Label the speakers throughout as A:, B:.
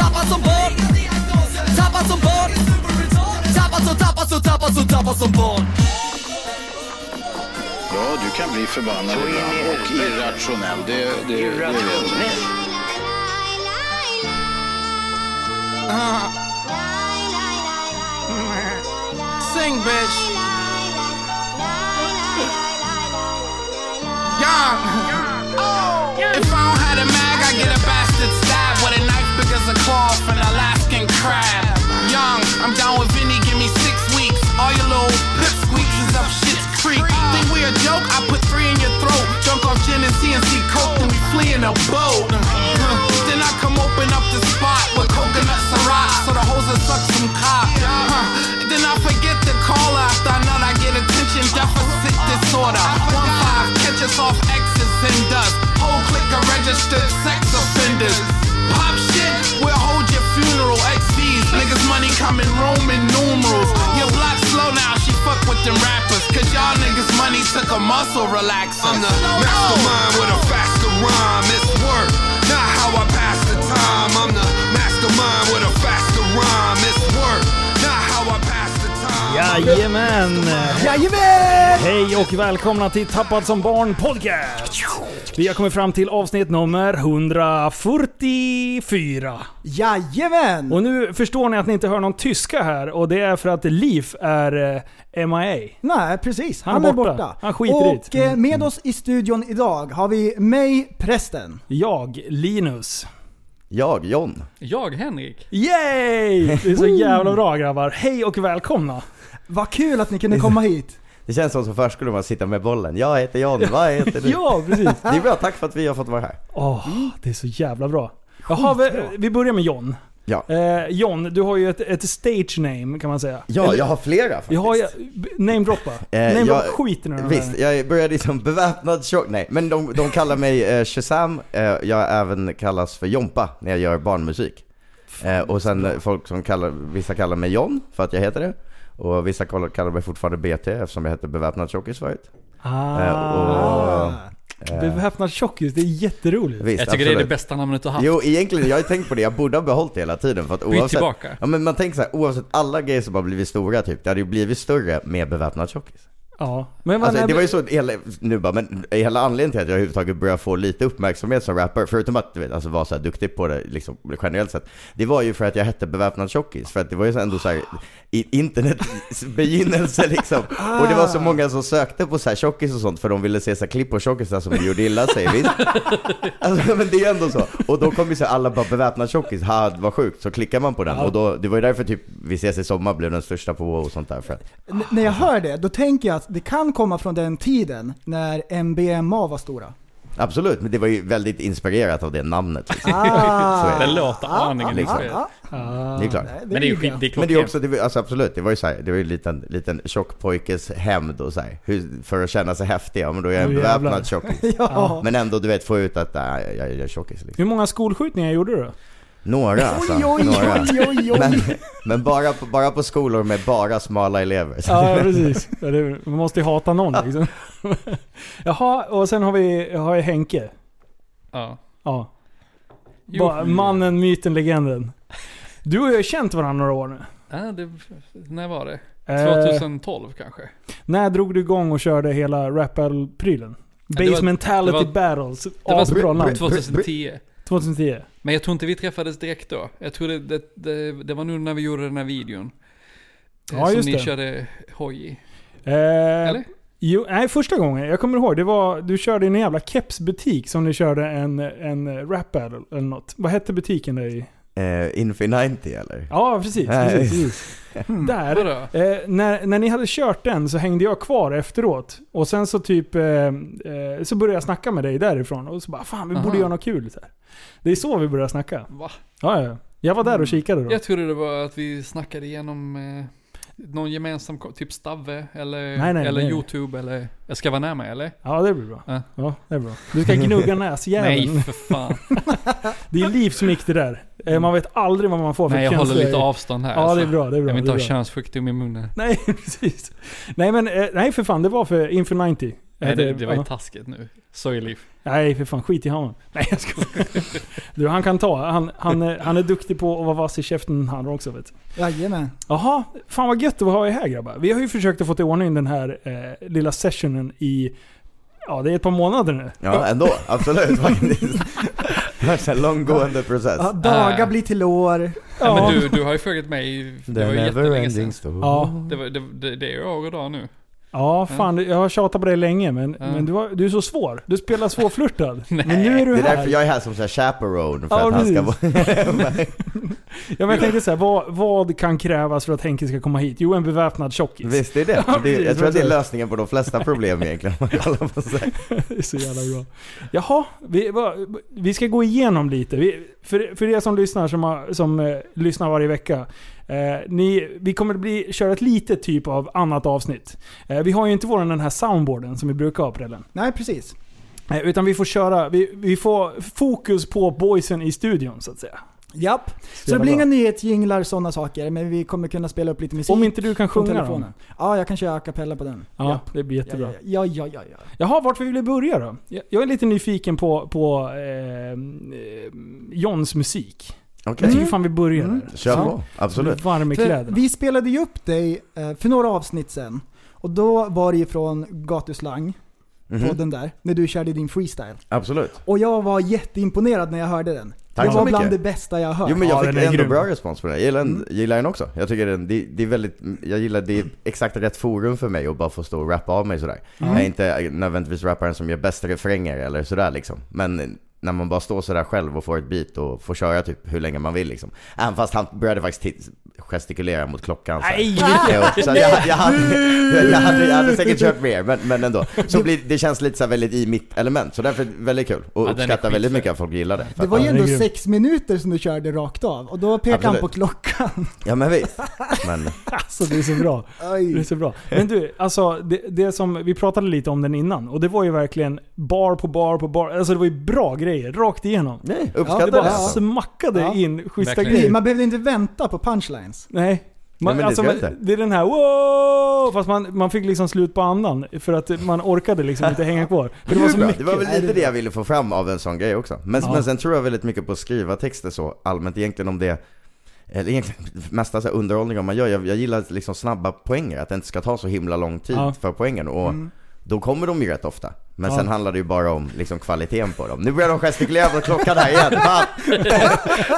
A: Tappad som barn Tappad som barn Tappad som, tappad som, tappad som, tappad som barn
B: Ja, du kan bli förbannad
C: Så in i
B: ibland och
C: helvete.
B: irrationell. Det, det, det, det vet jag.
C: Irrationell.
D: Uh-huh. Sing, bitch. Young. If I don't have a mag, I get a bastard stab with a knife big as a claw from an Alaskan crab. Young, I'm down with Vinny, give me six weeks. All your little pip squeaks is up shit's creek. Think we a joke? I put three in your throat. Drunk off gin and CNC coke, then we flee in a boat. Huh. Then I come open up the spot with coconut syrup, so the hoes will suck some cock. Huh. Then I forget to call after I know I get attention deficit disorder. One five, catch us off exes and dust. Whole clique of registered sex offenders. Pop shit, we'll hold your funeral. XVs, niggas money coming Roman numerals. Your block slow now, she fuck with them rappers. Cause y'all niggas money took a muscle relaxer.
E: I'm the mastermind with a faster rhyme. It's work, not how I pass the time. I'm the mastermind with a faster rhyme. It's work, not how I pass the time.
F: Jajamän!
G: Jajamän!
F: Hej och välkomna till Tappad som barn podcast! Vi har kommit fram till avsnitt nummer 144.
G: Jajamän!
F: Och nu förstår ni att ni inte hör någon tyska här och det är för att Liv är eh, MIA.
G: Nej, precis. Han,
F: Han är
G: är borta.
F: borta. Han skiter i
G: Och
F: det. Mm.
G: eh, med oss i studion idag har vi mig, prästen.
F: Jag, Linus.
H: Jag, John.
I: Jag, Henrik?
F: Yay! Det är så jävla bra grabbar. Hej och välkomna!
G: Vad kul att ni kunde komma hit.
H: Det känns som som förskolan man sitter med bollen. Jag heter John, vad heter du?
F: Ja, precis.
H: Det är bra, tack för att vi har fått vara här.
F: Åh,
I: Mm.
F: det är så jävla bra. Jaha, vi, vi börjar med John.
H: Ja,
F: Eh, John, du har ju ett, ett stage name kan man säga.
H: ja jag har flera faktiskt.
F: Jag har ju... Namedroppa. Namedroppa skiten ur den här.
H: Eh, Visst, jag började som beväpnad tjock. Nej, men de, de kallar mig eh, Shazam. Eh, jag även kallas för Jompa när jag gör barnmusik. Eh, och sen eh, folk som kallar, vissa kallar mig John för att jag heter det. Och vissa kallar, kallar mig fortfarande BT eftersom jag hette beväpnad tjockis förut. Eh,
F: Ah,
H: och,
F: Beväpnad tjockis, det är jätteroligt.
H: visst,
I: Jag tycker det är det
H: absolut.
I: bästa namnet du har haft.
H: Jo, egentligen, jag har ju tänkt på det. Jag borde ha behållit det hela tiden. För att
I: Byt
H: oavsett,
I: tillbaka.
H: Ja, men man tänker så här, oavsett alla grejer som har blivit stora typ, det hade ju blivit större med beväpnad tjockis.
F: Ja. Men vad
H: Alltså,
F: när-
H: det var ju så, hela, nu bara, men hela anledningen till att jag överhuvudtaget började få lite uppmärksamhet som rapper, förutom att du vet, alltså, vara så här duktig på det liksom, generellt sett, det var ju för att jag hette beväpnad tjockis. För att det var ju så ändå så här, i- internets begynnelse liksom. Och det var så många som sökte på så här tjockis och sånt för de ville se så här klipp på tjockisar som gjorde illa sig. Visst? Alltså, men det är ju ändå så. Och då kommer ju så här, alla bara beväpnad tjockis, ha vad sjukt. Så klickar man på den och då, det var ju därför typ Vi ses i sommar blev den största på och sånt där. För att,
G: N- när jag hör det, då tänker jag att det kan komma från den tiden när MBMA var stora.
H: absolut, men det var ju väldigt inspirerat av det namnet. Liksom.
G: Ah,
H: Så är
I: Det låter aningen
H: liksom.
I: inspirerat.
H: Det är klart.
G: nej,
I: Men det är ju
G: bra.
I: skit, det är
H: Men det är
I: klockrent.
H: också, det var, alltså absolut, det var ju så här, det var ju en liten, liten tjockpojkes hämnd och så här, hur, för att känna sig häftig, ja men då är jag en
F: Oh, jävlar.
H: beväpnad tjockis.
G: Ja.
H: Men ändå du vet, få ut att nej, jag, jag är tjockis liksom.
F: Hur många skolskjutningar gjorde du?
H: Några alltså,
G: Oj, oj,
H: några.
G: oj, oj,
H: Men,
G: oj.
H: men bara, på, bara på skolor med bara smala elever. Så.
F: Ja, precis. Ja, det- Man måste ju hata någon liksom. Jaha, och sen har vi har jag Henke.
I: Ja.
F: Ja.
I: Jo.
F: Bara, mannen, myten, legenden. Du och jag har känt varandra några år nu.
I: Ja, det, när var det?
F: Eh,
I: 2012 kanske?
F: när drog du igång och körde hela rappel-prylen?
I: det var-
F: Basementality
I: det var-
F: battles.
I: Det
F: Asbra namn.
I: 2010.
F: 2010.
I: Men jag tror inte vi träffades direkt då. Jag tror det, det, det, det var nu när vi gjorde den här videon. Eh,
F: Ja,
I: som
F: just
I: ni
F: det.
I: körde hoj i.
F: Eh,
I: Eller?
F: Jo, nej, första gången. Jag kommer ihåg. Det var, du körde i en jävla kepsbutik som du körde en, en rap battle eller något. Vad hette butiken där i?
H: Eh, Infinity eller?
F: Ja, precis.
H: Nej.
F: precis, precis. Där.
I: Vadå?
F: Eh, när, när ni hade kört den så hängde jag kvar efteråt. Och sen så typ eh, eh, så började jag snacka med dig därifrån. Och så bara fan vi borde
I: Aha.
F: göra något kul. Så här. Det är så vi började snacka.
I: Va? Mm.
F: Ja, ja. Jag var där och kikade då.
I: Jag trodde det var att vi snackade igenom eh, någon gemensam, ko- typ Stave eller,
F: Nej, nej,
I: eller
F: nej.
I: YouTube eller... Jag ska vara närmare eller?
F: Ja det blir bra.
I: Ja.
F: Ja, det är bra. Du ska gnugga näsjäveln.
I: Nej för fan.
F: Det är liv som gick det där. Eh, Man vet aldrig vad man får för
I: nej jag håller
F: känsla.
I: lite avstånd här.
F: Ja
I: alltså.
F: det är bra. Det är bra
I: Jag vill
F: det
I: inte ha
F: är bra.
I: könssjukdom i munnen.
F: Nej, precis. Nej men, eh, nej för fan, det var för Inför 90.
I: Nej, det,
F: Hette-
I: det var
F: ja.
I: ju taskigt nu. Sorgeliv.
F: Nej för fan, skit i honom. Nej jag skojar. Du han kan ta, han, han, eh, han är duktig på att vara vass i käften han också vet du.
G: Jajamän.
F: Jaha, fan vad gött det var att ha er här grabbar. Vi har ju försökt att få till ordning den här eh, lilla sessionen i, ja det är ett par månader nu.
H: Ja, ändå. Absolut faktiskt. Det var en sån här långgående process.
G: Ja, dagar
F: Eh.
I: Äh.
G: blir till år.
I: Nej,
F: Ja.
I: men du, du har ju frågat mig, det var ju jättelänge sedan.
H: story.
F: Ja,
I: Det, var, det, det, det är ju år och dag nu.
F: ja fan jag har tjatat på dig länge men,
I: Ja.
F: men du, har, du är så svår. Du spelar svårflörtad. men nu är
H: Det
F: du
H: är
F: här.
H: därför jag är här som så här chaperone, för
F: Ja,
H: att han ska vara...
F: Ja, men jag tänkte så här, vad, vad kan krävas för att Henke ska komma hit? Jo, en beväpnad tjockis.
H: Visst det är det? det är,
F: precis,
H: jag tror att det är
F: precis.
H: lösningen på de flesta problem egentligen. om man kollar på så här.
F: Det är så jävla bra. Jaha, vi, vad- vi ska gå igenom lite. Vi, för, för er som lyssnar, som, har, som eh, lyssnar varje vecka. Eh, ni, vi kommer bli, köra ett litet typ av annat avsnitt. Eh, vi har ju inte vår den här soundboarden som vi brukar ha Prellen.
G: Nej, precis.
F: Eh, utan vi får köra, vi, vi får fokus på boysen i studion så att säga.
G: Japp. Så det
F: jävla
G: blir
F: bra.
G: inga nyhetsjinglar sådana saker, men vi kommer kunna spela upp lite musik.
F: Om inte du kan
G: från
F: sjunga
G: telefonen.
F: dem.
G: Ja, jag kan köra a cappella på den.
F: Ja, det blir
G: Ja,
F: jättebra.
G: ja, ja, ja, ja, ja.
F: Jaha, vart vill vi börja då? Jag- Jag är lite nyfiken på, på eh, eh, Johns musik.
H: Okej,
F: Jag tycker fan vi börjar
G: Mm.
F: där.
H: kör
F: Ja.
H: på. Absolut.
F: Varm i
G: För
F: kläderna.
G: vi spelade ju upp dig eh, för några avsnitt sen. Och då var det ju från Gatuslang,
H: Mhm,
G: podden där, när du körde din freestyle.
H: Absolut.
G: Och jag var jätteimponerad när jag hörde den.
H: Tack
G: det
H: så
G: var
H: mycket.
G: bland det bästa jag har hört.
H: Jo men
F: Ja,
H: jag fick
F: den är
H: ändå
F: grym.
H: bra respons på den. Jag gillar, den- gillar den också. Jag tycker den, det, det är väldigt, jag gillar det är exakt rätt forum för mig att bara få stå och rappa av mig sådär.
F: Mm.
H: Jag är inte nödvändigtvis rapparen som gör bäst refränger eller sådär liksom. Men när man bara står sådär själv och får ett beat och får köra typ hur länge man vill liksom. Även fast han började faktiskt ti- gestikulera mot klockan såhär.
F: Nej,
H: Jo, så jag, jag, hade, jag, hade, jag hade säkert kört mer, men, men ändå. Så blir, det känns lite så här väldigt i mitt element, så därför väldigt kul. Och
I: den är
H: uppskattar väldigt
I: skitfett.
H: mycket att folk gillar det.
G: Det var ju
F: Ja, den är
G: ändå
F: grym.
G: sex minuter som du körde rakt av och då pekade han på
H: Absolut.
G: klockan.
H: Ja men visst. Men,
F: alltså det är så bra. Det är
G: Oj.
F: så bra. Men du, alltså det, det som vi pratade lite om den innan. Och det var ju verkligen bar på bar på bar. Alltså det var ju bra grejer rakt igenom.
H: nej,
G: Ja,
H: uppskattar
F: Det
H: det.
F: bara
H: alltså.
F: smackade
G: Ja.
F: in schyssta
I: Verkligen.
F: grejer.
G: Man behövde inte vänta på punchlines.
F: Nej. Man,
H: Nej, men det
F: alltså,
H: ska
F: man,
H: jag inte.
F: det är den här wow! Fast man, man fick liksom slut på andan. För att man orkade liksom inte hänga kvar. För det var så
H: Bra.
F: mycket.
H: Det var väl lite det jag ville få fram av en sån grej också. Men,
F: Ja.
H: men sen tror jag väldigt mycket på att skriva texter så allmänt egentligen om det eller egentligen mesta så här underhållning om man gör. Jag, jag gillar liksom snabba poänger, att det inte ska ta så himla lång tid
F: Ja.
H: för poängen. Och då kommer de ju rätt ofta. Men
F: Ja.
H: sen handlar det ju bara om liksom kvaliteten på dem. Nu börjar de gestikulera på klockan här igen. Fan.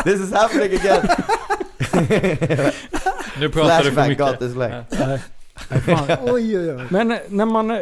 H: This is happening again.
I: Nu pratar du för
H: Flashback,
I: mycket.
H: gatusläng.
F: Nej. Nej, fan.
G: Oj, oj, oj.
F: Men när man... eh,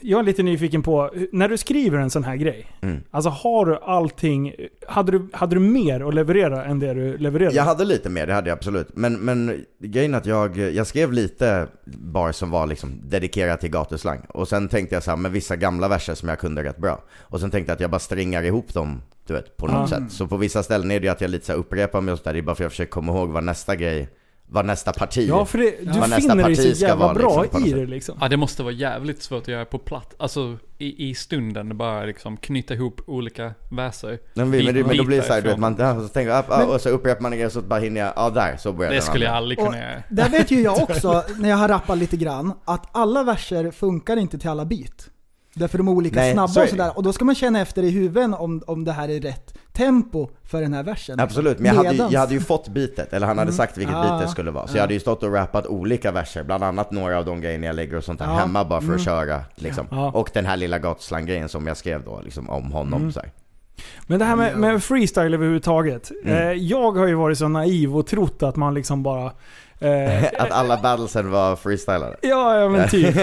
F: Jag är lite nyfiken på, när du skriver en sån här grej.
H: Mm.
F: Alltså har du allting... Hade du, hade du mer att leverera än det du levererade?
H: Jag hade lite mer, det hade jag absolut. Men, men grejen är att jag, jag skrev lite bar som var liksom dedikerat till gatuslang. Och sen tänkte jag så här, med vissa gamla verser som jag kunde rätt bra. Och sen tänkte jag att jag bara stringar ihop dem, du vet, på
F: Ah.
H: något sätt. Så på vissa ställen är det ju att jag lite så här upprepar mig och sådär. Det är bara för att jag försöker komma ihåg vad nästa grej, vad nästa parti.
F: Ja, för det,
H: Vad
F: du
H: nästa
F: finner dig
H: parti
F: så
H: ska
F: jävla
H: vara,
F: bra
H: liksom, på något
F: i
H: sätt.
F: det liksom.
I: Ja, det måste vara jävligt svårt att göra på platt. Alltså i, i stunden bara liksom knyta ihop olika verser.
H: men, men, det- men då blir det så här, du vet,
I: Därifrån.
H: man, ja, så tänker, jag, ah, ah, och så upprepar man en grej så bara hinner jag, ja där, så börjar
I: Det
H: den
I: skulle jag
H: andra.
I: aldrig
G: Och
I: kunna göra.
G: där vet ju jag också, när jag har rappat lite grann, att alla verser funkar inte till alla beat. Därför de är olika
H: Nej, så
G: snabba
H: är
G: och
H: det.
G: sådär. Och då ska man känna efter i huvudet om, om det här är rätt tempo för den här versen.
H: Absolut, men jag hade, ju-
G: Medans-
H: jag hade ju fått bitet, eller
F: Mm.
H: han hade sagt vilket
G: Ah,
H: beat det skulle vara. Så jag hade ju stått och rappat olika verser, bland annat några av de grejerna jag lägger och sånt där
G: Ja.
H: hemma bara för att köra. Liksom.
F: Mm. Ja.
H: Och den här lilla gatuslangrejen som jag skrev då, liksom, om honom.
F: Mm.
H: Så här.
F: Men det här med, med freestyle överhuvudtaget.
H: Mm.
F: Eh, jag har ju varit så naiv och trott att man liksom bara... Eh,
H: Att alla battlesen var freestylade.
F: Ja, ja men typ.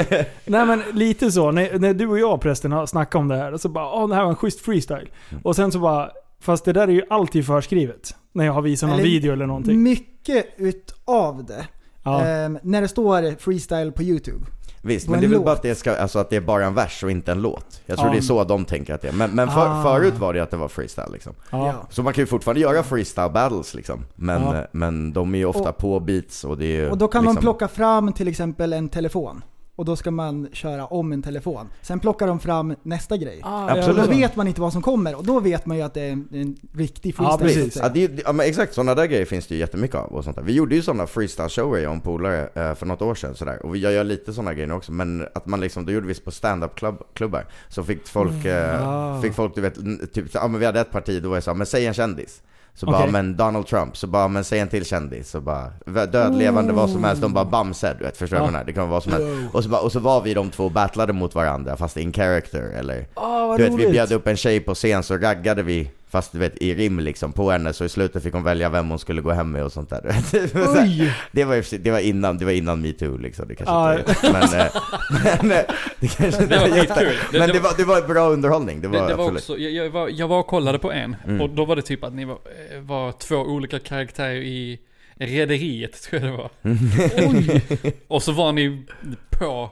F: Nej men lite "Ah,
H: Mm.
F: så. När, när du och jag prästen har snackat om det här, så bara åh det här var en schysst freestyle. Och sen så bara Fast det där är ju alltid förskrivet. När jag har visat någon
G: Eller- Mm.
F: video eller någonting.
G: Mycket utav det.
F: Ja.
G: Ehm, när det står freestyle på YouTube.
H: Visst,
G: På
H: men
G: en
H: det är väl
G: låt.
H: bara att det, ska, alltså att det är bara en vers och inte en låt. Jag tror
F: Ja.
H: det är så de tänker att det är. Men, men för,
F: Ah.
H: förut var det att det var freestyle liksom.
F: Ja.
H: Så man kan ju fortfarande göra freestyle battles liksom. Men,
F: Ja.
H: eh, men de är ju ofta
G: Och-
H: på beats och det är ju
G: Och då kan
H: liksom,
G: de plocka fram till exempel en telefon. Och då ska man köra om en telefon. Sen plockar de fram nästa grej.
F: Ah,
H: Absolut.
G: Och
F: jag
G: då
F: vet.
G: vet man inte vad som kommer och då vet man ju att det är en, en riktig freestyle.
F: Ja, precis.
G: så att säga.
H: Ja, det, är ju- ja men exakt, sådana där grejer finns det ju jättemycket av och sånt där. Vi gjorde ju sådana freestyle-shower jag och en polare eh, för något år sedan sådär. Och vi- jag gör lite sådana grejer nu också, men att man liksom, då gjorde vi på stand-up-klubbar. Så fick folk, eh,
F: Ah.
H: fick folk du vet, n- typ, så- ja men vi hade ett parti, då var jag så här, men säg en kändis. Så bara,
F: Okej.
H: men Donald Trump, så bara, men säg en till kändis. Så bara, v- död, levande, vad som helst. De bara Bamse, du vet, förstår du vad jag menar? Det kan vara vad som helst. Och så, bara, och så var vi de två och battlade mot varandra, fast in character eller
F: Ah, vad
H: du vet, vi
F: roligt.
H: bjöd upp en tjej på scen så raggade vi, fast du vet i rim liksom, på henne så i slutet fick hon välja vem hon skulle gå hem med och sånt där. du vet. Så här, det, var, i och för sig- det var innan, det var innan metoo liksom, det kanske
F: Ja.
H: inte är- men, eh, men eh, det kanske inte
I: Det var
H: var jätte-
I: skitkul. Det-
H: Men
I: det
H: det var, det var bra underhållning, det var,
I: Det, det var
H: absolut. Mm.
I: också, jag, jag, var, jag var och kollade på en och då var det typ att ni var, eh, var två olika karaktärer i Rederiet, tror jag det var.
H: Mm.
I: Oj. och så var ni på,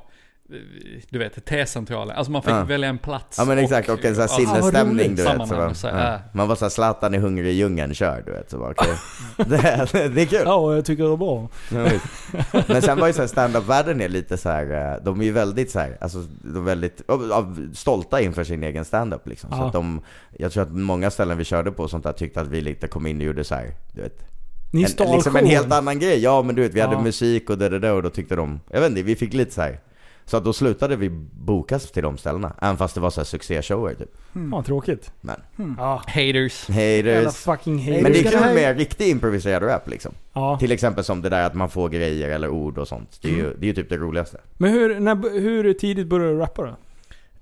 I: eh, du vet, T-centralen. Alltså man fick
H: Ja.
I: välja en plats.
H: Ja men exakt, och en sån här
I: ja,
H: sinnesstämning du vet. Så
I: Sammanhang,
H: var,
I: så här,
H: ja.
I: äh.
H: Man var såhär, Zlatan är hungrig i djungeln, kör du vet. Så bara, okej. det, det är kul.
F: Ja, och jag tycker det är bra.
H: Ja, visst. Men sen var ju så här standup-världen är lite så här, eh, de är ju väldigt så här, alltså de är väldigt av- av, stolta inför sin egen standup liksom. Så
F: Ja.
H: att de, jag tror att många ställen vi körde på och sånt där tyckte att vi lite kom in och gjorde så här, du vet.
F: Ni
H: En,
F: stal
H: liksom en
F: showen.
H: helt annan grej. Ja men du vet, vi
F: Ja.
H: hade musik och det där och då tyckte de, jag vet inte, vi fick lite så här. Så att då slutade vi bokas till de ställena, även fast det var så här succéshower typ.
F: Ja, tråkigt.
H: Men.
F: Ja,
I: Haters.
F: jävla
H: Haters.
F: fucking haters.
H: Men det är
G: Ska det
H: kul
G: här-
H: med riktig improviserad rap liksom.
F: ja. Mm.
H: Till exempel som det där att man får grejer eller ord och sånt. Det är ju, det är ju typ det roligaste.
F: Men hur, när, hur tidigt började du rappa då?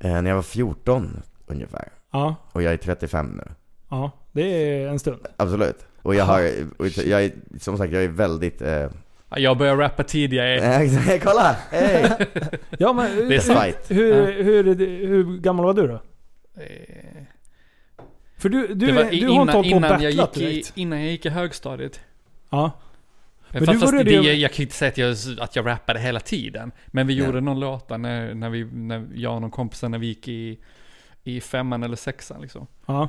H: Eh, när jag var 14 ungefär.
F: Ja,
H: Och jag är 35 nu.
F: ja. Det är en stund.
H: Absolut. Och jag har, och jag är, som sagt jag är väldigt... Eh,
I: Ja, Jag började rappa tidigare.
H: eh, kolla! Hey!
F: Ja, men,
I: Det är
H: fight.
F: Hur, hur, hur, hur gammal var du då?
I: Eh,
F: För du,
I: Det
F: du,
I: var
F: är- du har inte
I: innan,
F: hållit på och
I: innan, jag
F: battlat
I: gick i,
F: direkt?
I: innan jag gick i högstadiet.
F: Ja.
I: Men
F: du
I: fast, fast
F: borde
I: det,
F: ju-
I: jag, jag kan ju inte säga att jag, att jag rappade hela tiden. Men vi
H: Ja.
I: gjorde någon låta när, när, vi, när jag och någon kompis när vi gick i, i femman eller sexan liksom.
F: ja.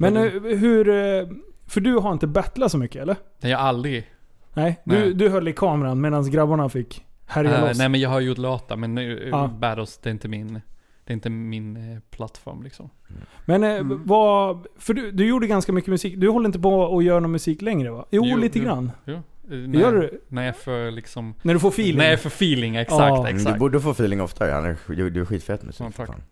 F: Men
I: Men
F: eh, hur... eh, För du har inte battlat så mycket eller?
I: Nej, jag har aldrig...
F: Nej, du,
I: Nej.
F: du höll i kameran medan grabbarna fick härja
I: Äh,
F: loss.
I: nej men jag har gjort låtar men nu,
F: Ja.
I: battles det är inte min, det är inte min eh, plattform liksom.
F: Men eh,
I: Mm.
F: vad... För du, du gjorde ganska mycket musik. Du håller inte på och gör någon musik längre va? Jo,
I: Jo,
F: lite
I: jo.
F: grann.
I: Jo, eh, när,
F: Gör du?
I: När jag får liksom...
F: När du får feeling.
I: När jag får feeling, exakt,
F: Ja.
H: Mm, Du
I: exakt.
H: borde få feeling oftare, han är, du, du är skitfet musik.
I: Ja, tack.
H: fan.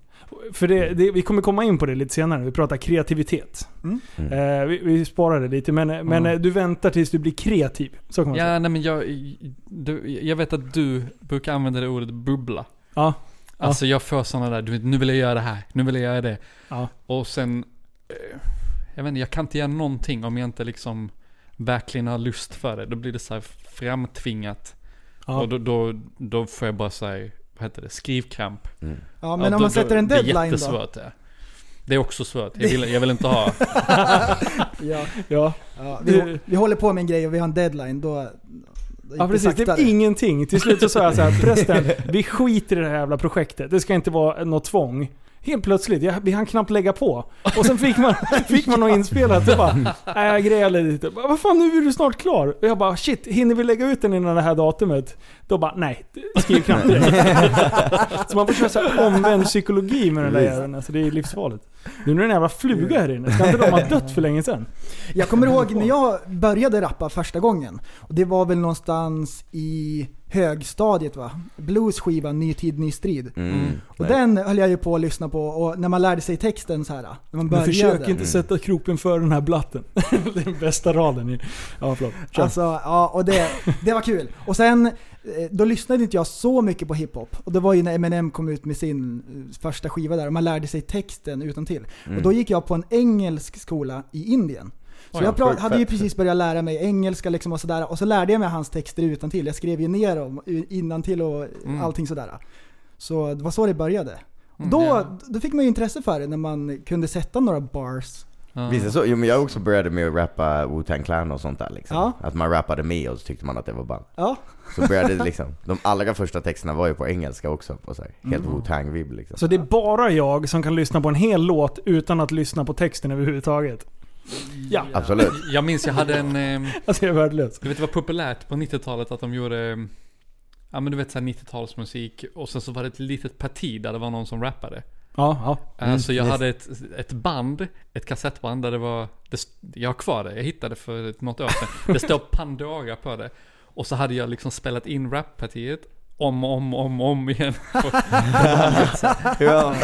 F: För det, det, vi kommer komma in på det lite senare. Vi pratar kreativitet.
G: Mm.
H: Mm.
F: Eh, vi, vi sparar det lite. Men, men eh, du väntar tills du blir kreativ. Så kan man säga.
I: Mm. Ja, nej men jag, du, jag vet att du brukar använda det ordet bubbla.
F: Ja.
I: Alltså jag får sådana där, du vet, nu vill jag göra det här, nu vill jag göra det.
F: Ja.
I: Och sen, eh, jag vet inte, jag kan inte göra någonting om jag inte liksom verkligen har lust för det. Då blir det så här framtvingat.
F: Ja.
I: Och då, då, då får jag bara säga, vad heter det, skrivkramp.
G: Ja,
I: Ja,
G: men
I: då,
G: om man
I: då-
G: sätter en
I: Det är
G: deadline då.
I: jättesvårt det. Det är också svårt. Jag vill, jag vill inte ha...
G: Ja,
F: ja.
G: ja, vi,
F: Det-
G: vi håller på med en grej och vi har en deadline. Då, då gick
F: Ja precis, det
G: saktare.
F: är ingenting. Till slut så sa jag så här, prästen, vi skiter i det här jävla projektet. Det ska inte vara något tvång. Helt plötsligt, jag, vi hann knappt lägga på. Och sen fick man, fick man något inspelat och bara, nej jag grejade lite. Bara, Vad fan, nu är du snart klar. Och jag bara, shit, hinner vi lägga ut den innan det här datumet? Då bara, nej, skriv knappt direkt. Så man får köra så här omvänd psykologi med den där jäveln. Alltså det är livsfarligt. Nu är det en jävla fluga här inne. Ska inte de ha dött för länge sedan?
G: Jag kommer ihåg när jag började rappa första gången. Och det var väl någonstans i högstadiet va? Blues skiva Ny tid, ny strid.
H: Mm.
G: Och den höll jag ju på att lyssna på och när man lärde sig texten så här. När man
F: Men
G: började.
F: försök
H: Mm.
F: inte sätta kroken för den här blatten. det är den bästa raden i... Ja, förlåt. Kör.
G: Alltså, ja, och det, det var kul. Och sen, eh, då lyssnade inte jag så mycket på hiphop. Och det var ju när Eminem kom ut med sin eh, första skiva där och man lärde sig texten utan till. Och då gick jag på en engelsk skola i Indien. Så
I: Oj,
G: jag pra-
H: sjukt
G: hade ju
H: fett.
G: precis börjat lära mig engelska liksom och sådär. Och så lärde jag mig hans texter utan till. Jag skrev ju ner dem innan till och allting sådär. Så det var så det började. Och då,
I: ja.
G: då fick man ju intresse för det när man kunde sätta några bars
I: Ja.
H: Visst är det så? Jo men jag också började med att rappa Wu-Tang Clan och sånt där liksom.
G: Ja.
H: Att man rappade med och så tyckte man att det var band.
G: Ja.
H: Så började det liksom, de allra första texterna var ju på engelska också. På så här, helt Wu-Tang-vibb liksom.
F: Mm. Så det är bara jag som kan lyssna på en hel låt utan att lyssna på texten överhuvudtaget. Ja,
H: Absolut.
I: Jag minns jag hade en... ehm,
F: alltså jag är värdelös.
I: Du vet det var populärt på 90-talet att de gjorde, ehm, ja men du vet såhär 90-talsmusik och sen så var det ett litet parti där det var någon som rappade.
F: Ja, ja. Mm.
I: alltså jag hade ett, ett band, ett kassettband där det var, det, st- jag har kvar det, jag hittade för ett- något år sedan. Det står Pandora på det. Och så hade jag liksom spelat in rappartiet om och om och om, och om igen. Eh,
H: ja,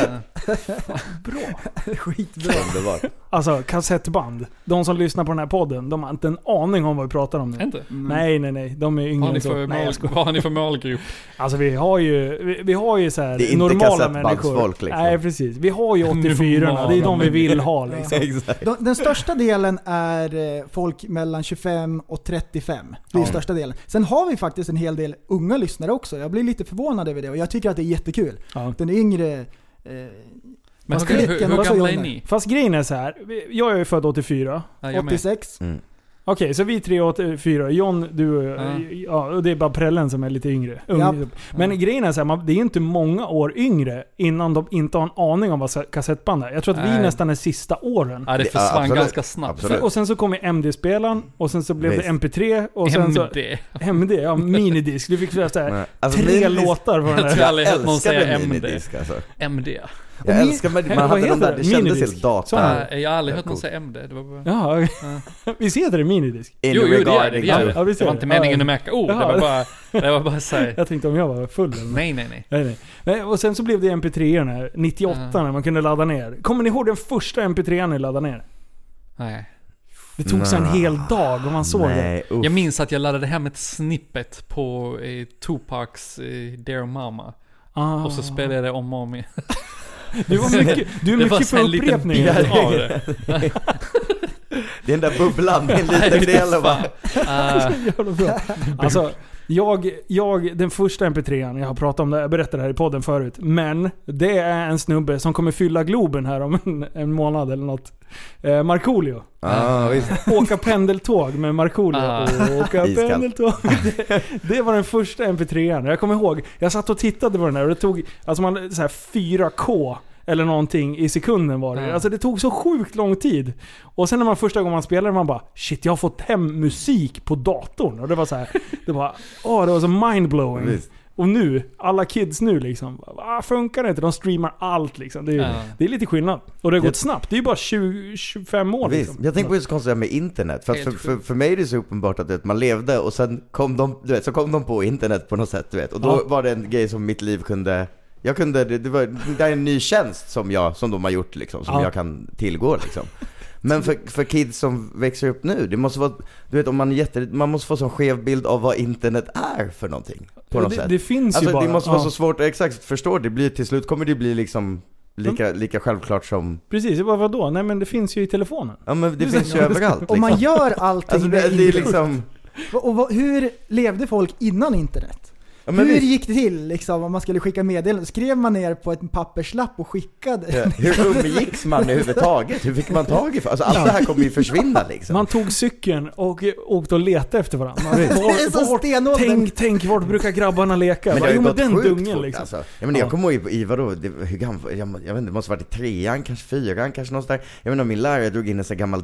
G: Skitbra.
H: underbart.
F: Alltså kassettband. De som lyssnar på den här podden, de har inte en aning om vad vi pratar om nu. Mm.
I: Inte?
F: Nej, nej, nej. De är
I: Vad har,
F: yngre
I: ni
F: än så.
I: för
F: Nej,
I: mål,
F: jag skojar.
I: vad har ni för målgrupp?
F: Alltså vi har ju, vi, vi har ju så här
H: Det är inte
F: normala människor.
H: kassettbandsfolk, liksom.
F: Nej, precis. Vi har ju 84 Det är de vi vill ha liksom.
H: Exakt.
G: De, den största delen är eh, folk mellan 25 och 35. Det är ju största delen. Sen har vi faktiskt en hel del unga lyssnare också. Jag blir lite förvånad över det och jag tycker att det är jättekul.
F: Ja.
G: Den yngre... Eh,
I: Men
G: Vad
I: hur,
G: ska-
I: hur, hur
G: vad sa
I: gamla är
G: Jonny?
I: ni?
F: Fast grejen är så här. vi- jag är ju född 84.
I: Ja, jag med.
G: 86.
H: Mm.
F: Okej, så vi tre är 84. John, du och
I: Ja.
F: ja, och det är bara prällen som är lite yngre. Ung,
G: Japp.
F: typ. Men grejen är så här, man, det är ju inte många år yngre innan de inte har en aning om vad sa- kassettband är. Jag tror att
I: Nej.
F: vi nästan är sista åren.
I: Ja det
H: Det- ja,
I: försvann
H: absolut.
I: ganska snabbt.
H: Absolut.
F: Och sen så kom ju MD-spelaren, och sen så blev
H: Visst.
F: det MP3, och sen så...
I: MD.
F: MD, ja minidisk. Du fick så här,
H: Nej. Alltså,
F: tre
H: minidisk-
F: låtar på den
I: Jag
F: där.
I: tror aldrig jag hört någon
H: älskade
I: säga MD.
H: minidisk alltså.
I: MD.
H: Jag
F: min-
H: älskar man,
F: Vad
H: man hade
F: heter
H: de där,
F: det?
H: det kändes
F: Minidisk.
H: helt data.
F: Såna.
I: Nej, jag har aldrig hört någon
H: coolt.
I: säga MD. Det var bara...
F: Jaha, visst heter det minidisk?
H: In
I: Jo, jo, det gör det.
H: regarding
I: Det, gör
H: to-
F: Ja,
I: det.
F: visst
I: det var
F: är det.
I: inte meningen
F: Ja.
I: att märka ord. Det
F: Jaha.
I: var bara, det var bara såhär,
F: Jag tänkte om jag var full eller något.
I: nej, nej, nej.
F: Nej, nej. nej. Och sen så blev det MP3 an här, 98
I: Ja.
F: när man kunde ladda ner. Kommer ni ihåg den första MP3 an ni laddade ner?
I: nej.
F: Det tog så en
H: Nå.
F: hel dag om man såg det.
H: Nej, uff.
I: Jag minns att jag laddade hem ett snippet på eh, Tupacs eh, Dear Mama.
F: Ah.
I: Och så spelade jag det om och om igen.
F: du, var mycket, du är
I: Det var
F: mycket
I: så
F: på
I: här en liten
F: upprepningar.
I: bild av det.
F: Ah,
H: Det är den där bubblan, det är en
I: Nej,
H: liten
I: det är
H: del av
I: fan. Ah,
F: Jävla bra. Alltså, jag, jag, den första mp3an, an, jag har pratat om det, jag berättade det här i podden förut. Men det är en snubbe som kommer fylla Globen här om en, en månad eller något. Eh, Markoolio.
H: Ja, Ah, visst.
F: Åka pendeltåg med Markoolio.
I: Ah.
F: Åka
H: Iskallt.
F: pendeltåg. Det, det var den första mp3an. Jag kommer ihåg, jag satt och tittade på den där och det tog alltså man, så här 4K eller någonting i sekunden var det.
I: Ja.
F: Alltså det tog så sjukt lång tid. Och sen när man första gången man spelade man bara shit jag har fått hem musik på datorn. Och det var så här, det var, åh det var så mindblowing.
H: Visst.
F: Och nu, alla kids nu liksom, ah, funkar det inte? De streamar allt liksom. Det är, ju-
I: Ja.
F: det är lite skillnad. Och det har gått
H: Jag-
F: snabbt. Det är ju bara 20, 25 år
H: Visst.
F: liksom.
H: Jag tänker på det så konstigt det här med internet. För, att för,
I: Helt
H: för,
I: sjukt.
H: för mig är det så uppenbart att du vet, man levde och sen kom, de, du vet, så kom de på internet på något sätt. Du vet. Och då
F: Ja.
H: var det en grej som mitt liv kunde... Jag kunde, det, det, var, det är en ny tjänst som, jag, som de har gjort liksom, som
F: Ja.
H: jag kan tillgå liksom. Men för, för kids som växer upp nu, det måste vara, du vet om man är jätte, man måste få en skev bild av vad internet är för någonting. På något
F: det,
H: sätt.
F: det finns
H: Alltså
F: ju bara.
H: det måste vara
F: ja.
H: så svårt att exakt förstå, det blir, till slut kommer det bli liksom
F: Mm.
H: lika, lika självklart som,
F: Precis, jag bara vadå? Nej men det finns ju i telefonen.
H: ja men det finns ju
F: Ja.
H: överallt liksom.
G: Och man gör allting
H: Alltså det,
G: med
H: det är
G: internet.
H: liksom,
G: Och, och vad- hur levde folk innan internet?
H: ja, men
G: hur
H: visst.
G: gick det till liksom, om man skulle skicka meddelanden? Skrev man ner på ett papperslapp och skickade?
H: Ja, hur umgicks man överhuvudtaget? Hur fick man tag i Alltså allt det här kommer ju försvinna liksom.
F: Man tog cykeln och eh, åkte och letade efter varandra. Man,
G: Det är
F: var,
G: så
F: vart,
G: stenåldern.
F: tänk, tänk, vart brukar grabbarna leka?
H: men det
F: Bara,
H: har ju
F: jo men
H: gått
F: den
H: sjukt
F: dungen
H: fort
F: liksom.
H: alltså. Jag, menar,
F: Ja.
H: jag kommer ihåg i, i vadå, det, hur gammal, jag, jag vet inte, det måste varit i trean, kanske fyran, kanske någonstans där. Jag menar min lärare drog in en sån gammal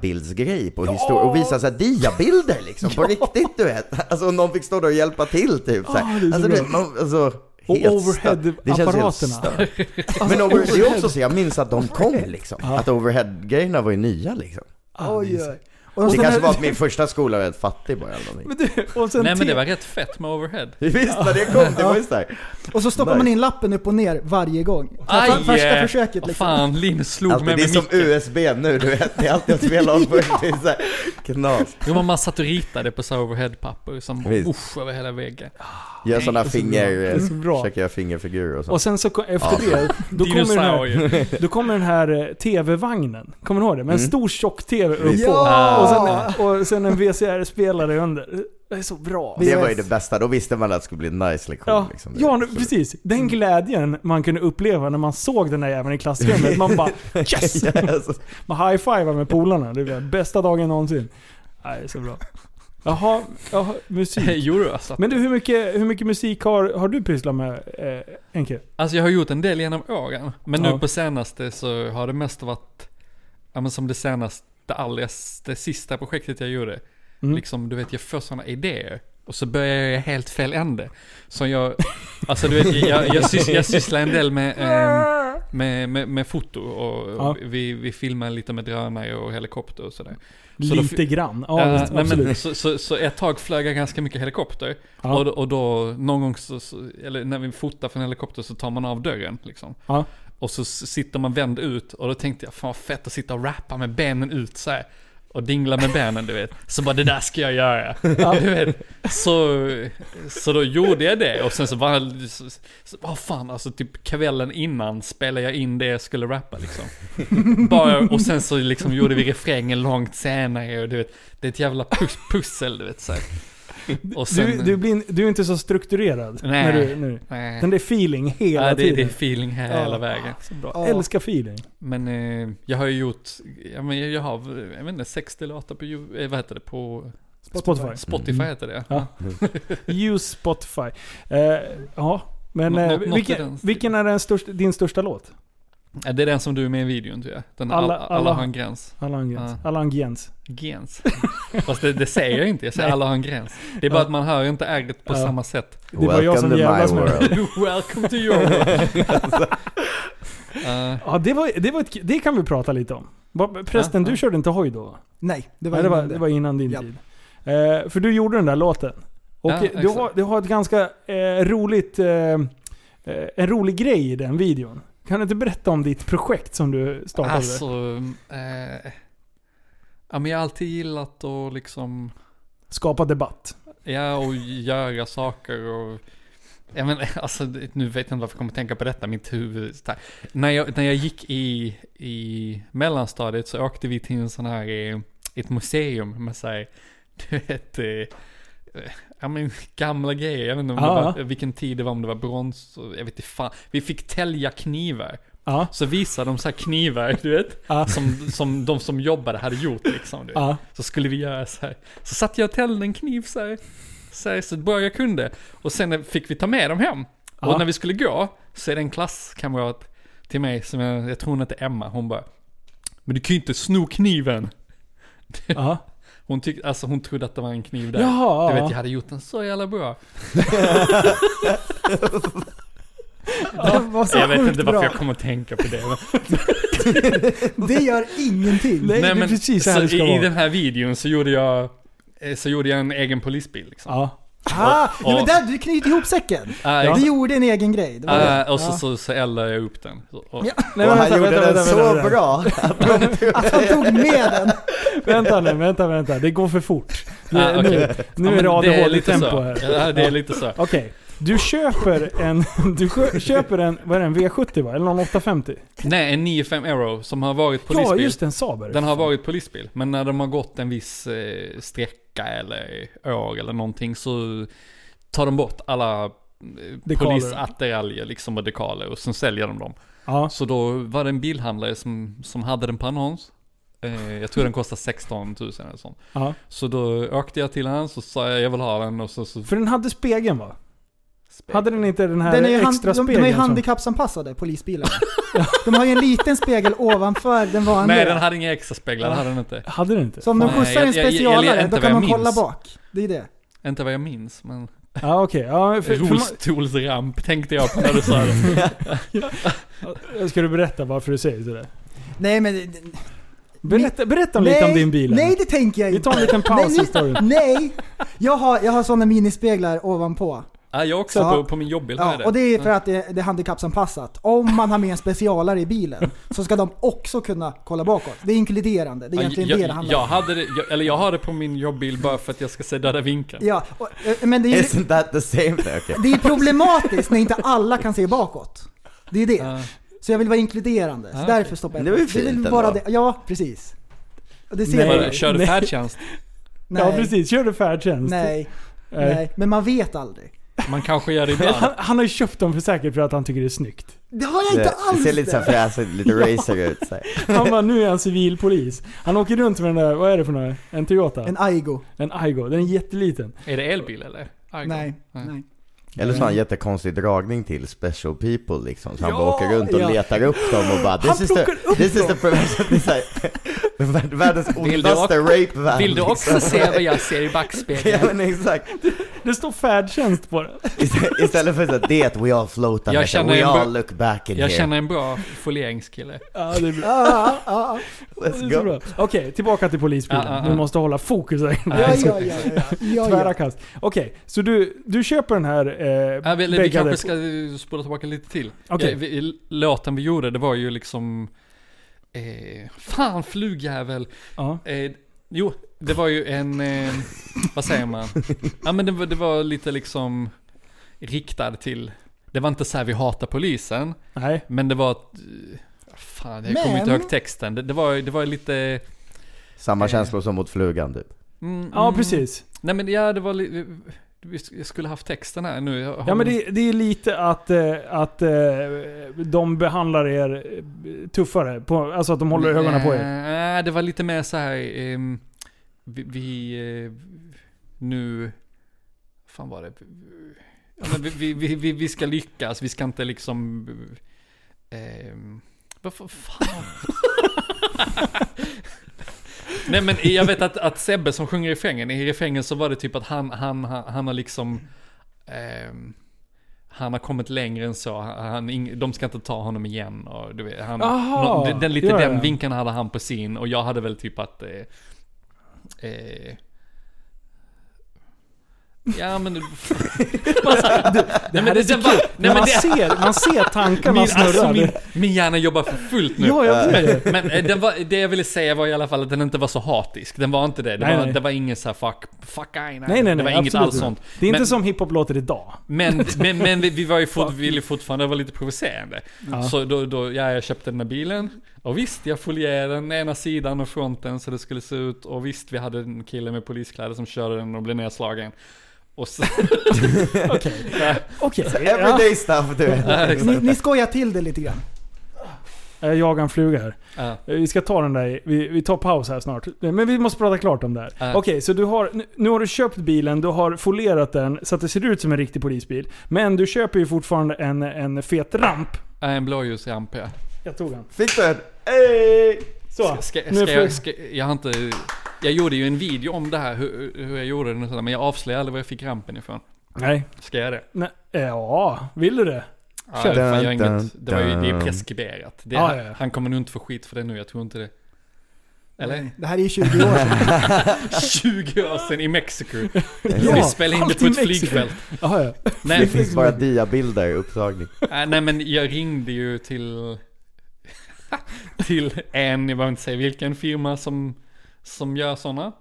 H: diabildsgrej på historia och visade såhär diabilder liksom, på riktigt du vet. Alltså och någon fick stå där och hjälpa till typ så
F: Ah,
H: här.
F: det är så
H: Alltså, du
F: bra.
H: vet, man, alltså,
F: Och
H: helt stört. Det känns helt
F: overhead-apparaterna.
H: stört. Men over, det är också så, jag minns att de kom liksom.
F: Ja.
H: Att overhead-grejerna var ju nya liksom.
G: Oj, oj. Och
H: Det
G: sen-
H: kanske var att min första skola var helt fattig bara eller någonting.
F: Men du, och sen
I: Nej men
F: te-
I: det var rätt fett med overhead.
H: Visst när det kom, det var ju starkt.
G: Och så stoppar
H: Nice.
G: man in lappen upp och ner varje gång.
I: Aj! eh,
G: För, första försöket
I: Vad
G: liksom.
I: Fan, Linus slog
H: Alltid,
I: mig
H: Alltså, det är
I: med
H: som
I: micken.
H: USB nu, du vet. Det är alltid att spela om först. Det är så här knas.
I: Jo men man satt och ritade på så här overhead-papper som
H: Visst.
I: usch över hela väggen.
H: Gör sådana finger... eh,
F: är så bra.
H: Försöker göra fingerfigurer och sånt.
F: och sen så ko- efter det, då kommer, den här,
I: Dinosaurier.
H: Mm.
F: då kommer den här eh, TV-vagnen. Kommer ni ihåg det? Med en stor tjock-TV upp
G: Ja!
F: och
G: Ja.
F: Och, sen, och sen en VCR-spelare under. Det är så bra.
H: Det var ju det bästa, då visste man att det skulle bli en nice lektion.
F: Ja,
H: liksom.
F: ja nu- precis. Den glädjen man kunde uppleva när man såg den där jäveln i klassrummet. Man bara yes!
H: Yes.
F: Man high-fivar med polarna. Det var bästa dagen någonsin. Nej, det är så bra. Jaha, jaha musik.
I: Jo då, alltså.
F: Men du, hur mycket, hur mycket musik har, har du pysslat med, eh, Enke?
I: alltså jag har gjort en del genom åren. Men
F: Ja.
I: nu på senaste så har det mest varit, ja men som det senaste, det allra, s- det sista projektet jag gjorde.
F: Mm.
I: Liksom, du vet jag får sådana idéer. Och så börjar jag i helt fel ände. Så jag, alltså du vet, jag, jag, sys, jag sysslar en del med, ehm, med, med, med foto och,
F: Ja.
I: och vi, vi filmar lite med drönare och helikopter och sådär. Så då fi-
F: Lite grann. Ja,
I: Eh,
F: visst,
I: nej,
F: absolut.
I: men, så, så, så ett tag flög jag ganska mycket helikopter.
F: Ja.
I: Och, då- och då någon gång, så, så, eller när vi fotar från helikopter så tar man av dörren. Liksom.
F: Ja.
I: Och så s- sitter man vänd ut och då tänkte jag, fan vad fett att sitta och rappa med benen ut så här. Och dingla med benen du vet. Så bara det där ska jag göra. Du vet. Så, så då gjorde jag det och sen så bara, så, så, vad fan alltså typ kvällen innan spelade jag in det jag skulle rappa liksom. Bara, och sen så liksom gjorde vi refrängen långt senare och du vet, det är ett jävla pus, pussel du vet så här. Och sen,
F: du, du, blir, in- du är inte så strukturerad.
I: Nej.
F: När du, nu.
I: nej,
F: Den där feeling hela
I: ja, det,
F: tiden.
I: det är feeling här hela vägen.
F: Så bra.
G: Ja.
F: Älskar feeling.
I: Men eh, jag har ju gjort, ja, men jag jag har, jag vet inte, 60 låtar på, Ju- eh, vad heter det, på
F: Spotify.
I: Spotify heter det.
F: Mm. Ja. Use Spotify. Eh, ja, men
I: Nå-
F: eh,
I: nå- något i
F: vilken,
I: den stilen.
F: vilken är den största, din största låt?
I: Ja, Det är den som du är med i videon tror jag. Den, alla,
F: Alla-
I: alla,
F: alla-
I: har en gräns.
F: Allan Jens.
I: Ja.
F: Allan Jens.
I: Gens. Fast det, det säger jag inte, jag säger alla har en gräns. Det är bara
F: Ja.
I: att man hör inte ärret på
F: Ja.
I: samma sätt.
F: Det var jag som
H: Welcome to my
F: jävlas med.
H: world.
I: Welcome to your world. Eh,
F: Ja, det, var, det, var ett, det kan vi prata lite om. Vad- Förresten,
I: Ja, ja.
F: du körde inte hoj då? va?
G: Nej, det var
F: Nej, det, var,
G: innan det.
F: det var innan din
G: Japp.
F: tid. Eh, för du gjorde den där låten. Och
I: Ja,
F: eh, du, har,
I: exakt.
F: du har ett ganska eh, roligt... Eh, eh, en rolig grej i den videon. Kan du inte berätta om ditt projekt som du startade?
I: alltså, eh, ja, men jag har alltid gillat att liksom,
F: Skapa debatt.
I: ja och göra saker och jag men, alltså, det- nu vet jag inte varför jag kommer tänka på detta, mitt huvud. Så här. När, jag, när jag gick i, i mellanstadiet så åkte vi till en sån här, eh, ett museum med sig, du vet, eh, eh, ja men gamla grejer. Jag vet inte om
F: Ja,
I: det var, vilken tid det var, om det var brons, och jag vet inte fan. Vi fick tälja knivar.
F: Ja.
I: Så visar de så här knivar, du vet.
F: Ja.
I: Som, som de som jobbade hade gjort liksom. Du vet.
F: Ja.
I: Så skulle vi göra så här. Så satte jag och tällde en kniv så här. Så, här, så bra jag kunde. Och sen fick vi ta med dem hem.
F: Ja.
I: Och när vi skulle gå så är det en klasskamrat till mig som jag, jag tror hon heter Emma. Hon bara. Men du kan ju inte sno kniven.
F: Ja.
I: Hon, tyck, alltså, hon trodde att det var en kniv där.
F: Jaha.
I: Du vet jag hade gjort den så jävla bra.
G: Det var så
I: jag vet
G: sjukt
I: inte varför
G: bra.
I: jag kommer att tänka på det. men-
G: Det gör ingenting.
F: Nej, det är precis så här det ska
I: i, I
F: vara.
I: den här videon så gjorde jag, eh, så gjorde jag en egen polisbil liksom.
F: Ja.
G: Ah,
I: Och-
G: nej, men där, du knyter ihop säcken.
I: Ah,
G: Du
I: exakt.
G: gjorde en egen grej. Det var det.
I: Ah, och så, så, så eldade jag upp den. Så- Och,
G: Ja.
F: Nej,
H: och
F: men
H: han gjorde den så
F: vänta,
H: bra.
G: Att han tog med den.
F: Vänta nu, vänta, vänta. Det går för fort. Nu,
I: Ah, okej.
F: nu, nu
I: Ja,
F: är
I: men
F: det
I: det är lite
F: ADHD-tempo
I: så.
F: här.
I: Ja, det är lite så.
F: Okej, du köper en... Du skö- köper en... Vad är det? En V70 va? Eller någon 850?
I: Nej, en 95 Aero som har varit
F: Ja,
I: polisbil.
F: just det. En Saab
I: den har varit polisbil. Men när de har gått en viss eh, sträcka eller år eller någonting så tar de bort alla eh,
F: Dekaler.
I: polisattiraljer liksom och dekaler och sen säljer de dem.
F: Ja.
I: Så då var det en bilhandlare som, som hade den på annons. Eh, jag tror den kostade 16 000 eller sånt.
F: ja.
I: Så då åkte jag till han så sa jag jag vill ha den och så... så
F: För den hade spegeln va? Hade den inte den här
G: Den är ju hand,
F: extra
G: de, de
F: spegeln?
G: är ju
F: som-
G: handikappsanpassade, polisbilarna. De har ju en liten spegel ovanför den vanliga.
I: Nej den hade inga extra speglar, det hade den inte.
F: Hade den inte?
G: Så om de
I: Nej,
G: skjutsar
I: jag- jag-
G: en
I: jag- jag letar
G: specialare,
I: inte
G: då
I: vad
G: kan
I: jag
G: man kolla
I: minns.
G: bak. Det är det.
I: Inte vad jag minns men...
F: Ja okej. Ja, för, för man-
I: Rullstolsramp tänkte jag på när du sa det.
F: ska du berätta varför du säger sådär?
G: Nej men...
F: Berätta, berätta lite om din bil.
G: Nej det tänker jag
F: Vi
G: inte.
F: tar en liten
G: Nej,
F: paus i storyn.
G: nu- nej! Jag har, jag har sådana minispeglar ovanpå.
I: Ja, jag också
G: Ja.
I: på, på min jobbbild har jag
G: Ja,
I: det. Mm.
G: och det är för att det, det är handikappsanpassat. Om man har med en specialare i bilen så ska de också kunna kolla bakåt. Det är inkluderande. Det är
I: Ja,
G: egentligen
I: jag,
G: det det handlar om.
I: jag hade det, jag, eller jag har det på min jobbbild bara för att jag ska se döda vinkeln.
G: Ja, och, eh, men det är, ju-
H: Isn't that the same thing? Okay.
G: det är problematiskt när inte alla kan se bakåt. Det är det.
I: Ja.
G: Så jag vill vara inkluderande. Så
I: Ah,
G: därför
I: okej.
G: stoppar
H: Men
G: jag
H: det var ju
G: på. vill
H: fint
G: bara
H: ändå.
G: det. Ja, precis. Det ser
F: Nej.
G: nej.
I: Vadå, Kör du
F: Nej.
I: färdtjänst?
G: Nej.
F: Ja precis, körde färdtjänst.
G: Nej.
F: Nej.
G: Nej. Men man vet aldrig.
I: Man kanske gör det
F: Han,
I: ibland.
F: han har ju köpt dem för säkert för att han tycker det är snyggt.
G: Det har jag
H: Det,
G: inte
H: det
G: alls
H: ser lite
G: det.
H: så här fräsigt, lite racer ut. Så här.
F: Han bara, nu är han civilpolis. Han åker runt med den där, vad är det för några? En Toyota?
G: En
F: En,
G: Aigo.
F: Aigo. Den är jätteliten.
I: Är det elbil eller? Argo?
G: Nej. nej.
H: Eller så har han jättekonstig dragning till special people liksom. Så han bara
F: Mm. Ja,
H: åker runt och
F: ja.
H: letar upp dem och bara This is the, this is the perversion. Det är så här, världens
I: Vill du
H: ondaste rape van.
I: Vill du också
H: liksom.
I: se vad jag ser i
H: Ja
I: backspegeln?
H: men exakt.
F: Det står färdtjänst på den.
H: Istället, istället för att det we all float on
I: Jag
H: it,
I: känner
H: we
I: en bra-
H: all look back in
I: Jag
H: here.
I: känner en bra folieringskille.
F: Ja, det är bra.
G: Ah, ah, ah.
F: Det
H: Let's
F: är så
H: go.
F: bra. Okej, tillbaka till polisbilen.
I: Ja, ja, ja.
F: Du måste hålla fokus här.
G: Ja, ja, ja, ja, ja,
F: Tvära
G: ja.
F: kast. Okej, så du, du köper den här eh,
I: Ja, vi, vi
F: bägge-
I: kanske ska eh, spola tillbaka lite till.
F: Okej.
I: Ja, vi, låten vi gjorde, det var ju liksom... Eh, fan flugjävel!
F: Ja.
I: Eh, jo, det var ju en... Eh, vad säger man? Ja men det, var- det var lite liksom riktad till... Det var inte så här vi hatar polisen,
F: Nej.
I: men det var... ett- eh, Fan, jag kommer
G: Men-
I: inte ihåg texten. Det, det, var, det var lite...
H: Samma
I: Eh.
H: känslor som mot flugan typ.
I: Mm,
F: Ja,
I: mm.
F: precis.
I: Nej men ja, det var li- vi sk- Jag skulle haft texten här nu. Jag har-
F: Ja men det, det är lite att, eh, att eh, de behandlar er eh, tuffare. På, alltså att de håller ögonen på er.
I: Eh, Nej, det var lite mer så här. ehm, vi, vi eh, nu... fan var det? Ja, men vi- vi, vi, vi, vi ska lyckas, vi ska inte liksom... ehm, vad för fan? Nej men jag vet att, att Sebbe som sjunger i refrängen, i refrängen så var det typ att han, han, han, han har liksom... ehm, han har kommit längre än så. Han, han, ing- de ska inte ta honom igen. Och, du vet, han,
F: Aha,
I: nå- den, den, lite
F: ja, ja.
I: den vinkeln hade han på sin och jag hade väl typ att... Eh, eh, ja men...
F: Det
I: Nej, men
F: här är
I: det-
F: så
I: det
F: kul.
I: var- nej, men
F: man,
I: det-
F: ser, man ser tankarna
I: Min,
F: snurra.
I: alltså, min,
F: Det-
I: min hjärna jobbar för fullt nu.
F: Ja, jag blir det.
I: Men eh, den var, det jag ville säga var i alla fall att den inte var så hatisk. Den var inte det. Det,
F: Nej,
I: var,
F: nej.
I: det var ingen så här fuck, fuck I, nej.
F: Nej nej nej,
I: Det var inget
F: absolut
I: alls
F: inte.
I: sånt.
F: Det är inte
I: Men-
F: som hiphop låter idag.
I: Men, men, men vi, vi var ju fort, vi ville fortfarande vara lite provocerande. Så då, då, ja, jag köpte den här bilen. Och visst, jag folierade den ena sidan och fronten så det skulle se ut. Och visst, vi hade en kille med poliskläder som körde den och blev nedslagen. Och sen...
F: Okej. ja.
H: Everyday stuff du vet.
G: Ni, ni skojar till det lite grann.
F: Jag jagar en fluga här.
I: Ja.
F: Eh, Vi ska ta den där, vi, vi tar paus här snart. Eh, Men vi måste prata klart om det här.
I: Ja.
F: Okej, så du har, nu- nu har du köpt bilen, du har folerat den så att det ser ut som en riktig polisbil. Men du köper ju fortfarande en, en fet ramp.
I: Ja, En blåljusramp ja.
F: Jag tog den.
H: Fick du en? Hey!
F: Så.
I: Ska, ska,
F: nu är
I: ska, jag,
F: flu-
I: ska, jag har inte... Jag gjorde ju en video om det här, hur, hur jag gjorde den och sådär, men jag avslöjade aldrig var jag fick rampen ifrån.
F: Nej.
I: Ska jag det?
F: Nej. Ja, vill du det?
I: Ja,
F: Kör.
I: det, var
H: Dun,
I: ju inget,
H: dun,
I: det, var ju, det är
H: dun.
I: preskriberat. Det,
F: Ja, ja, ja.
I: Han kommer nog inte få skit för det nu, jag tror inte det. Eller?
G: Nej, Det här är ju 20 år sedan.
I: 20 år sedan i Mexiko.
F: Ja,
I: vi spelade in det på
F: alltid
I: ett
F: Mexiko.
I: flygfält.
F: Jaha, ja.
H: Det
I: Nej,
H: finns bara diabilder i upptagning.
I: äh, nej men jag ringde ju till... till en, jag behöver inte säga vilken firma som, som gör sådana.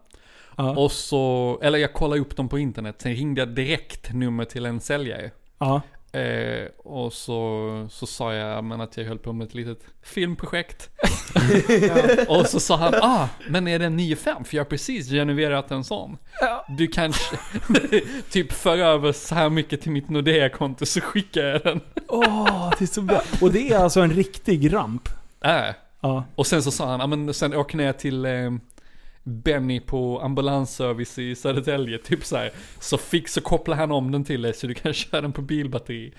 F: Ja.
I: Och så, eller jag kollade upp dem på internet. Sen ringde jag direkt nummer till en säljare.
F: ja.
I: Eh, och så, så sa jag men att jag höll på med ett litet filmprojekt. och så sa han ah, men är det en 95? För jag har precis genererat en sån. Du kanske typ för över så här mycket till mitt Nordea-konto så skickar jag den.
F: Åh, det är så bra. Och det är alltså en riktig ramp.
I: Äh.
F: Ja.
I: Och sen så sa han, ah, men sen åk ner till eh, Benny på ambulansservice i Södertälje, typ så här. Så fix så kopplar han om den till dig så du kan köra den på bilbatteri.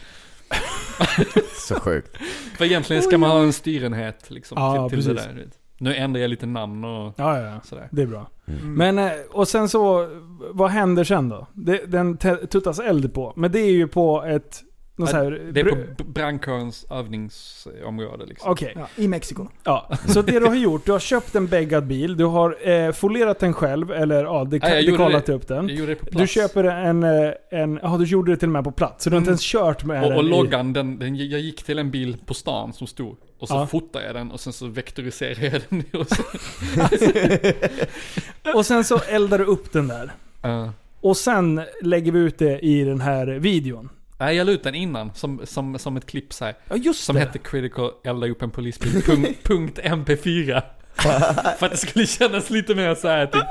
H: Så sjukt.
I: För egentligen ska man ha en styrenhet liksom,
F: Ja,
I: till, till det
F: precis.
I: där. du vet. Nu ändrar jag lite namn och
F: Ja, ja, ja.
I: sådär. Mm.
F: Det är bra.
H: Mm.
F: Men, eh, och sen så, vad händer sen då? Det, den te- tuttas eld på. Men det är ju på ett... Något
I: Ja,
F: så här,
I: Äh, Det är
F: br-
I: på b- brandkårens övningsområde liksom.
F: Okej.
G: Ja, I Mexiko.
F: Ja. Så det du har gjort, du har köpt en bäggad bil, du har eh, folerat den själv, eller ja, det,
I: Nej, jag gjorde
F: kollat
I: det-
F: upp
I: Jag
F: den.
I: gjorde det på plats. Mm.
F: Du köper en... eh, en ja, du gjorde det till och med på plats. Så du har inte ens kört med
I: och,
F: den
I: och
F: i-
I: loggan, den, den, jag gick till en bil på stan som stod. Och så
F: Ja.
I: fotade jag den och sen så vektoriserade jag den. Och så,
F: Och sen så eldar du upp den där.
I: Ja.
F: Och sen lägger vi ut det i den här videon.
I: Nej, jag la ut den innan som, som, som ett klipp så här.
F: Ja just
I: Som hette Critical elda upp en polisbil. punkt- punkt mp4. För att det skulle kännas lite mer så här typ,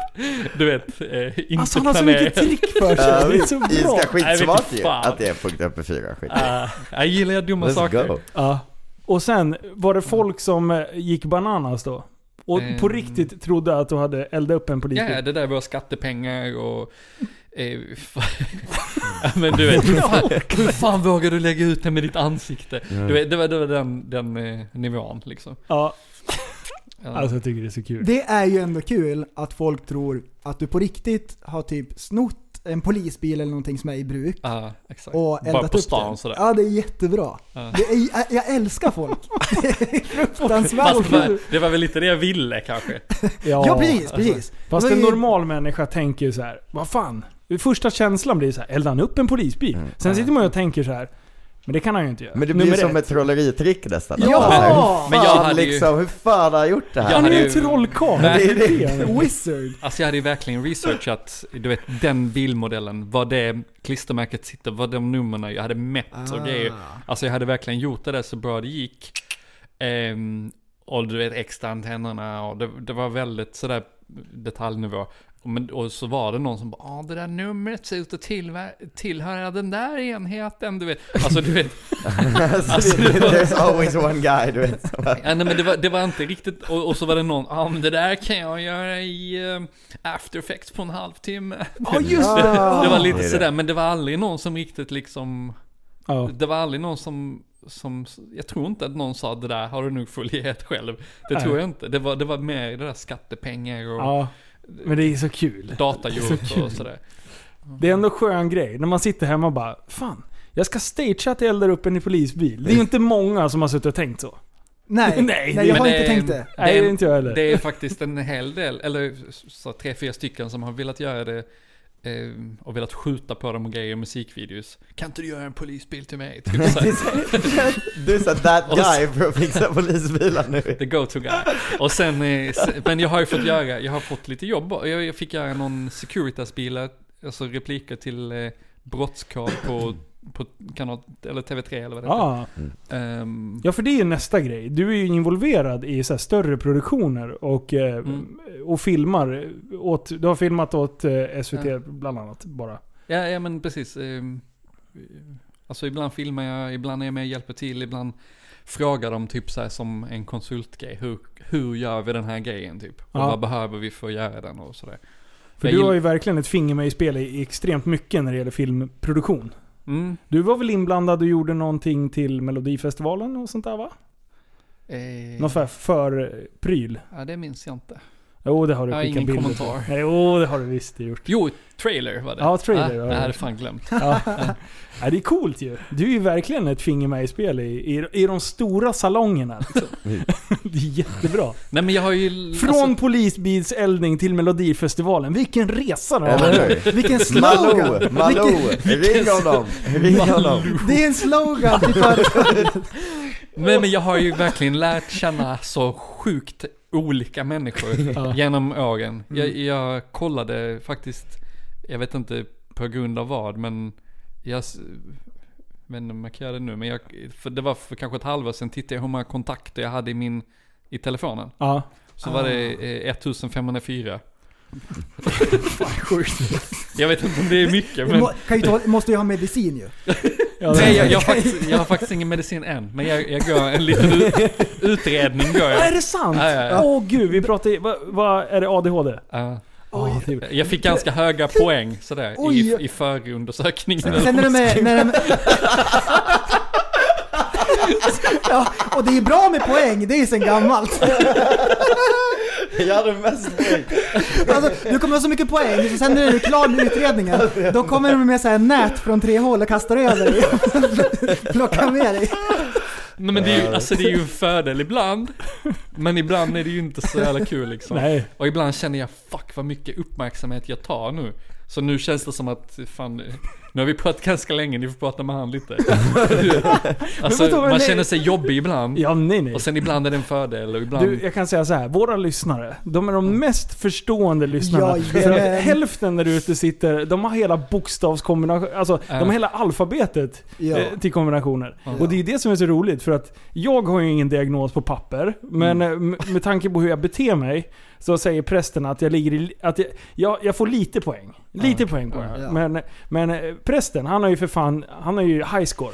I: du vet, eh, inte
F: Alltså han har så mycket trick för
H: Ja,
F: sig. Det är så
H: vi
F: bra.
H: ska skitsmart
I: Nej, vet
H: ju
I: fan.
H: att det är punkt uppe fyra skit.
I: Ah, jag gillar ju dumma
H: Let's
I: saker.
H: go.
F: Ja. Och sen var det folk som eh, gick bananas då. Och
I: Eh.
F: på riktigt trodde att du hade eldat upp en
I: Ja,
F: politiker.
I: ja, det där var skattepengar och... Eh, fa- ja, men du vet, hur fan, hur fan vågar du lägga ut det med ditt ansikte? Du vet, det var, det var den, den eh, nivån liksom.
F: Ja,
I: Ja.
F: alltså jag tycker det är så kul.
G: Det är ju ändå kul att folk tror att du på riktigt har typ snott en polisbil eller någonting som är i bruk.
I: Ja, exakt.
G: Och eldat
I: Bara på
G: upp
I: stan
G: den.
I: sådär.
G: Ja, det är jättebra.
I: Ja.
G: Det är, jag, jag älskar folk. Det är
I: Fast
G: fruktansvärt
I: det var,
G: kul.
I: det var väl lite det jag ville kanske.
G: Ja, precis, precis.
F: Alltså, Fast
G: Det
F: en
G: var ju-
F: normal människa tänker ju så här. vad fan? Det första känslan blir så här, eldar han upp en polisbil? Sen sitter man ju och tänker så här. men det kan han ju inte göra.
H: Mm. Men det blir
F: Nummer
H: som
F: ett.
H: ett trolleritrick nästan.
G: Ja!
H: Alltså, hur
G: Men-
I: men jag
H: fan,
I: hade ju-
H: liksom, hur fan har jag gjort det här?
I: Jag
F: Han är ju
I: hade
F: en
I: ju-
F: trollkarl.
I: Nej,
F: Det är
H: det-
F: det han är.
G: Wizard.
I: Alltså jag hade ju verkligen researchat, du vet den bilmodellen, vad det klistermärket sitter, vad de numren jag hade mätt och grejer. Alltså jag hade verkligen gjort det där så bra det gick. Ehm, och du vet extra antennerna och det, det var väldigt sådär detaljnivå. Och Men, och så var det någon som bara ah, det där numret ser ut att tillver- tillhöra den där enheten, du vet. Alltså du vet,
H: Alltså, det- There's always one guy, du vet.
I: ja, nej, men det, var, det var inte riktigt, och, och så var det någon, ah, men det där kan jag göra i eh, after effects på en halvtimme.
F: Ja just det!
I: Det var
H: Det är
I: lite
H: det.
I: sådär, men det var aldrig någon som riktigt liksom...
F: Ja.
I: Det var aldrig någon som, som... Jag tror inte att någon sa det där har du nog folierat själv. Det
F: Nej.
I: tror jag inte. Det var, det var mer det där skattepengar och
F: ja. Men det är så kul.
I: datagjort och sådär.
F: Det är ändå en skön grej. När man sitter hemma och bara Fan, jag ska stagea att jag eldar upp en i polisbil. Det är ju inte många som har suttit och tänkt så.
G: Nej,
F: Nej,
G: nej,
F: det-
G: jag
I: Men
G: har inte
I: är-
G: tänkt det.
F: Nej, det är inte jag heller.
I: Det är faktiskt en hel del, eller så tre, fyra stycken som har velat göra det eh, och velat skjuta på dem och grejer i musikvideos. Kan inte du göra en polisbil till mig? Typ så här.
H: Du är så that
I: Och så-
H: guy för att fixa polisbilar nu.
I: The go-to guy. Och sen, eh, se- men jag har ju fått göra, jag har fått lite jobb. Jag jag fick göra någon Securitas-bilar, alltså repliker till eh, brottskår på, på kanal, eller TV3 eller vad det heter.
F: Ja.
G: Ah.
I: Ehm,
F: ja, för det är ju nästa grej. Du är ju involverad i så här större produktioner och, eh,
I: Mm.
F: och filmar. Åt, du har filmat åt eh, SVT
I: Ja.
F: bland annat bara.
I: ja, ja men precis. ehm, alltså ibland filmar jag, ibland är jag med och hjälper till, ibland frågar de typ så här som en konsultgrej. Hur, hur gör vi den här grejen typ? Och
F: Ja.
I: vad behöver vi för att göra den och sådär.
F: För
I: Jag
F: du
I: gill-
F: har ju verkligen ett finger med i spelet i extremt mycket när det gäller filmproduktion.
I: Mm.
F: Du var väl inblandad och gjorde någonting till Melodifestivalen och sånt där va?
H: Mm.
I: Eh,
F: Någon för, för pryl?
I: ja, det minns jag inte.
F: Jo, det har du
I: Jag har
F: skickat
I: ingen
F: bilder på.
I: kommentar.
F: Nej, Jo, det har du visst gjort.
I: Jo, trailer var det.
F: Ja, trailer var
I: Ah,
F: det.
I: jag hade fan glömt.
F: Ja. ja, det är coolt ju. Du är ju verkligen ett finger med i spel i, i, i de stora salongerna. Liksom. det är jättebra.
I: Nej men jag har ju...
F: Från
I: alltså,
F: polisbilseldning till Melodifestivalen. Vilken resa det har
H: Eller
F: varit.
H: hur?
G: Vilken slogan!
H: Malou, Malou, ring honom, ring honom.
G: Det är en slogan till företaget.
I: nej men jag har ju verkligen lärt känna så sjukt olika människor
F: Ja.
I: genom åren. Jag,
G: Mm.
I: jag kollade faktiskt, jag vet inte på grund av vad men jag... s- vet inte om jag kan göra det nu men jag, för det var för kanske ett halvår sedan tittade jag hur många kontakter jag hade i min, i telefonen.
F: Ja.
I: Så var det
G: Ah.
I: eh, 1504. Jag vet inte om det är mycket
G: Du
I: men...
G: må- kan ju ta, måste ju ha medicin ju.
F: Ja,
I: Nej,
F: det-
I: jag, jag, har faktiskt, jag har faktiskt ingen medicin än. Men jag, jag gör en liten ut, utredning. Gör
F: Är
I: jag.
F: det sant? Åh
I: Ja, ja, ja.
F: gud, vi pratar i- Vad vad är det? ADHD?
I: Ja.
F: Ah, det är-
I: jag fick ganska höga poäng sådär i,
G: Oj.
I: i förundersökningen.
G: Sen när de är... När de... Ja, och det är bra med poäng, det är ju sen gammalt.
H: Jag hade mest
G: Alltså, du kommer ha så mycket poäng, så sen när du är klar med utredningen, då kommer de med så här nät från tre håll och kastar över dig. Plockar med dig.
I: Nej, men det är ju, alltså, det är ju en fördel ibland. Men ibland är det ju inte så jävla kul liksom.
F: Nej.
I: Och ibland känner jag fuck vad mycket uppmärksamhet jag tar nu. Så nu känns det som att, fan, nu har vi pratat ganska länge, ni får prata med han lite.
F: Men vadå,
I: alltså,
F: men
I: man
F: nej.
I: känner sig jobbig ibland.
F: Ja, nej nej.
I: Och sen ibland är det en fördel och ibland...
G: eh,
F: Du, jag kan säga så här. våra lyssnare, de är
G: Mm.
F: de mest förstående lyssnarna.
G: Jajamän.
F: För att hälften där ute sitter, de har hela bokstavskombination, alltså de har hela alfabetet
G: Ja.
F: eh, till kombinationer. Och det är ju det som är så roligt, för att jag har ju ingen diagnos på papper, men
G: Mm.
F: eh, m- med tanke på hur jag beter mig, så säger prästen att jag ligger i, att jag, jag, jag får lite poäng. Lite poäng på det här.
G: Ja.
F: Men, men eh, prästen, han har ju för fan, han har ju high score.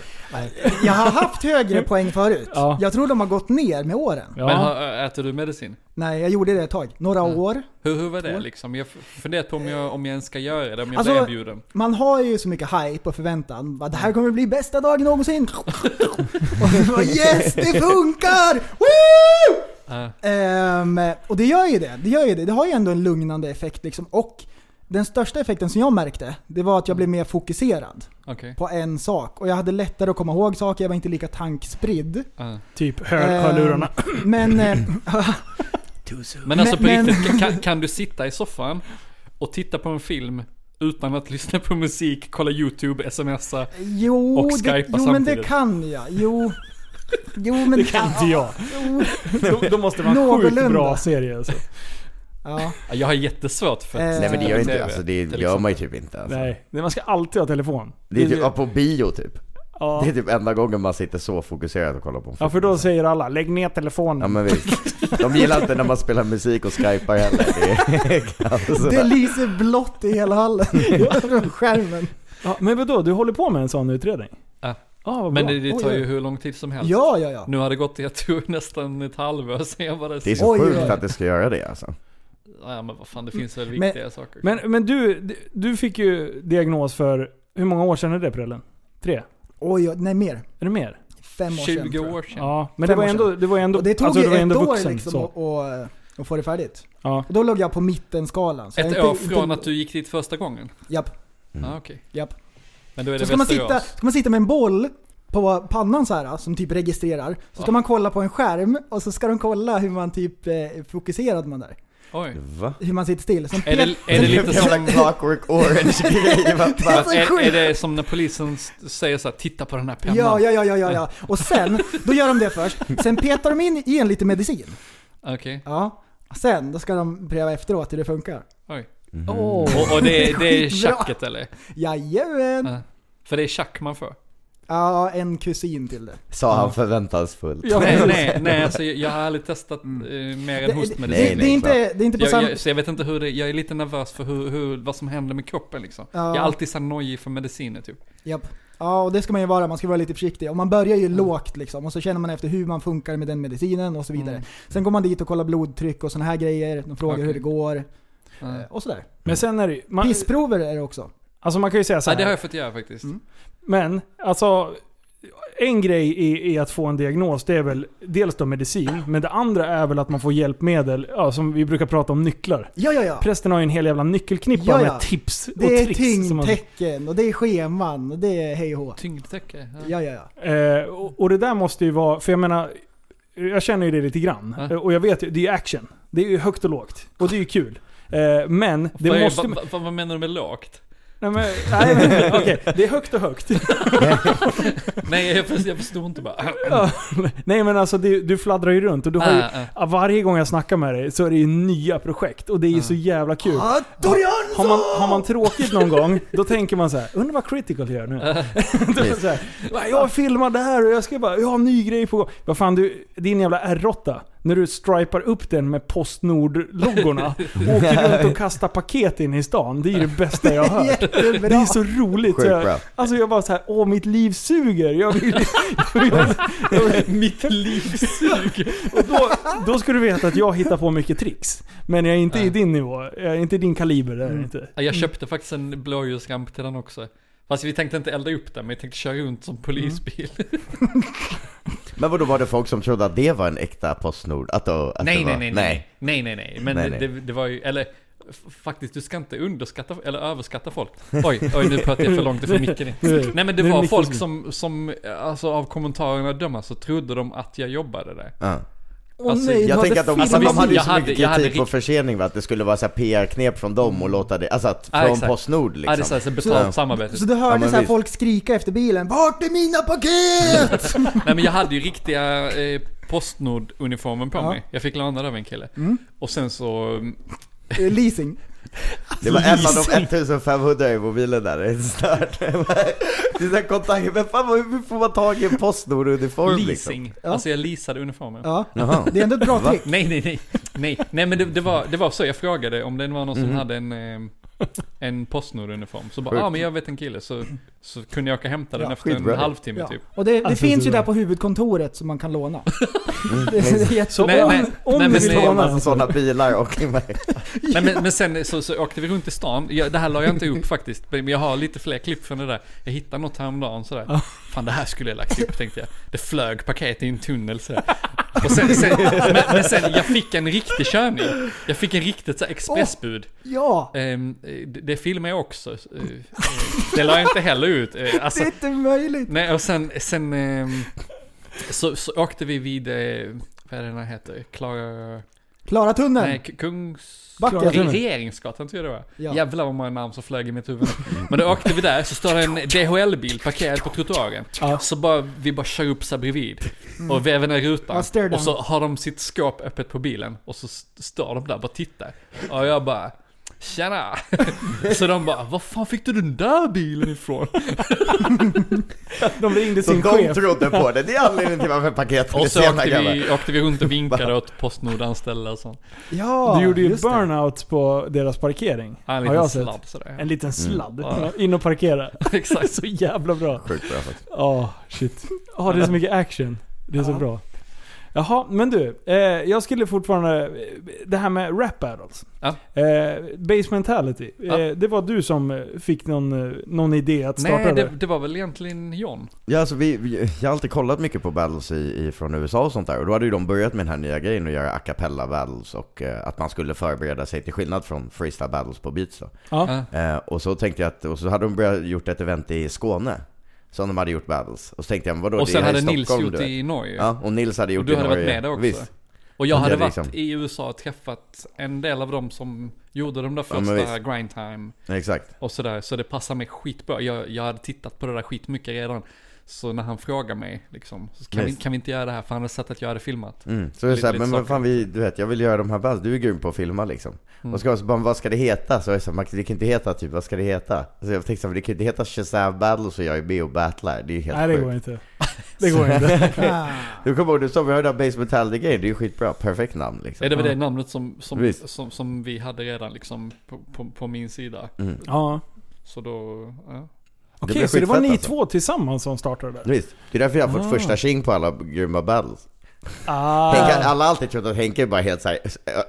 G: Jag har haft högre poäng förut.
F: Ja.
G: Jag tror de har gått ner med åren.
I: Men har- äter du medicin?
G: Nej, jag gjorde det ett tag. Några år.
I: Mm. Hur, hur var det liksom? Jag f- funderat på om jag, om jag ens ska göra det, om jag
G: Alltså-
I: blir erbjuden.
G: Man har ju så mycket hype och förväntan. Va, Det här kommer bli bästa dagen någonsin. och det var, yes, det funkar! Woo!
I: Ja.
G: Ehm, och det gör ju det. Det gör ju det. Det har ju ändå en lugnande effekt liksom. Och den största effekten som jag märkte, det var att jag blev mer fokuserad
I: Okej.
G: på en sak. Och jag hade lättare att komma ihåg saker, jag var inte lika tankspridd.
I: Ja.
F: Typ hör, hörlurarna.
G: Ehm, Men... eh,
I: Men alltså på
G: Men-
I: riktigt, kan, kan du sitta i soffan och titta på en film utan att lyssna på musik, kolla YouTube, smsa?
G: Jo,
I: Och
G: det,
I: skypa
G: jo men det
I: samtidigt.
G: kan jag. Jo, jo men...
F: Det kan inte jag.
G: Jo,
F: Då, då måste man ha en sjukt
G: Någorlunda.
F: bra serie alltså.
G: ja.
H: Alltså.
I: Ja, Jag har jättesvårt för
G: Eh,
I: att
H: Nej men det gör,
I: på
H: inte,
I: TV,
H: alltså, det
I: till
H: gör man ju
I: exempel.
H: typ inte. Alltså.
F: Nej, Nej, man ska alltid ha telefon.
H: Det är typ, ja, på bio typ.
F: ja.
H: Det är typ enda gången man sitter så fokuserad och kollar på en film.
F: ja, för då säger alla 'Lägg ner telefonen'
H: Ja men visst. De gillar inte när man spelar musik och skypar heller. Det är alltså,
G: Det lyser blått i hela hallen. Från skärmen.
F: Ja, men vadå, du håller på med en sån utredning?
G: Ah,
I: Ja.
F: Ja, vad
I: Ah, Men
F: bra.
I: det, det tar ju hur lång tid som helst.
G: Ja, ja, ja.
I: Nu har det gått, jag tror nästan ett halvår sen jag bara...
H: det är så
G: Oj,
H: sjukt
G: oj.
H: att det ska göra det alltså.
I: Ja men vad fan, det finns väl
G: Men-
I: viktiga saker.
F: Men, men du, du fick ju diagnos för, hur många år sedan är det Prellen? Tre?
G: Oj, oj, nej mer.
F: Är det mer?
G: Fem år sedan.
I: 20
G: tror jag.
I: år sedan.
F: Ja, men det
G: Fem
F: var
G: år
F: ändå, det var ändå,
G: Och det tog
F: alltså,
G: ju
F: det var
G: ett
F: ändå
G: år
F: vuxen,
G: liksom
F: så.
G: och, och, och få det färdigt.
F: Ja.
G: Och då låg jag på mittenskalan. Så jag
I: Ett
G: är Alltså,
I: år
G: inte-
I: från
G: inte-
I: att du gick dit första gången?
G: Japp,
I: ah, okej.
G: japp.
I: Men då är det
G: Så ska man, sitta,
I: Västerås.
G: ska man sitta med en boll på pannan så här som typ registrerar. Så ska
I: Ja.
G: man kolla på en skärm och så ska de kolla hur man typ eh, fokuserad man är.
I: Oj.
H: Va?
G: Hur man sitter still. Sen
I: Är det, är det lite
H: Jävla
I: som...
H: clockwork orange grej. Vad fan?
G: Alltså,
I: är,
G: sjukt.
I: är det som när polisen s- säger så här, titta på den här pennan?
G: Ja, ja, ja, ja, ja, ja. Och sen, då gör de det först. Sen petar de in i en lite medicin.
I: Okej,
G: Ja. Sen, då ska de pröva efteråt hur det funkar.
I: oj.
F: Åh.
I: Och, och det, är- det är
G: Skitbra.
I: tjacket eller?
G: Jajamän!
I: Ja. För det är tjack man får?
G: Ja, en kusin till det.
H: Sa han förväntansfullt.
F: Ja,
I: Nej,
F: precis. Mm.
I: nej, nej alltså, jag jag har aldrig testat eh, mer
G: Det,
I: än
G: det, det,
I: hostmedicin. liksom.
G: det, är, inte, det är inte på
I: Jag,
G: samma...
I: jag, så jag vet inte hur det, jag är lite nervös för hur, hur, vad som händer med kroppen liksom.
G: Ja.
I: Jag är alltid så här nojig för mediciner typ.
G: Japp. Ja, och det ska man ju vara. Man ska vara lite försiktig. Och man börjar
I: Mm.
G: ju lågt liksom. Och så känner man efter hur man funkar med den medicinen och så vidare. Sen går man dit och kollar blodtryck och såna här grejer. De frågar
I: Mm. Okej.
G: hur det går.
I: Ja.
G: eh, Och sådär.
F: Men sen är det ju... Man,
G: Pissprover är det också.
F: alltså man kan ju säga så
I: Ja,
F: här,
I: det har jag fått göra faktiskt.
F: Mm. men alltså... En grej i, i att få en diagnos, det är väl dels då medicin, men det andra är väl att man får hjälpmedel, ja, som vi brukar prata om, nycklar.
G: Ja, ja, ja.
F: Prästen har ju en hel jävla nyckelknippa
G: Ja, ja.
F: med tips och
G: Det är
F: tricks. som man-
G: tyngdtecken och det är scheman och det är hej och hå.
I: Tyngdtäcke. Ja.
G: Ja, ja, ja.
F: Eh, och, och det där måste ju vara, för jag menar, jag känner ju det lite grann.
I: Ja.
F: Eh, Och jag vet ju, det är ju action. Det är ju högt och lågt. Och det är ju kul. Eh, men det
I: vad, är-
F: måste...
I: vad, vad, vad menar du med lågt?
F: Nej men, nej, men okej. Det är högt och högt.
I: Nej, jag förstod, jag förstod inte bara.
F: Ja. nej men alltså det, du fladdrar ju runt och du har ju...
I: Ah, ah.
F: ah, Varje gång jag snackar med dig så är det ju nya projekt och det är ju så jävla kul.
G: Ah, Torian!
F: Har man, har man tråkigt någon gång, då tänker man så här: undrar vad critical gör nu? Då är det så här, "Va, jag filmar det här och jag ska bara, jag har en ny grej på gång. Vad fan du, din jävla R8. När du stripar upp den med Postnord-loggorna, åker runt och kastar paket in i stan. Det är ju det bästa jag har hört.
G: Jättebra!
F: Det är så roligt. Så
H: Sjukt
F: jag,
H: bra.
F: alltså jag bara så här, åh mitt liv suger. Jag vill, jag vill, jag vill, mitt liv suger. Och då, då ska du veta att jag hittar på mycket tricks. Men jag är inte i din nivå. Jag är inte i din kaliber. Där, inte.
I: Ja, Jag köpte faktiskt en blåljusramp till den också. Fast vi tänkte inte elda upp den, men vi tänkte köra runt som polisbil.
F: Mm.
H: Men vadå var det folk som trodde att det var en äkta Postnord? Att då, att det
I: nej,
H: var,
I: nej, nej, nej, nej, nej, nej. Men
H: Nej, nej.
I: Det, det var ju, eller f- faktiskt, du ska inte underskatta eller överskatta folk. Oj, oj, nu pratar jag för långt ifrån micken.
F: Nu-
I: Nej men det
F: nu är
I: var
F: micken
I: folk
F: slut.
I: som, som, alltså av kommentarerna att döma så trodde de att jag jobbade där.
H: Ja.
G: Åh
I: Alltså,
G: nej,
H: Jag
G: du
H: tänker att
G: hade
H: de,
I: Alltså,
H: alltså,
G: filmat
H: de
I: visst,
G: det.
H: hade ju
I: jag hade-
H: så mycket
I: jag hade
H: kritik på
I: rikt-
H: försening va? Att det skulle vara så här PR-knep från dem och låta det, alltså att
I: Ja,
H: från
I: exakt.
H: Postnord liksom.
I: Ja, det är så här, så betalt samarbete.
G: Så du
H: Ja,
G: hörde
H: men
G: så här
H: visst.
G: folk skrika efter bilen 'Vart är mina paket?'
I: Nej men jag hade ju riktiga eh, Postnord-uniformen på
G: Ja.
I: mig. Jag fick låna den av en kille.
F: Mm.
I: Och sen så...
G: Eh, Leasing.
H: Det var en av de 1500 i mobilen där, det är stört. Det är så här kontakt, men fan vad- hur får man tag i en Postnord-uniform liksom?
I: Leasing. Alltså jag leasade uniformen.
G: Ja.
H: Jaha.
G: Det är ändå ett bra trick.
I: Nej, nej, nej. Nej, nej men det, det, var, det var så. Jag frågade om det var någon som hade en, eh, en Postnord-uniform. Så bara,
H: Sjukt.
I: ja ah, men jag vet en kille. Så, så kunde jag åka och hämta den
G: Ja,
I: efter en
H: skitbra.
I: halvtimme
G: Ja.
I: typ.
G: Och det, det
F: Alltså,
G: finns ju
F: så-
G: där på huvudkontoret som man kan låna. det är jätte-
F: Så
I: Mm. Nej,
F: om,
I: nej,
F: om
I: nej,
F: du
I: men
F: vill
I: det-
F: ha
H: Massa
F: någon
H: sådana bilar och
I: Nej, men, men sen så, så åkte vi runt i stan. Jag, det här la jag inte upp faktiskt. Men jag har lite fler klipp från det där. Jag hittade något häromdagen sådär. Fan det här skulle jag lagt upp tänkte jag. Det flög paket i en tunnel sådär. Och sen, sen, men, men sen jag fick en riktig körning. Jag fick en riktigt så här expressbud.
G: Ja!
I: Ehm, det, det filmade jag också. Eh, eh, det la jag inte heller ut. Eh, alltså,
G: Det är inte möjligt!
I: Nej, och sen, sen ehm, så, så åkte vi vid, eh, vad är det den heter? Klara...
G: Klara tunneln!
I: Nej, K- Kungs...
G: Backen.
I: Re-
F: Tunneln.
I: Regeringsgatan tror jag det var.
G: Ja.
I: Jävlar vad många namn som flög i mitt huvud. Men då åkte vi där, så står det en DHL-bil parkerad på trottoaren.
F: Ja. Mm.
I: Så bara, vi bara kör upp så här bredvid. Och väver ner
G: Ja,
I: rutan.
G: stare down.
I: och så har de sitt skåp öppet på bilen. Och så st- står de där och bara tittar. Och jag bara... Tjena! Så de bara, var fan fick du den där bilen ifrån?
F: De ringde
H: Så
F: sin
H: de
F: chef.
H: trodde på det, det är anledningen till varför paketen är
I: Och så
H: sena
I: åkte
H: grabbar.
I: vi, åkte vi runt och vinkade åt Postnord-anställda och sånt.
G: Ja!
F: Du gjorde ju
G: just det.
F: burnout på deras parkering.
I: Ja, En
F: har
I: liten
F: jag sett.
I: sladd sådär.
F: En liten
H: Mm.
F: sladd.
I: Ja.
F: Ja, In och parkera.
I: Exakt.
F: Så jävla bra.
H: Sjukt bra faktiskt.
F: Ja, shit. Ja, det är så mycket action. Det är så bra. Jaha, men du. Eh, jag skulle fortfarande... eh, Det här med rap battles.
I: Ja.
F: Eh, base mentality.
I: Ja.
F: Eh, det var du som eh, fick någon, eh, någon idé att starta
I: Nej, det,
F: det.
I: det var väl egentligen John.
H: Ja, alltså vi, vi, jag har alltid kollat mycket på battles i, i, från USA och sånt där. Och då hade ju de börjat med den här nya grejen att göra a cappella battles och eh, att man skulle förbereda sig till skillnad från freestyle battles på beats då.
F: Ja.
H: Eh, och så tänkte jag att, och så hade de börjat gjort ett event i Skåne. Som de hade gjort battles. Och så tänkte jag, men vadå?
I: och
H: det
I: sen
H: är här
I: hade
H: i
I: Nils
H: Stockholm,
I: gjort
H: du vet.
I: i Norge.
H: Ja, och Nils hade gjort
I: och du
H: i
I: hade
H: Norge.
I: varit med där också.
H: Visst.
I: Och jag
H: Ja,
I: hade
H: det är
I: varit
H: liksom-
I: i USA och träffat en del av dem som gjorde de där
H: Ja, men
I: första
H: visst.
I: grindtime
H: Exakt.
I: och sådär. Så det passar mig skitbra. Jag, jag hade tittat på det där skitmycket redan. Så när han frågar mig liksom, så kan, vi,
H: Visst.
I: kan vi inte göra det här? För han har sett att jag hade filmat.
H: Mm. Så det är
I: Lite-
H: så här,
I: lite
H: men vad
I: saker.
H: fan vi, du vet, jag vill göra de här battles. Du är grym på att filma liksom.
F: Mm.
H: Och så, så bara, vad ska det heta? Så jag sa, Max det kan inte heta typ, vad ska det heta? Så jag tänkte så här, det kan inte heta Shazam battles och jag är med och battlar. Det är ju helt
F: Nej, det
H: sjukt.
F: går inte. Det går inte.
H: Du kommer ihåg, du sa vi hörde Base Metallic Game, det är ju skitbra, perfekt namn liksom.
I: Är det var det namnet som, som,
H: Visst.
I: som, som vi hade redan liksom på, på, på min sida.
H: Mm.
F: Ja.
I: Så då, ja.
F: Okej,
H: blir
F: så det var
H: skitfett
F: ni
H: alltså.
F: två tillsammans som startade det?
H: Visst, det är därför jag har fått
F: Ah.
H: första tjing på alla grymma battles. Henke,
F: Ah.
H: alla har alltid trott att Henke är bara helt såhär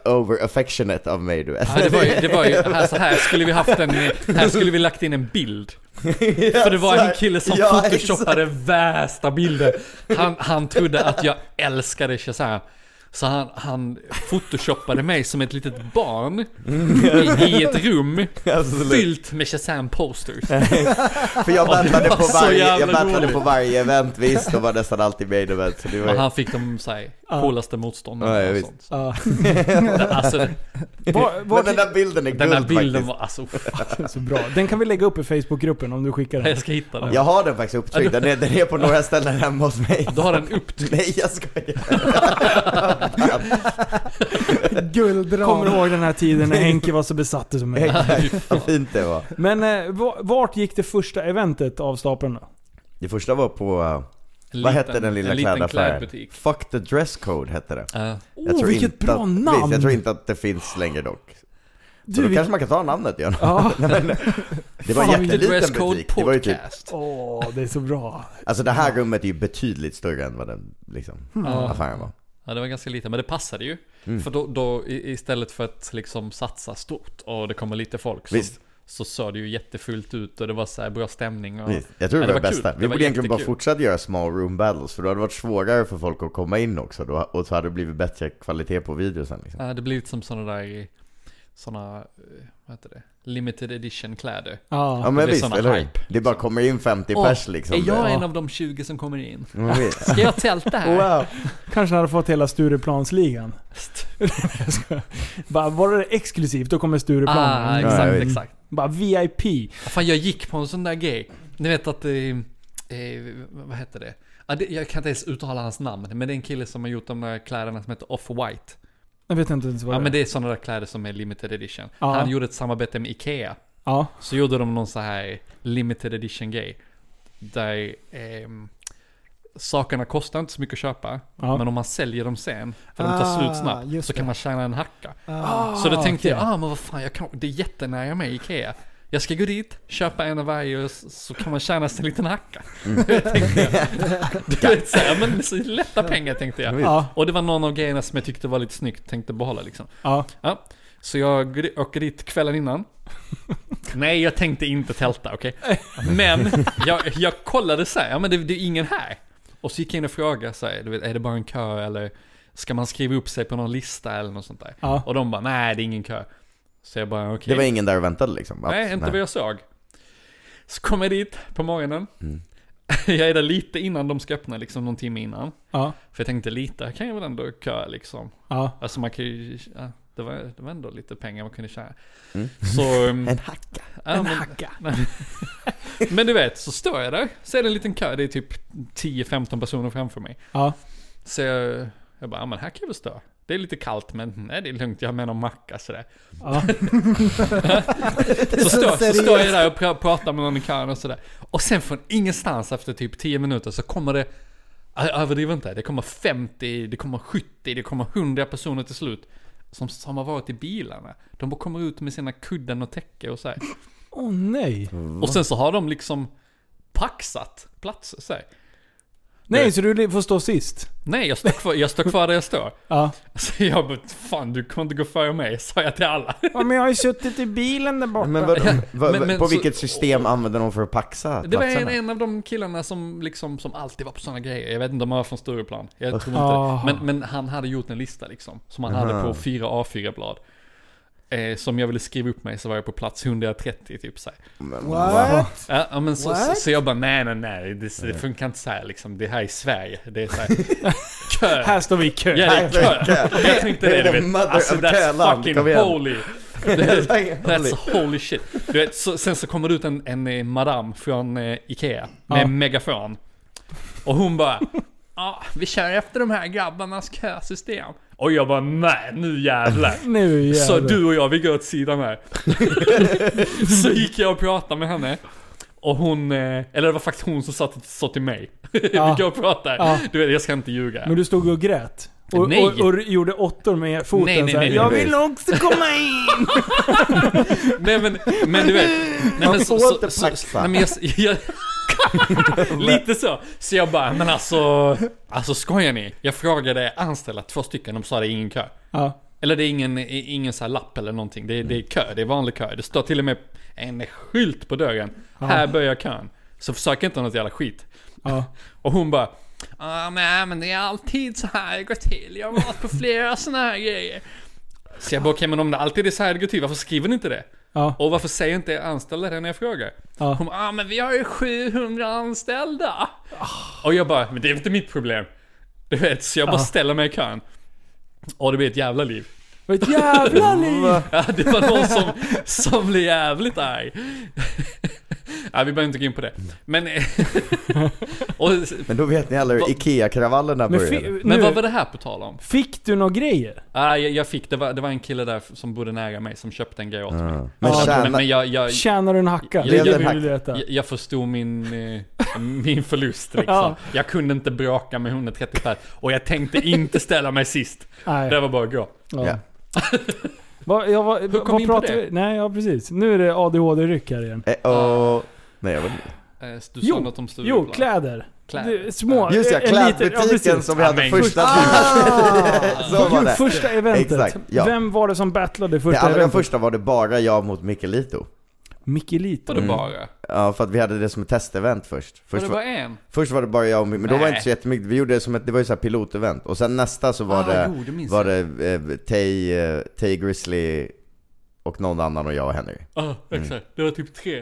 H: over affectionate av mig du vet.
I: Ja, det var ju, det var ju här, så här skulle vi haft en, här skulle vi lagt in en bild. För det var en kille som
H: Ja,
I: photoshopade värsta bilder. Han, han trodde att jag älskade Shazam. Så han, han photoshoppade mig som ett litet barn i, i ett rum
H: Absolut.
I: fyllt med Shazam-posters.
H: För jag battlade,
I: det var
H: på
I: så
H: varje, jag
I: jävla
H: battlade
I: roligt.
H: på varje event visst och var nästan alltid med i event. Så det var
I: Och
H: ju...
I: han fick de så här, coolaste motståndarna
H: Ja, ja,
I: och
H: visst.
I: sånt.
F: Ah.
I: Alltså,
F: Var, var
H: Men den där bilden är
I: den
H: guld
I: här bilden
H: faktiskt.
I: var alltså, fan,
F: så bra. Den kan vi lägga upp i Facebookgruppen om du skickar den.
I: jag ska hitta den.
H: Jag har den faktiskt upptryckt, den är, den är på några ställen hemma hos mig.
I: Du har den upptryckt.
H: Nej jag skojar.
G: Guldram.
F: Kommer ihåg den här tiden när Henke var så besatt som mig.
H: Exakt, vad fint det var.
F: Men eh, va- vart gick det första eventet av stapeln då?
H: Det första var på, eh,
I: En
H: vad
I: liten-
H: hette den lilla
I: en liten
H: klädaffären?
I: klädbutik.
H: Fuck the dress code hette det.
I: Ja.
H: Jag tror
F: vilket
H: inte
F: bra
H: att,
F: namn!
H: Visst, jag tror inte att det finns längre dock. Så
F: Du,
H: då
F: vi-
H: kanske man kan ta namnet igen.
F: Ja.
H: eh, Det var en
I: Fan,
H: jätteliten
I: Dresscode
H: butik. Det var ju typ,
I: Podcast.
F: Åh, det är så bra.
H: alltså det här rummet är ju betydligt större än vad den liksom, affären var.
I: Ja, det var ganska lite, men det passade ju.
H: Mm.
I: För då, då i- istället för att liksom satsa stort och det kommer lite folk så,
H: Visst.
I: så såg det ju jättefullt ut och det var så här bra stämning och...
H: Visst. Jag tror
I: Ja,
H: det var det
I: kul.
H: bästa. Vi
I: Det var
H: borde egentligen bara
I: jättekul.
H: fortsätta göra small room battles för då hade det varit svårare för folk att komma in också då, och så hade det blivit bättre kvalitet på videosen liksom.
I: Ja, det blir lite som sådana där sådana, eh, vad heter det, limited edition kläder.
H: Ja
F: Ja.
H: men
I: det är
H: visst,
I: såna
H: eller hur?
I: hype, liksom.
H: Det bara kommer in 50
I: Åh,
H: pers liksom.
I: är jag
H: Ja.
I: en av de 20 som kommer in?
H: Ja, visst.
I: Ska jag tälta här?
H: Wow.
F: Kanske hade fått hela Stureplansligan. Jag skojar. Bara, var det exklusivt, då kommer Stureplan. Mm.
I: Ah,
H: Ja, jag
I: exakt,
H: vet.
I: exakt.
F: Bara VIP.
I: Fan jag gick på en sån där grej. Ni vet att, eh, eh, vad heter det? Ja, det? Jag kan inte ens uttala hans namn, men det är en kille som har gjort de där kläderna som heter Off-White.
F: Jag vet inte ens vad
I: Ja men
F: det är.
I: det är sådana där kläder som är limited edition.
F: Ja.
I: Han gjorde ett samarbete med IKEA.
F: Ja.
I: Så gjorde de någon så här limited edition grej. Där ehm, sakerna kostar inte så mycket att köpa.
F: Ja.
I: Men om man säljer dem sen, för de tar slut
G: Ah,
I: snabbt,
G: just
I: så kan
G: det.
I: man tjäna en hacka.
G: Ah.
I: så då tänkte
F: okej.
I: jag, ah men vad fan, jag kan, det är jättenära mig IKEA. Jag ska gå dit, köpa en av varje och s- så kan man tjäna sig en liten hacka. tänkte jag. Du vet, så här, men så lätta pengar tänkte jag.
F: Ja.
I: Och det var någon av grejerna som jag tyckte var lite snyggt, tänkte behålla liksom.
F: Ja.
I: Ja, så jag gr- åker dit kvällen innan. Nej, jag tänkte inte tälta, okej? Men jag, jag kollade så här, ja men det, det är ingen här. Och så gick jag in och frågade så här, du vet, är det bara en kö eller ska man skriva upp sig på någon lista eller något sånt där?
F: Ja.
I: Och de bara, nej det är ingen kö. Så jag bara, okej.
H: Det var ingen där och väntade liksom?
I: Nej, inte vad jag såg. Så kom jag dit på morgonen.
F: Mm.
I: Jag är där lite innan de ska öppna, liksom någon timme innan.
F: Ja.
I: För jag tänkte lite, här kan jag väl ändå köa liksom.
F: Ja.
I: Alltså man kan ju, ja, det, var, det var ändå lite pengar man kunde tjäna.
F: Mm.
I: Så... en hacka. en men, hacka. men du vet, så står jag där, så är det en liten kö, det är typ 10-15 personer framför mig.
F: Ja.
I: Så jag, jag bara, ja, men här kan jag väl stå. Det är lite kallt men nej det är lugnt, jag menar macka sådär.
F: Ja.
I: Så, står- så
G: seriöst.
I: står jag där och pra- pratar med någon i kön och sådär. Och sen från ingenstans efter typ 10 minuter så kommer det, jag överdriver inte, det kommer 50, det kommer 70, det kommer 100 personer till slut. Som, som har varit i bilarna. De bara kommer ut med sina kudden och täcke och så här.
F: Åh nej.
I: Och sen så har de liksom paxat platser så här.
F: Nej, så du får stå sist?
I: Nej, jag står kvar, jag står kvar där jag står.
F: Ja.
I: Så jag bara, fan du kommer inte gå före mig, sa jag till alla.
F: ja men jag har ju suttit i bilen där borta.
H: Men, vadå?
I: Ja,
H: Vad-
I: men- men
H: på
I: så-
H: vilket system använder de för att paxa
I: Det var en,
H: platserna?
I: en av de killarna som liksom, som alltid var på sådana grejer. Jag vet inte om han var från Stureplan. Jag tror
F: Ah.
I: inte. Men, men han hade gjort en lista liksom. Som han hade på fyra A4-blad. Eh, som jag ville skriva upp mig så var jag på plats 130 typ så här.
G: What?
I: Ja, ja, men så, så,
G: What?
I: så jag bara nej nej nej. Det, det funkar inte så här liksom. Det här är Sverige. Det är så här. kö.
F: Här står vi i kö.
I: Ja, det är
H: Här
I: kö. Jag tänkte
H: Det
I: det,
H: är
I: du
H: the
I: vet.
H: mother
I: Alltså
H: of
I: that's
H: köland.
I: fucking
H: Kom igen.
I: holy. That's holy shit. Du vet, så, sen så kommer det ut en, en eh, madam från eh, Ikea med
F: Ja.
I: en megafon. Och hon bara Ja, vi kör efter de här grabbarnas kösystem. Och jag bara nej, nu jävlar.
F: Nu jävlar.
I: Så du och jag, vi går åt sidan här. så gick jag och pratade med henne. Och hon, eh, eller det var faktiskt hon som satt, sa till mig.
F: Ja.
I: vi går och pratar.
F: Ja.
I: Du vet, jag ska inte ljuga.
F: Men du stod och grät? Och,
I: Nej.
F: och, och gjorde åttor med foten
I: Nej, nej,
F: så här,
I: nej,
F: Jag
H: nej.
F: vill också komma in!
I: Nej men, men du vet. Nej, men,
H: får inte paxa.
I: nej, men jag, jag, Lite så. Så jag bara, men alltså. Alltså skojar ni? Jag frågade anställda, två stycken, de sa det är ingen kö.
F: ja.
I: Eller det är ingen, ingen så här lapp eller någonting. Det är, det är kö, det är vanlig kö. Det står till och med en skylt på dörren. Här börjar kön. Så försök inte något jävla skit.
F: Ja.
I: Och hon bara ah, Nej men det är alltid så här det går till. Jag har varit på flera såna här grejer. Så jag bara okej men om det alltid är så här det går till, varför skriver ni inte det?
F: Ja.
I: Och varför säger inte anställda det när jag frågar?
F: Ja.
I: Hon bara, ah, men vi har ju 700 anställda. Och jag bara, men det är inte mitt problem. Du vet, så jag bara ställer mig i kön. Och det blir ett jävla liv.
F: Vad ett jävla liv!
I: Ja, det var någon som, som blev jävligt arg. Ja, vi behöver inte gå in på det. Men... och,
H: Men då vet ni alla hur
I: Va-
H: IKEA-kravallerna
F: Men, fi,
H: började.
I: men
F: nu,
I: vad var det här på tal om?
F: Fick du några grejer?
I: Ah, jag, jag fick, det var, det var en kille där som bodde nära mig som köpte en grej åt mig.
H: Ja. Men
F: Ja,
H: tjäna,
I: Men, men jag, jag,
F: Tjänar du en hacka?
I: Jag-
F: Det är
H: jag-
F: det vi
H: jag-
F: vill veta.
I: Jag, jag förstod min, eh, min förlust liksom.
F: Ja.
I: Jag kunde inte bråka med 130 pers. Och jag tänkte inte ställa mig sist.
F: Nej.
I: Det var bara att gå.
F: Ja.
H: Ja.
F: Vad- jag, vad,
I: kom vi
F: vad
I: in på
F: pratar
I: det?
F: vi? Nej, ja precis. Nu är det ADHD-ryck här igen.
H: Eh, åh. Nej jag vet inte.
I: Eh, Du sa
F: Jo,
I: något om Stureplan.
F: Jo, kläder.
I: Kläder.
F: Du, små.
H: Just ja,
F: en liten- ja, precis.
H: klädbutiken som vi
I: Ja,
H: hade
I: men-
H: första Så var
F: Gud,
H: det.
F: första eventet.
H: Exakt, ja.
F: Vem var det som battlade
H: Det
F: första
H: allra
F: eventet?
H: första var det bara jag mot Mikkelito.
F: Mikkelito.
I: Var det bara?
H: Ja, för att vi hade det som ett testevent först.
I: Var
H: Först
I: det
H: var,
I: bara en?
H: först var det bara jag och Mik- men då var det
I: Nej.
H: inte så jättemycket. Vi gjorde det som ett, det var ju så här pilotevent. Och sen nästa så var
I: Ah,
H: det,
I: jo, det minns
H: var det eh, Tay, eh, Tay Grizzly och någon annan och jag och Henry. Mm.
I: Ja, Ah, exakt. Det var typ tre.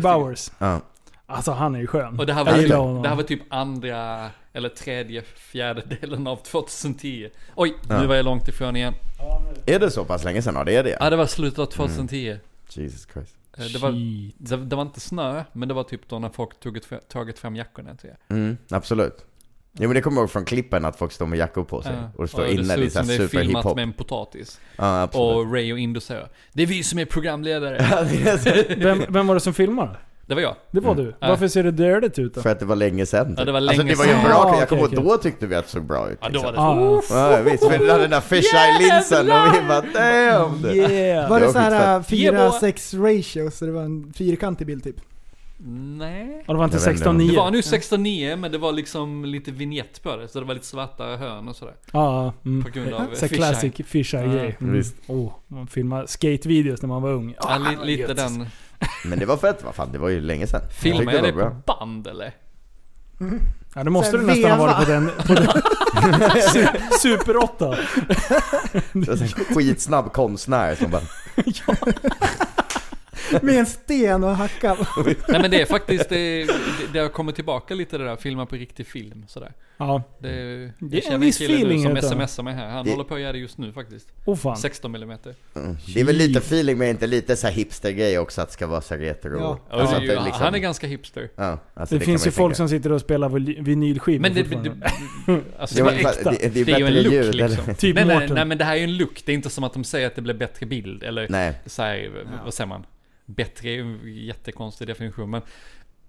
I: tre stycken.
F: Bowers.
H: Ja.
F: Alltså han är ju skön.
I: Och det här, var
F: Jag gillar
I: typ,
F: honom.
I: det här var typ andra eller tredje fjärdedelen av 2010. Oj,
H: Ja.
I: nu var jag långt ifrån igen.
H: Är det så pass länge sedan? Ja, det är det. Mm.
I: Ja, det var slutet av 2010.
H: Jesus Christ.
I: Eh, Det var,
F: Shit.
I: det, det var inte snö, men det var typ då när folk tog ett, tagit fram jackorna till er.
H: Mm, absolut. Jo men det kommer jag ihåg från klippen att folk står med jackor på sig.
I: Ja.
H: Och det står
I: det
H: inne
I: ser
H: i
I: ut som det
H: såhär
I: är filmat
H: superhiphop.
I: med en potatis.
H: Ja, absolut.
I: Och Ray och Indo säger Det är vi som är programledare.
H: Ja, det är så-
F: Vem, vem var det som filmade?
I: Det var jag.
F: Det
H: Mm.
F: var du. Varför ser det dirtigt ut då?
H: För att det var länge sedan.
I: äh, Ja, det var
H: alltså
I: länge
H: det var ju
I: sedan.
H: bra,
F: Ja,
H: jag kommer
F: okej,
H: ihåg då tyckte vi att det såg bra ut. liksom.
I: Ja, då var det så.
F: Ah,
H: Ja, visst, för du hade den där fisheye-linsen och vi bara damn! du."
F: yeah.
G: Var
H: Det
G: det
H: var
G: så här
I: skitfett.
G: 4-6 ratio, så det var en fyrkantig bild typ?
I: Nej.
F: Och det var inte
H: Jag vet inte.
F: 16-9?
I: Det var nu 16.9 men det var liksom lite vignett på det. Så det var lite svarta hörn och sådär.
F: Ja, mm.
I: På grund av
F: Så
I: fisheye.
F: classic fisheye-grej.
H: Ja, visst.
F: Oh, man filmade skatevideos när man var ung.
I: Ja,
F: Ah,
I: li, lite
F: gött.
I: den.
H: Men det var fett, vad fan det var ju länge sedan. Jag
I: Filmade
H: tyckte
I: jag det
H: det var bra.
I: på band eller?
F: Mm. Ja, det måste
G: Sen
F: du nästan ha
G: veva.
F: varit på den... På den Su- Super 8.
H: Det var en skitsnabb konstnär som bara
G: Med en sten och hacka.
I: Nej men det är faktiskt, det, det, det har kommit tillbaka lite det där filma på riktig film sådär.
F: Ja,
I: Det, jag
F: Det är en
I: känner
F: viss
I: kille nu
F: feeling
I: som
F: utav-
I: smsar mig här. Han
H: Det-
I: håller på att göra det just nu faktiskt.
F: oh fan.
I: 16 millimeter.
H: mm. Det är väl lite feeling men inte lite så här hipster-grej också att det ska vara så här retro.
G: Ja.
H: Alltså att
I: det, är ju-
H: det liksom-
I: Han är ganska hipster.
H: Ja, alltså
F: Det,
H: kan
F: finns
H: man
F: ju folk
H: tänka.
F: som sitter och spelar vinyl- vinylskivor
I: Men det, det,
F: fortfarande.
I: alltså,
H: Ja,
I: det,
H: men
I: är-
H: fan,
F: äkta.
H: Det, det är
I: det är ju
H: bättre
I: en look
H: ljud
I: liksom.
H: eller?
F: Typ
I: nej, nej,
F: Mårten.
I: nej men det här är ju en look. Det är inte som att de säger att det blir bättre bild. Eller
H: Nej.
I: så här, vad säger man? Bättre är ju en jättekonstig definition men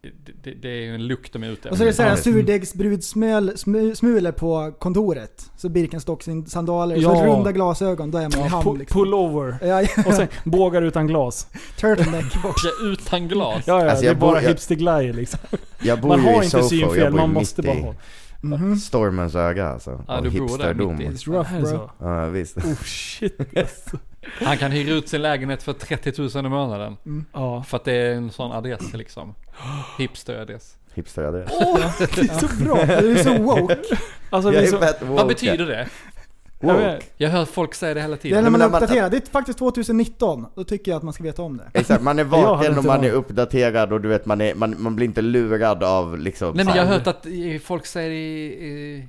I: det, det, det är ju en look de är ute
G: Och så är det så här
F: Ja,
G: en
F: visst.
G: surdegsbrudssmulor på kontoret. Så Birkenstock-sandaler,
F: Ja.
G: så runda glasögon, då är man i hamn
F: Pu-
G: liksom.
F: Pullover.
G: Ja,
F: Och sen bågar utan glas.
G: turtleneck.
I: efter. Utan glas.
F: Ja, ja
H: Alltså,
F: det är
H: jag bor-
F: bara
H: jag-
F: hipsterglajer liksom.
H: Jag bor
F: Man
H: ju
F: har
H: i
F: inte
H: Sofo, jag
F: synfel,
H: bor
F: man
H: ju
F: måste
H: mitt
F: bara
H: i Mm-hmm.
F: ha. Mm-hmm.
G: Mhm.
H: stormens öga alltså.
I: Ja,
H: och
I: du bor där
H: hipsterdom.
I: mitt i.
G: It's rough
F: Är det
G: bro.
F: så?
H: Ja, visst.
F: Oh shit alltså.
I: Han kan hyra ut sin lägenhet för 30 000 i månaden.
F: Ja,
I: För att det är en sån adress liksom. Hipsteradress.
H: Hipsteradress.
F: det är så bra.
G: Du är så woke.
F: Alltså, det
H: Jag
F: är
H: är
F: så,
H: fett
I: Vad betyder det?
F: jag vet,
I: Jag hör folk säga det hela
G: Det är
I: tiden.
G: när man
H: men
G: är
H: när man-
G: uppdaterad. Det är faktiskt 2019. Då tycker jag att man ska veta om det.
H: Exakt, man är
F: hade
H: vaken och
F: inte
H: man är
F: varit-
H: uppdaterad och du vet man, är, man, man blir inte lurad av liksom
I: Nej men jag har
H: fan.
I: hört att eh, folk säger det i, i,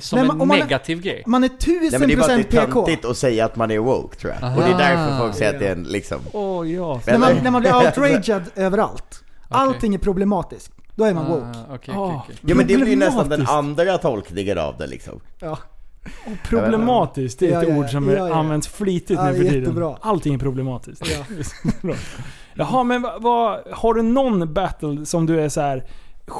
I: som
G: Nej, men
I: en
G: om man är-
I: negativ grej.
G: Man är
H: Nej men det är bara
G: 1000%
H: att det är
G: PK.
H: töntigt att säga att man är woke tror jag. Och det är därför folk säger att det är en liksom...
F: åh ja.
G: När
H: Eller?
G: man, när man blir outraged överallt. Allting är problematiskt. Då är man woke.
I: Ah, okej,
F: Ah.
I: okej, okej.
H: Ja men det blir ju nästan den
F: Problematiskt.
H: andra tolkningen av det liksom.
G: Ja.
F: Problematiskt, det är ett
G: Ja, ja,
F: ord som
G: ja, ja.
F: används flitigt
G: Ja,
F: nu för tiden.
G: jättebra.
F: Allting är problematiskt.
G: Ja.
F: Bra. Jaha, men vad, vad, har du någon battle som du är så här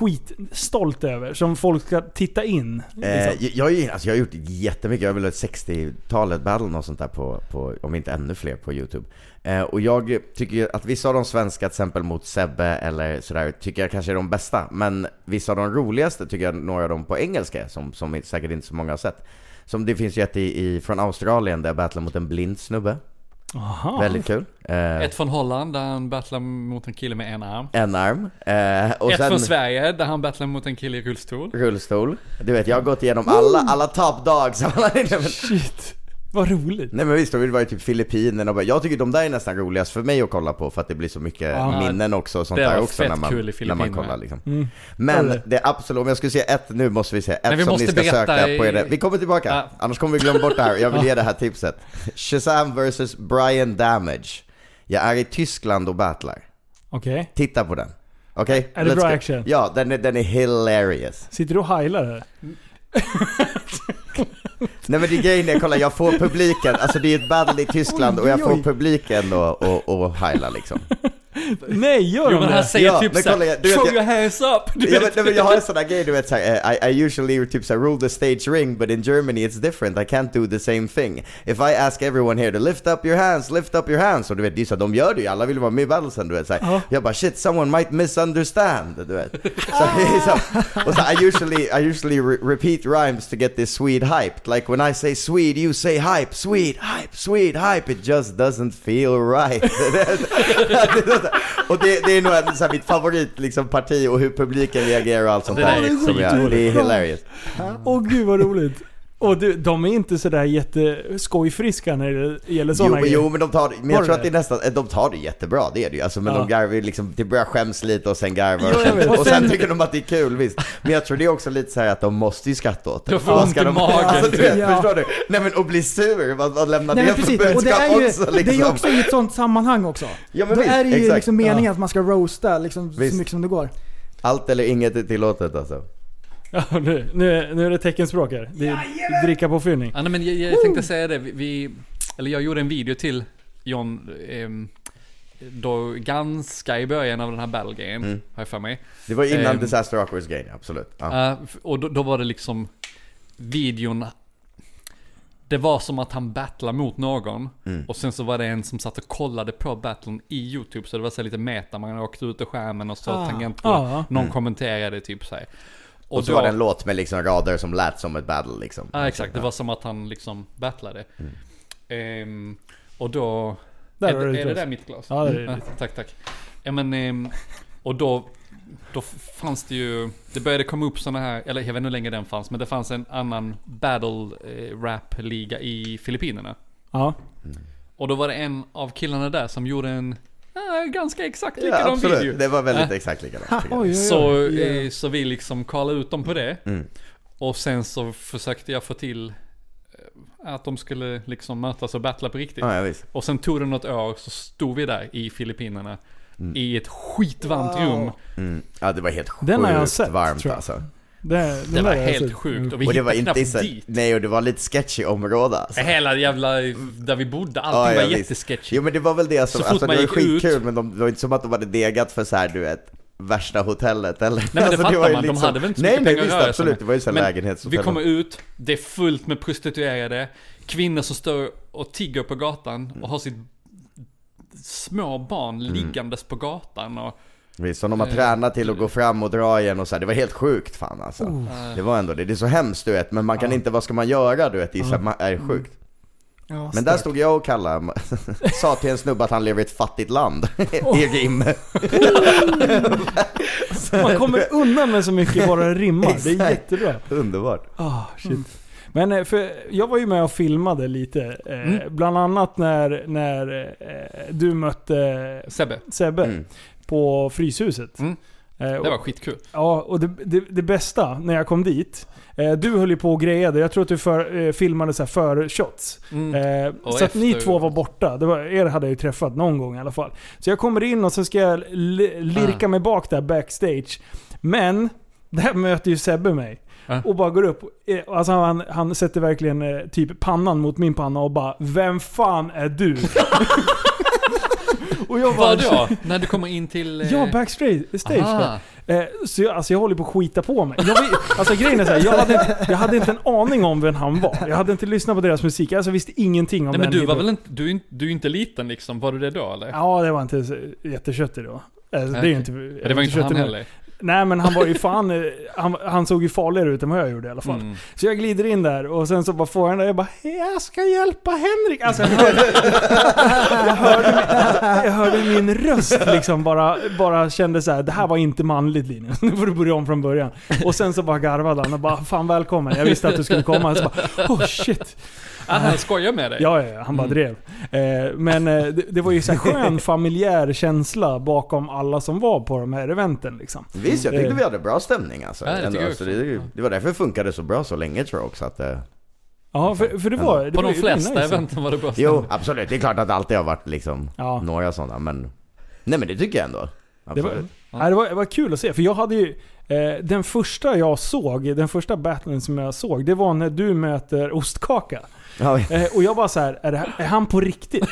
F: skitstolt över? Som folk ska titta in? Liksom.
H: Eh, jag, jag, är ju- alltså, jag har gjort jättemycket, jag har väl ett 60-talet battle och sånt där på, på, om inte ännu fler, på YouTube. Eh, och jag tycker ju att vissa av de svenska, till exempel mot Sebbe eller sådär, tycker jag kanske är de bästa. Men vissa av de roligaste tycker jag några av dem på engelska, som, som säkert inte så många har sett. Som det finns ju ett i, i, från Australien där jag battlar mot en blind snubbe.
F: Aha.
H: Väldigt kul. Eh,
I: Ett från Holland där han battlar mot en kille med en arm.
H: en arm. Eh, och
I: Ett
H: sen
I: från Sverige där han battlar mot en kille i rullstol.
H: rullstol. Du vet, jag har gått igenom alla, alla top dogs. Alla,
F: Shit. Vad roligt.
H: Nej men visst, de vill vara i typ Filippinerna och bara, jag tycker de där är nästan roligast för mig att kolla på för att det blir så mycket
F: Ja.
H: minnen också och sånt
I: Det
H: där
I: var
H: också
I: fett
H: när man,
I: kul i
H: när man
I: Filippinerna.
H: kollar liksom.
F: Mm.
H: Men
F: Eller?
H: det är absolut, om jag skulle säga ett, nu måste vi säga ett
I: Men vi
H: som
I: måste
H: ni ska
I: berätta
H: söka på
I: i-
H: er. Vi kommer tillbaka,
I: Ja.
H: annars kommer vi glömma bort det här. Jag vill ge det här tipset. Shazam vs Brian Damage. Jag är i Tyskland och battlar.
F: Okej.
H: Titta på den. Okej?
F: Är det
H: Let's
F: bra
H: go.
F: action?
H: Ja, den är, den är hilarious.
F: Sitter du och heilar här?
G: Mm.
H: Nej men det är grejen är, kolla jag får publiken, alltså det är ett battle i Tyskland och jag får publiken och, och, och heila liksom.
F: Nej, gör
I: Jo
F: de
I: men han
F: det?
I: säger
H: Ja,
I: typ
H: men kolla,
I: såhär
H: jag- du vet,
I: Throw
H: jag-
I: your hands up! Du
H: Jag,
I: vet.
H: vet, nej, men jag har en sån där grej du vet såhär, eh, I, I usually typ såhär rule the stage ring but in Germany it's different, I can't do the same thing. If I ask everyone here to lift up your hands, lift up your hands. Och du vet, det är så, de gör det ju, alla vill vara med i battlesen du vet. Så här. Jag bara shit, someone might misunderstand. Du vet. Så, så, och så, I usually, I usually re repeat rhymes to get this Swede hyped. Like when I say Swede, you say hype, Swede, hype, Swede, hype. It just doesn't feel right. och det, det är nog en, så här, mitt favorit liksom, parti och hur publiken reagerar och allt sånt
I: Det där är
H: där. som jag, det är hilarious.
F: Åh gud vad roligt. Och du, de är inte sådär jätteskojfriska när det gäller sådana
H: jo,
F: grejer.
H: jo men de tar det, men
F: Var
H: jag
F: det
H: tror att
F: det?
H: det är nästan, eh, de tar det jättebra, det är det ju. Alltså, men
F: Ja.
H: de garvar ju liksom, det börjar skäms lite och sen garvar
F: Jo, jag
H: och,
F: vet.
H: sen, och sen
F: Och sen-
H: tycker de att det är kul visst. Men jag tror det är också lite så här att de måste ju skratta åt det.
I: De får
H: Vad
I: ont
H: ska
I: i magen,
H: Alltså, du vet,
G: typ.
H: Förstår du? Nej men och bli sur, vad, vad lämnar
G: Nej,
H: det
G: men
H: för
G: precis. Och det
H: budskap
G: är ju,
H: också
G: det är
H: liksom?
G: ju också i ett sånt sammanhang också.
H: Ja, men
G: Då
H: visst,
G: är det ju
H: exakt.
G: liksom meningen att man ska roasta liksom, så
H: Visst.
G: mycket som det går.
H: Allt eller inget är tillåtet alltså.
F: Ja, nu, nu, nu är det teckenspråk här. Det är dricka på fyllning.
I: Ja, nej, men jag, jag tänkte säga det. Vi- Vi, eller jag gjorde en video till John ehm, då ganska i början av den här battlegrejen,
H: Mm.
I: har jag för mig.
H: Det var innan
I: Ehm.
H: Disaster Awkward Game, absolut. Ja.
I: Eh, f- och då, då var det liksom videon. Det var som att han battlade mot någon.
H: Mm.
I: Och sen så var det en som satt och kollade på battlen i YouTube. Så det var så här lite meta. Man åkte ut ur skärmen och så
G: Ah.
I: tangentbordet.
F: Ah.
I: Någon kommenterade typ så här.
H: Mm. och, så
I: då-
H: var det en låt med liksom rader som lät som ett battle liksom.
I: Ja exakt, det var som att han liksom battlade. Ehm, och då...
F: Där
I: är,
F: har du
I: det-
F: ditt
I: är det
F: glas.
I: där mitt glas?
F: Ja, det är
I: Mm,
F: ditt.
I: tack, tack. Ja, men, ehm, och då, då fanns det ju... Det började komma upp såna här, eller jag vet inte hur länge den fanns, men det fanns en annan battle eh, rap-liga i Filippinerna.
F: Ja.
I: Och då var det en av killarna där som gjorde en eh, ganska exakt
H: Ja,
I: likadan
H: absolut.
I: video.
H: Det var väldigt
I: Ja.
H: exakt likadant. tycker jag.
F: Oj, oj, oj.
I: Så, eh,
F: Yeah.
I: så vi liksom kallade ut dem på det.
H: Mm.
I: Och sen så försökte jag få till eh, att de skulle liksom mötas och battla på riktigt.
H: Ja, ja, visst.
I: Och sen tog det något år så stod vi där i Filippinerna. I ett skitvarmt rum.
H: Mm. Ja, det var helt sjukt
F: Den har jag sett,
H: varmt
F: tror jag.
H: alltså.
F: Det,
I: Det var
F: där är
I: helt
F: alltså-
G: Mm.
I: sjukt. Och vi
H: Och det var
I: hittade
H: inte
I: knappt
H: så,
I: dit.
H: nej och det var lite sketchy område alltså.
I: Hela jävla, eh, där vi bodde,
H: Ja,
I: allting
H: ja,
I: var
H: visst.
I: jättesketchy.
H: Jo men det var väl det
I: Så
H: som,
I: fort
H: alltså det
I: man
H: var ju
I: gick ut-
H: skitkul men de, det var inte som att de hade degat för så här du vet, värsta hotellet eller? Alltså, Nej
I: men det
F: Alltså,
I: fattar man,
F: liksom-
I: de hade väl inte så
H: liksom- Nej
I: mycket
H: nej
I: pengar att
H: visst
I: röra sig
H: absolut,
I: med.
H: det var ju så här
I: Men
H: lägenhetshotell.
I: Vi kommer ut, det är fullt med prostituerade, kvinnor som står och tigger på gatan och har sitt små barn
F: Mm.
I: liggandes på gatan och...
H: Visst, som de har tränat till att gå fram och dra igen och så här. det var helt sjukt fan alltså. Det var ändå det, det är så hemskt du vet, men man kan inte, vad ska man göra du vet, det är, så här, man, är sjukt.
F: Mm.
G: Ja,
H: Men där stod jag och Kalle, sa till en snubbe att han lever i ett fattigt land, i rim.
F: Man kommer undan med så mycket bara rimmar. Det är
H: Exakt.
F: jättebra.
H: Underbart.
F: Ah, shit.
C: Mm.
F: Men eh, för jag var ju med och filmade lite. Eh,
I: Mm.
F: Bland annat när, när eh, du mötte
I: Sebbe,
F: Sebbe
H: Mm.
F: på Fryshuset.
I: Mm.
F: Eh, och,
I: det var skitkul.
F: Ja, och det, det, det bästa när jag kom dit. Eh, du höll ju på och grejade. Jag tror att du för, eh, filmade så här för shots.
I: Mm.
F: Eh,
I: Och
F: så att ni
I: efter-
F: två var borta. Det var, er hade jag ju träffat någon gång i alla fall. Så jag kommer in och så ska jag li- lirka mig bak där backstage. Men, där möter ju Sebbe mig.
I: Ja.
F: Och bara går upp. Eh, Alltså han, han sätter verkligen eh, typ pannan mot min panna och bara Vem fan är du? och jag bara...
I: Vadå? När du kommer in till... eh,
F: Ja, backstage. Stage, där.
I: aha.
F: Eh, så jag, alltså jag håller på att skita på mig. Jag, vet- alltså grejen är så här, jag, hade, inte- jag hade inte en aning om vem han var. Jag hade inte lyssnat på deras musik. Alltså jag visste ingenting om
I: Nej men
F: den
I: du var
F: hiphopen.
I: väl inte, du, är inte- du är inte liten liksom, var du det då eller?
F: Ja, det var inte så jätteköttig då. Alltså, det är
I: Okej.
F: ju inte,
I: det var inte han
F: jätteköttig nu.
I: heller.
F: Nej men han var ju fan, eh, han, han såg ju farligare ut än vad jag gjorde i alla fall.
I: Mm.
F: Så jag glider in där och sen så bara får han där, jag bara jag ska hjälpa Henrik. Alltså jag hörde, jag hörde, min- jag hörde min röst liksom bara, bara kände så här: det här var inte manligt Linus. Nu får du börja om från början. Och sen så bara garvade han och bara fan välkommen, jag visste att du skulle komma. Så bara, oh shit.
I: Ah, han skojar med dig? Mm.
F: Ja, ja, ja, han bara drev. Eh, men eh, det, det var ju så här skön familjär känsla bakom alla som var på de här eventen liksom.
H: Visst, jag tyckte vi hade bra stämning alltså.
I: Ja, det tycker
H: Ändå,
I: jag
H: alltså
I: också.
H: det, det var därför det funkade så bra så länge tror jag också att eh, det...
F: Ja, för, för det var... Det
I: På
F: var
I: de
F: ju
I: flesta
F: nice.
I: eventen var det bra
H: Jo, absolut. Det är klart att det alltid har varit liksom
F: Ja.
H: några sådana men... Nej men det tycker jag ändå.
F: Det
H: Absolut.
F: var, nej, det, var, det var kul att se, för jag hade ju... Eh, den första jag såg, den första battlen som jag såg, det var när du möter Ostkaka.
H: Ja,
F: Eh, och jag bara så här, är, det här, är han på riktigt?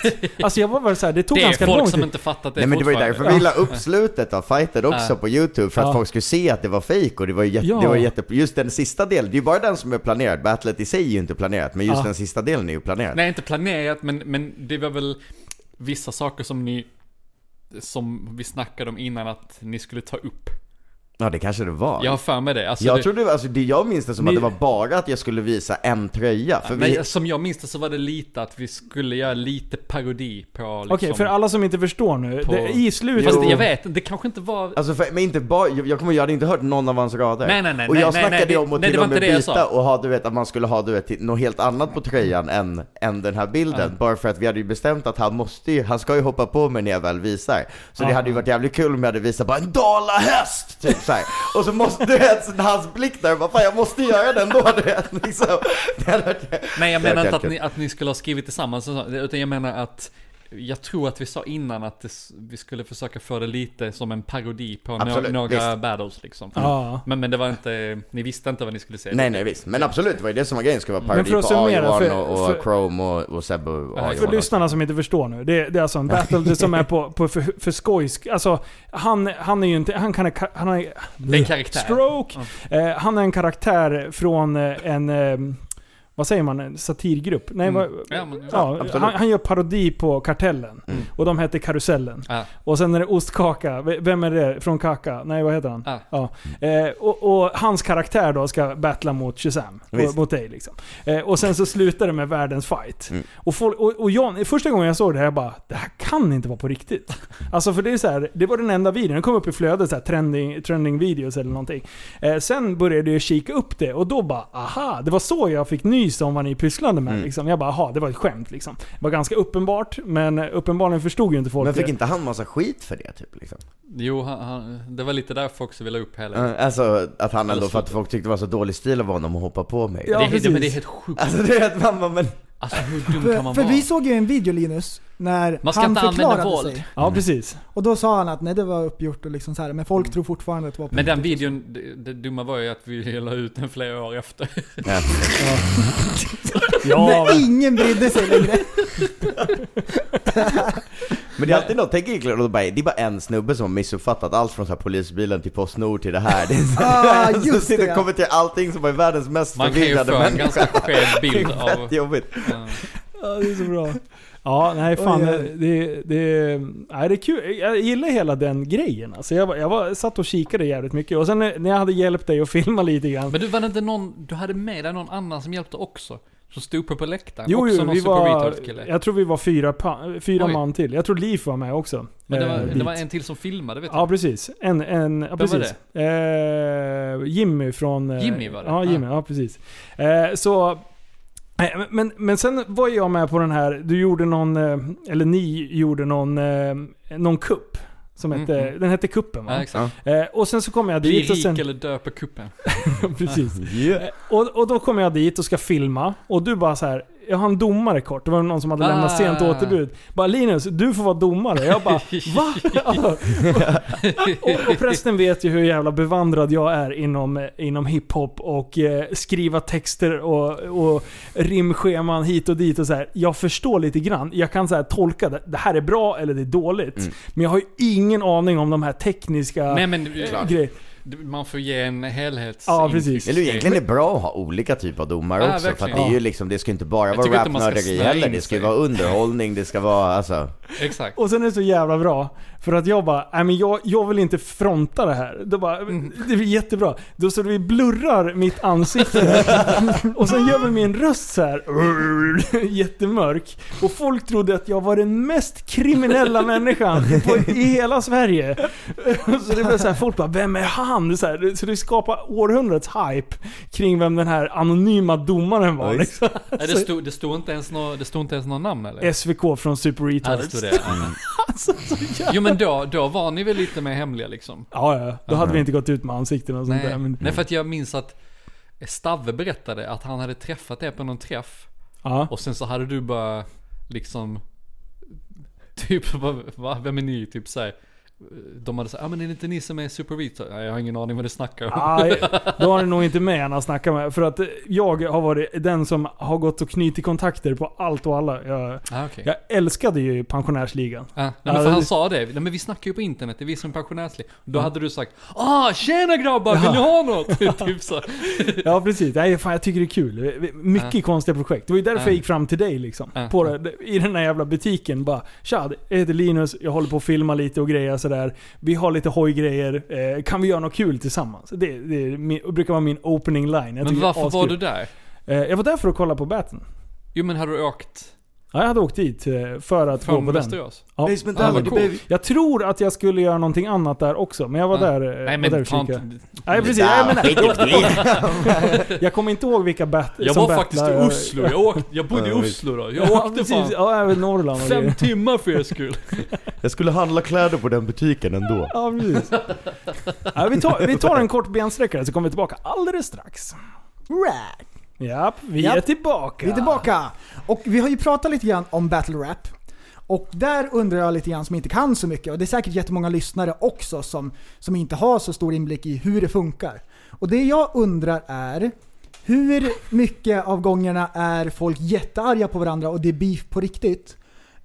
F: Alltså jag var väl så här, det tog
I: Det är
F: ganska lång
I: folk som
F: tid.
I: inte fattat det
H: Nej men det var ju
I: fortfarande.
H: därför vi la upp slutet av fighten också
I: Ja.
H: på youtube, för att
F: Ja.
H: folk skulle se att det var fejk och det var ju jätte,
F: Ja.
H: det var jätte, just den sista delen, det är ju bara den som är planerad, battlet i sig är ju inte planerat, men just
F: Ja.
H: den sista delen är ju planerad.
I: Nej, inte planerat, men, men det var väl vissa saker som ni... Som vi snackade om innan att ni skulle ta upp.
H: Ja det kanske det var.
I: Jag har för mig det. Alltså,
H: jag
I: det
H: trodde, alltså det jag minns det som
F: Ni-
H: att det var bara att jag skulle visa en tröja. För vi,
I: men som jag minns det så var det lite att vi skulle göra lite parodi på liksom...
F: Okej, för alla som inte förstår nu.
I: På-
F: Det, I slutet...
I: Fast
H: Jo.
I: jag vet det kanske inte var...
H: alltså för, men inte bara, jag jag kommer jag hade inte hört någon av hans rader.
I: Nej, nej, nej,
H: och
I: nej,
H: jag
I: nej,
H: snackade
I: nej,
H: om
I: nej,
H: att
I: det
H: till
I: var
H: och med
I: inte det jag sa.
H: byta och ha du vet att man skulle ha du vet till- något helt annat på tröjan än, än den här bilden. Bara för att vi hade ju bestämt att han måste ju, han ska ju hoppa på mig när jag väl visar. Så det hade ju varit jävligt kul om jag hade visat bara en dalahäst! Typ såhär. och så måste du vet hans blick där, bara fan jag måste göra den då du vet. Liksom. Det hade varit-
I: Nej jag
H: det hade
I: menar
H: varit
I: inte att
H: jävligt
I: ni, att ni skulle ha skrivit tillsammans och så, utan jag menar att jag tror att vi sa innan att det, s- vi skulle försöka få det lite som en parodi på
H: Absolut,
I: nå- några
H: visst.
I: battles liksom.
F: Ja.
I: Men, men det var inte, ni visste inte vad ni skulle säga.
H: Nej nej visst, men absolut det var ju det som var grejen, skulle vara
F: Men
H: parodi
F: för
H: på
F: att summera,
H: A-Johan
F: för-
H: och, och
F: för-
H: Chrome och, och Sebbe och
I: för
H: A-Johan
F: För
H: också.
F: lyssnarna som inte förstår nu. Det, det är alltså en battle det som är på, på för, för skojsk. Alltså, han, han är ju inte... Han kan... Han är,
I: Det är en karaktär.
F: Stroke. Eh, han är en karaktär från eh, en... Eh, vad säger man? En satirgrupp? Nej,
I: Mm.
F: vad,
I: Ja, men, ja.
F: Ja,
H: absolut. Mm.
F: han, han gör parodi på Kartellen. Och de hette Karusellen.
I: Ja.
F: Och sen är det Ostkaka. V- Vem är det? Från Kaka? Nej, vad heter han?
I: Ja.
F: Eh, och, och hans karaktär då ska battla mot Shazam. Och,
H: Visst.
F: mot dig liksom. Eh, och sen så slutar det med världens fight.
H: Mm.
F: Och, folk, och, och John, första gången jag såg det här jag bara, det här kan inte vara på riktigt. Alltså för det är så här, det var den enda videon. Den kom upp i flödet, så här, trending, trending videos eller någonting. Eh, sen började jag kika upp det och då bara aha, det var så jag fick nys om vad ni pysslade
H: Mm.
F: med. Liksom. Jag bara aha, det var ett skämt liksom. Det var ganska uppenbart, men uppenbarligen förstod ju inte folk
H: Men fick
F: det.
H: inte han massa skit för det typ liksom?
I: Jo, han, han, det var lite därför också vi la upp hela.
H: Eh, Alltså att han ändå,
I: Alltså,
H: för att folk tyckte det var så dålig stil av honom att hoppa på mig.
F: Ja,
I: det, det,
F: precis.
I: men det är helt sjukt.
H: Alltså du vet mamma men...
I: Alltså hur dum kan
G: För,
I: man
G: för
I: vara?
G: vi såg ju en video Linus, när
I: Man ska
G: han
I: inte använda
G: förklarade
I: våld.
G: sig.
F: Ja, precis.
G: Och då sa han att nej det var uppgjort och liksom så här, men folk tror fortfarande att det var på
I: Mm. Men den videon, det, det dumma var ju att vi la ut den flera år efter.
H: Ja.
F: Ja,
G: Nej, ingen brydde sig längre.
H: Men det är alltid något, tänk egentligen, och då bara, det är bara en snubbe som har missuppfattat allt från så här polisbilen till Postnord till det här. Det är så
G: Ah,
H: så
G: just
H: sitter
G: det, ja.
H: kommer till allting som är världens mest
I: Man kan ju
H: förvirrade
I: få en
H: människa.
I: ganska skev
H: Det
I: bild
H: är
I: av...
H: fett jobbigt.
F: ja, det är så bra. Ja, nej fan.
G: Oj,
F: Det,
G: oj.
F: det, det, nej, det är kul. Jag gillar hela den grejen. Alltså, jag, var- jag var, satt och kikade jävligt mycket. Och sen när när jag hade hjälpt dig att filma lite grann.
I: Men du var det inte någon, du hade med dig någon annan som hjälpte också? Som stod uppe på läktaren?
F: Jo,
I: också
F: jo,
I: någon
F: vi
I: Super
F: var,
I: Retard kille.
F: jag tror vi var fyra, pa, fyra
I: Oj.
F: man till. Jag tror Liv var med också.
I: Men det,
F: Eh,
I: var, det
F: dit.
I: var en till som filmade vet
F: Ja
I: jag.
F: precis. En, en, ja,
I: Vem var
F: precis. Eh, Jimmy från... eh,
I: Jimmy var det?
F: Ja, Jimmy. Ja, precis. Eh, så... eh, Men, men sen var jag med på den här, du gjorde någon, eh, eller ni gjorde någon, eh, någon kupp. Som hette,
I: Mhm.
F: Den hette kuppen va?
I: Ja, exakt.
F: Eh, och sen så kom jag
I: Bli
F: dit och
I: rik
F: sen...
I: eller dö på kuppen.
F: precis. Eh, Och, och då kommer jag dit och ska filma och du bara så här. Jag har en domare kort. Det var någon som hade
I: Ah.
F: lämnat sent återbud. Bara Linus, du får vara domare. Jag bara va? och, och prästen vet ju hur jävla bevandrad jag är inom, eh, inom hiphop och eh, skriva texter och, och rimscheman hit och dit och så här. Jag förstår lite grann. Jag kan så här tolka det. Det här är bra eller det är dåligt. Men jag har ju ingen aning om de här tekniska
I: Mm. Nej men eh, du-
F: grejerna.
I: du- man får ge en helhets...
F: Ah, Ja, precis.
H: Eller egentligen är det bra att ha olika typer av domare
I: Ja,
H: också, för att
I: verkligen.
H: det är ju
I: Ja.
H: liksom, det ska inte bara
I: Jag
H: vara
I: tycker inte man ska
H: rapnörderi
I: snöa
H: heller,
I: in
H: det ska ju
I: sig.
H: vara underhållning, det ska vara alltså...
I: Exakt.
F: Och sen är det så jävla bra. För att jag bara, nej men jag, jag vill inte fronta det här. Då bara,
I: Mm.
F: Det blir jättebra. Då så vi blurrar mitt ansikte. och sen gör vi min röst så här. jättemörk. Och folk trodde att jag var den mest kriminella människan på, i hela Sverige. så det blev så här, folk bara, vem är han? Så, här, så det skapar århundradets hype kring vem den här anonyma domaren var.
H: Ja, visst.
F: liksom.
I: Nej, det, stod, det, stod inte ens nå, det stod inte ens något namn eller?
F: SVK från Super
I: Ja,
F: Retards.
I: det stod det.
F: Mm.
I: Jo men då, då var ni väl lite mer hemliga liksom?
F: Ja, ja. Då hade vi inte gått ut med ansikten och sånt
I: Nej,
F: där. Men,
I: nej för att jag minns att Stave berättade att han hade träffat er på någon träff
F: ja.
I: och sen så hade du bara liksom Typ, va, va, vem är ni? Typ såhär De hade sagt, ja ah, men är det inte ni som är Super Retard? Nej, jag har ingen aning vad du snackar om.
F: Aj, då har ni nog inte med när jag snackar med. För att eh, jag har varit den som har gått och knutit kontakter på allt och alla. Jag,
I: Ah, okej.
F: jag älskade ju pensionärsligan.
I: Ah, nej, men
F: Ja,
I: för
F: det-
I: han sa det, nej men vi snackar ju på internet, det är vi som är pensionärsliv. Då hade du sagt Ah tjena grabbar, vill ni ha något? typ så.
F: Ja precis. Nej, fan, jag tycker det är kul. Vi- vi- Mycket
I: Ah.
F: konstiga projekt. Det var ju därför
I: Ja.
F: jag gick fram till dig liksom.
I: Ja.
F: På, det- I den där jävla butiken bara. Tja, jag heter Linus. Jag håller på att filma lite och grejer. sådär. Vi har lite hojgrejer. Eh, kan vi göra något kul tillsammans? Det, det är min, brukar vara min opening line. Jag
I: Men
F: tycker det är
I: varför var
F: askul.
I: du där?
F: Eh, jag var där för att kolla på Batten.
I: Jo men hade du åkt
F: Ja, jag hade åkt dit eh, för att gå
I: från
F: på den.
I: Västerås?
F: Ja.
H: Basement
I: Ja, vad
H: Alley,
I: coolt.
H: baby.
F: Jag tror att jag skulle göra någonting annat där också, men jag var
I: Ja.
F: där eh,
I: Nej
F: var där
I: men
F: och
I: ta
F: kikade.
I: inte...
F: Nej precis, jag, menar, jag kommer inte ihåg vilka bat,
I: Jag
F: som
I: var faktiskt i
F: battlar.
I: Oslo. Jag, åkte, jag bodde i
H: Ja, visst.
I: Oslo då. Jag
F: Ja,
I: åkte
F: precis.
I: fan
F: Ja, även Norrland och
I: fem
F: grejer.
I: timmar för er skull.
H: Jag skulle handla kläder på den butiken ändå.
F: Ja, precis. Ja, vi, tar, vi tar en kort bensträckare så kommer vi tillbaka alldeles strax.
G: Right.
F: Japp, vi
G: Japp.
F: är tillbaka.
G: Vi är tillbaka! Och vi har ju pratat lite grann om battle rap. Och där undrar jag lite grann som inte kan så mycket, och det är säkert jättemånga lyssnare också som, som inte har så stor inblick i hur det funkar. Och det jag undrar är, hur mycket av gångerna är folk jättearga på varandra och det är beef på riktigt?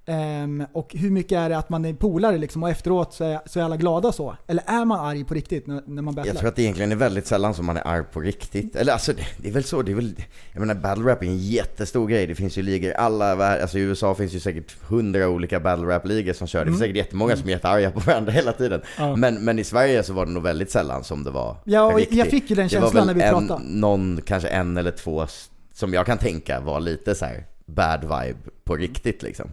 G: Ehm, och hur mycket är det att man är polare liksom och efteråt så är, så är alla glada så? Eller är man arg på riktigt när, när man
H: Jag tror
G: battlar?
H: att det egentligen är väldigt sällan som man är arg på riktigt. Eller alltså, det, det är väl så. Det är väl, jag menar, battle rap är en jättestor grej. Det finns ju ligor i alla vär- Alltså i USA finns ju säkert hundra olika battle rap-ligor som kör. Det finns
G: Mm.
H: säkert jättemånga som är jättearga på varandra hela tiden.
F: Ja.
H: Men, men i Sverige så var det nog väldigt sällan som det var
G: Ja, och
H: riktigt.
G: jag fick ju den
H: Det
G: känslan
H: var
G: när vi
H: en,
G: pratade.
H: Någon, kanske en eller två s- som jag kan tänka var lite så här bad vibe på riktigt liksom.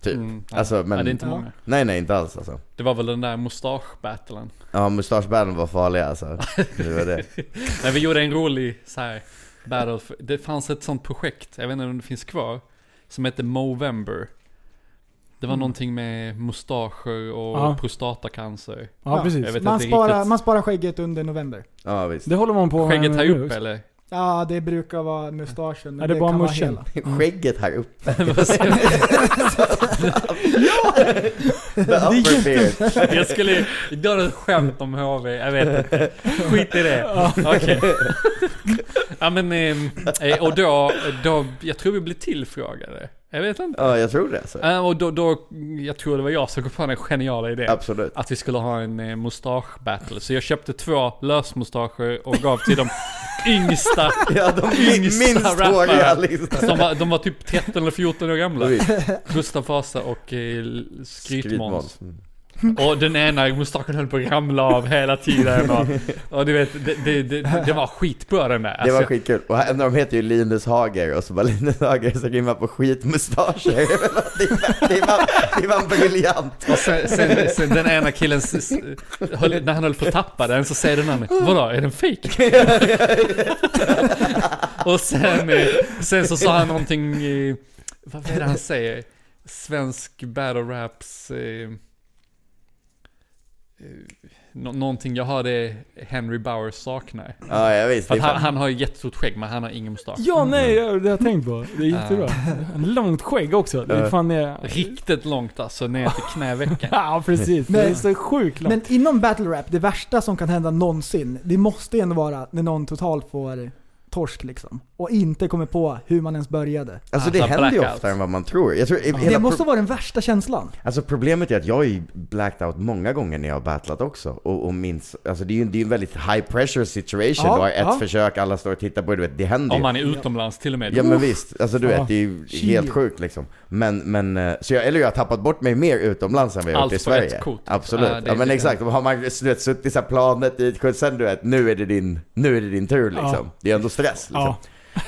H: Typ.
I: Mm, nej.
H: Alltså, men,
I: Nej, det är inte många.
H: nej, nej, inte alls alltså.
I: Det var väl den där mustaschbattlen.
H: Ja, mustaschbanden var farliga alltså. Det var det.
I: Nej vi gjorde en rolig så här battle. för- Det fanns ett sånt projekt, jag vet inte om det finns kvar. Som hette Movember. Det var någonting med mustascher och
F: Mm. Ja.
I: prostatacancer.
F: Ja,
I: Jag
F: precis.
I: vet
G: Man
I: inte
G: sparar,
I: riktigt.
G: man sparar skägget under november.
H: Ja, visst.
F: Det håller man på med
I: Skägget här
F: nu
I: uppe
F: också.
I: eller?
G: Ja, det brukar vara mustaschen. men
F: Ja, det är bara
G: kan vara
F: muschen. Mm.
G: hela.
H: Skägget här uppe. ja!
F: upper
I: Jag skulle göra ett skämt om HV, jag vet inte. Skit i det. Okej. ja men, ehm, eh, och då, då, jag tror vi blev tillfrågade. Jag vet inte.
H: Ja, jag tror det alltså.
I: Eh, Och då, då, jag tror det var jag som kom på den geniala idén.
H: Absolut.
I: Att vi skulle ha en eh, mustasch-battle. Så jag köpte två lösmustascher och gav till de yngsta.
H: Ja, de min-
I: Yngsta
H: minst
I: rappare.
H: håriga liksom.
I: Som var, de var typ 13 eller 14 år gamla.
H: Visst,
I: Gustav Vasa och eh, Skrytmåns.
H: skrytmåns. Mm.
I: Och den ena mustaschen höll på att ramla av hela tiden. Och, och du vet, det, det, det, det var skitbra den där.
H: Det var
I: Alltså,
H: skitkul. Och en av dem heter ju Linus Hager och så var Linus Hager som rimmar på skitmustascher. det, var- det, var, det var en briljant.
I: och sen, sen, sen den ena killen, s- s- höll, när han höll på att tappa den så säger den andra Vadå, är den fake? och sen, eh, sen så sa han någonting, eh, vad är det han säger? Svensk battle raps... Eh, eh, nå- någonting jag hörde Henry Bauer saknar.
H: Ja, jag visst.
I: För
H: Det är
I: att han,
H: fan-
I: han har ju jättestort skägg men han har ingen mustasch.
F: Ja, nej, jag- det har jag tänkt på. Det är
I: Ja.
F: jättebra. Långt skägg också. Det är
H: Ja.
F: fan eh, det...
I: Riktigt långt alltså, ner till knävecken.
F: Ja, precis. Det är så sjukt långt.
G: Men inom battle rap, det värsta som kan hända någonsin, det måste ju ändå vara när någon totalt får torsk liksom. Och inte kommer på hur man ens började.
H: Alltså
I: Alltså,
H: det händer ju
I: blackout.
H: oftare än vad man tror. Jag tror hela
G: Det
H: pro-
G: måste vara den värsta känslan.
H: Alltså problemet är att jag har ju blacked out många gånger när jag har battlat också och, och minns, alltså det är ju det är ju en väldigt high pressure situation.
G: Ja,
H: du har ett
G: ja. Mm.
H: försök, alla står och tittar på det, du vet, det händer
I: Om
H: ju.
I: man är utomlands till och med.
H: Ja men visst, alltså du
F: Ja.
H: vet det är ju
G: Shit.
H: helt sjukt liksom. Men, men, eh, så jag, eller jag har tappat bort mig mer utomlands än vad jag
I: Allt
H: gjort i
I: för ett
H: Sverige.
I: kort.
H: Absolut.
I: Ja, det är
H: ja men
I: lite-
H: exakt, och har man du vet, suttit i så här planet dit, och sen du vet, nu är det din, nu är det din tur liksom.
F: Ja.
H: Det är ändå stress liksom.
F: Ja.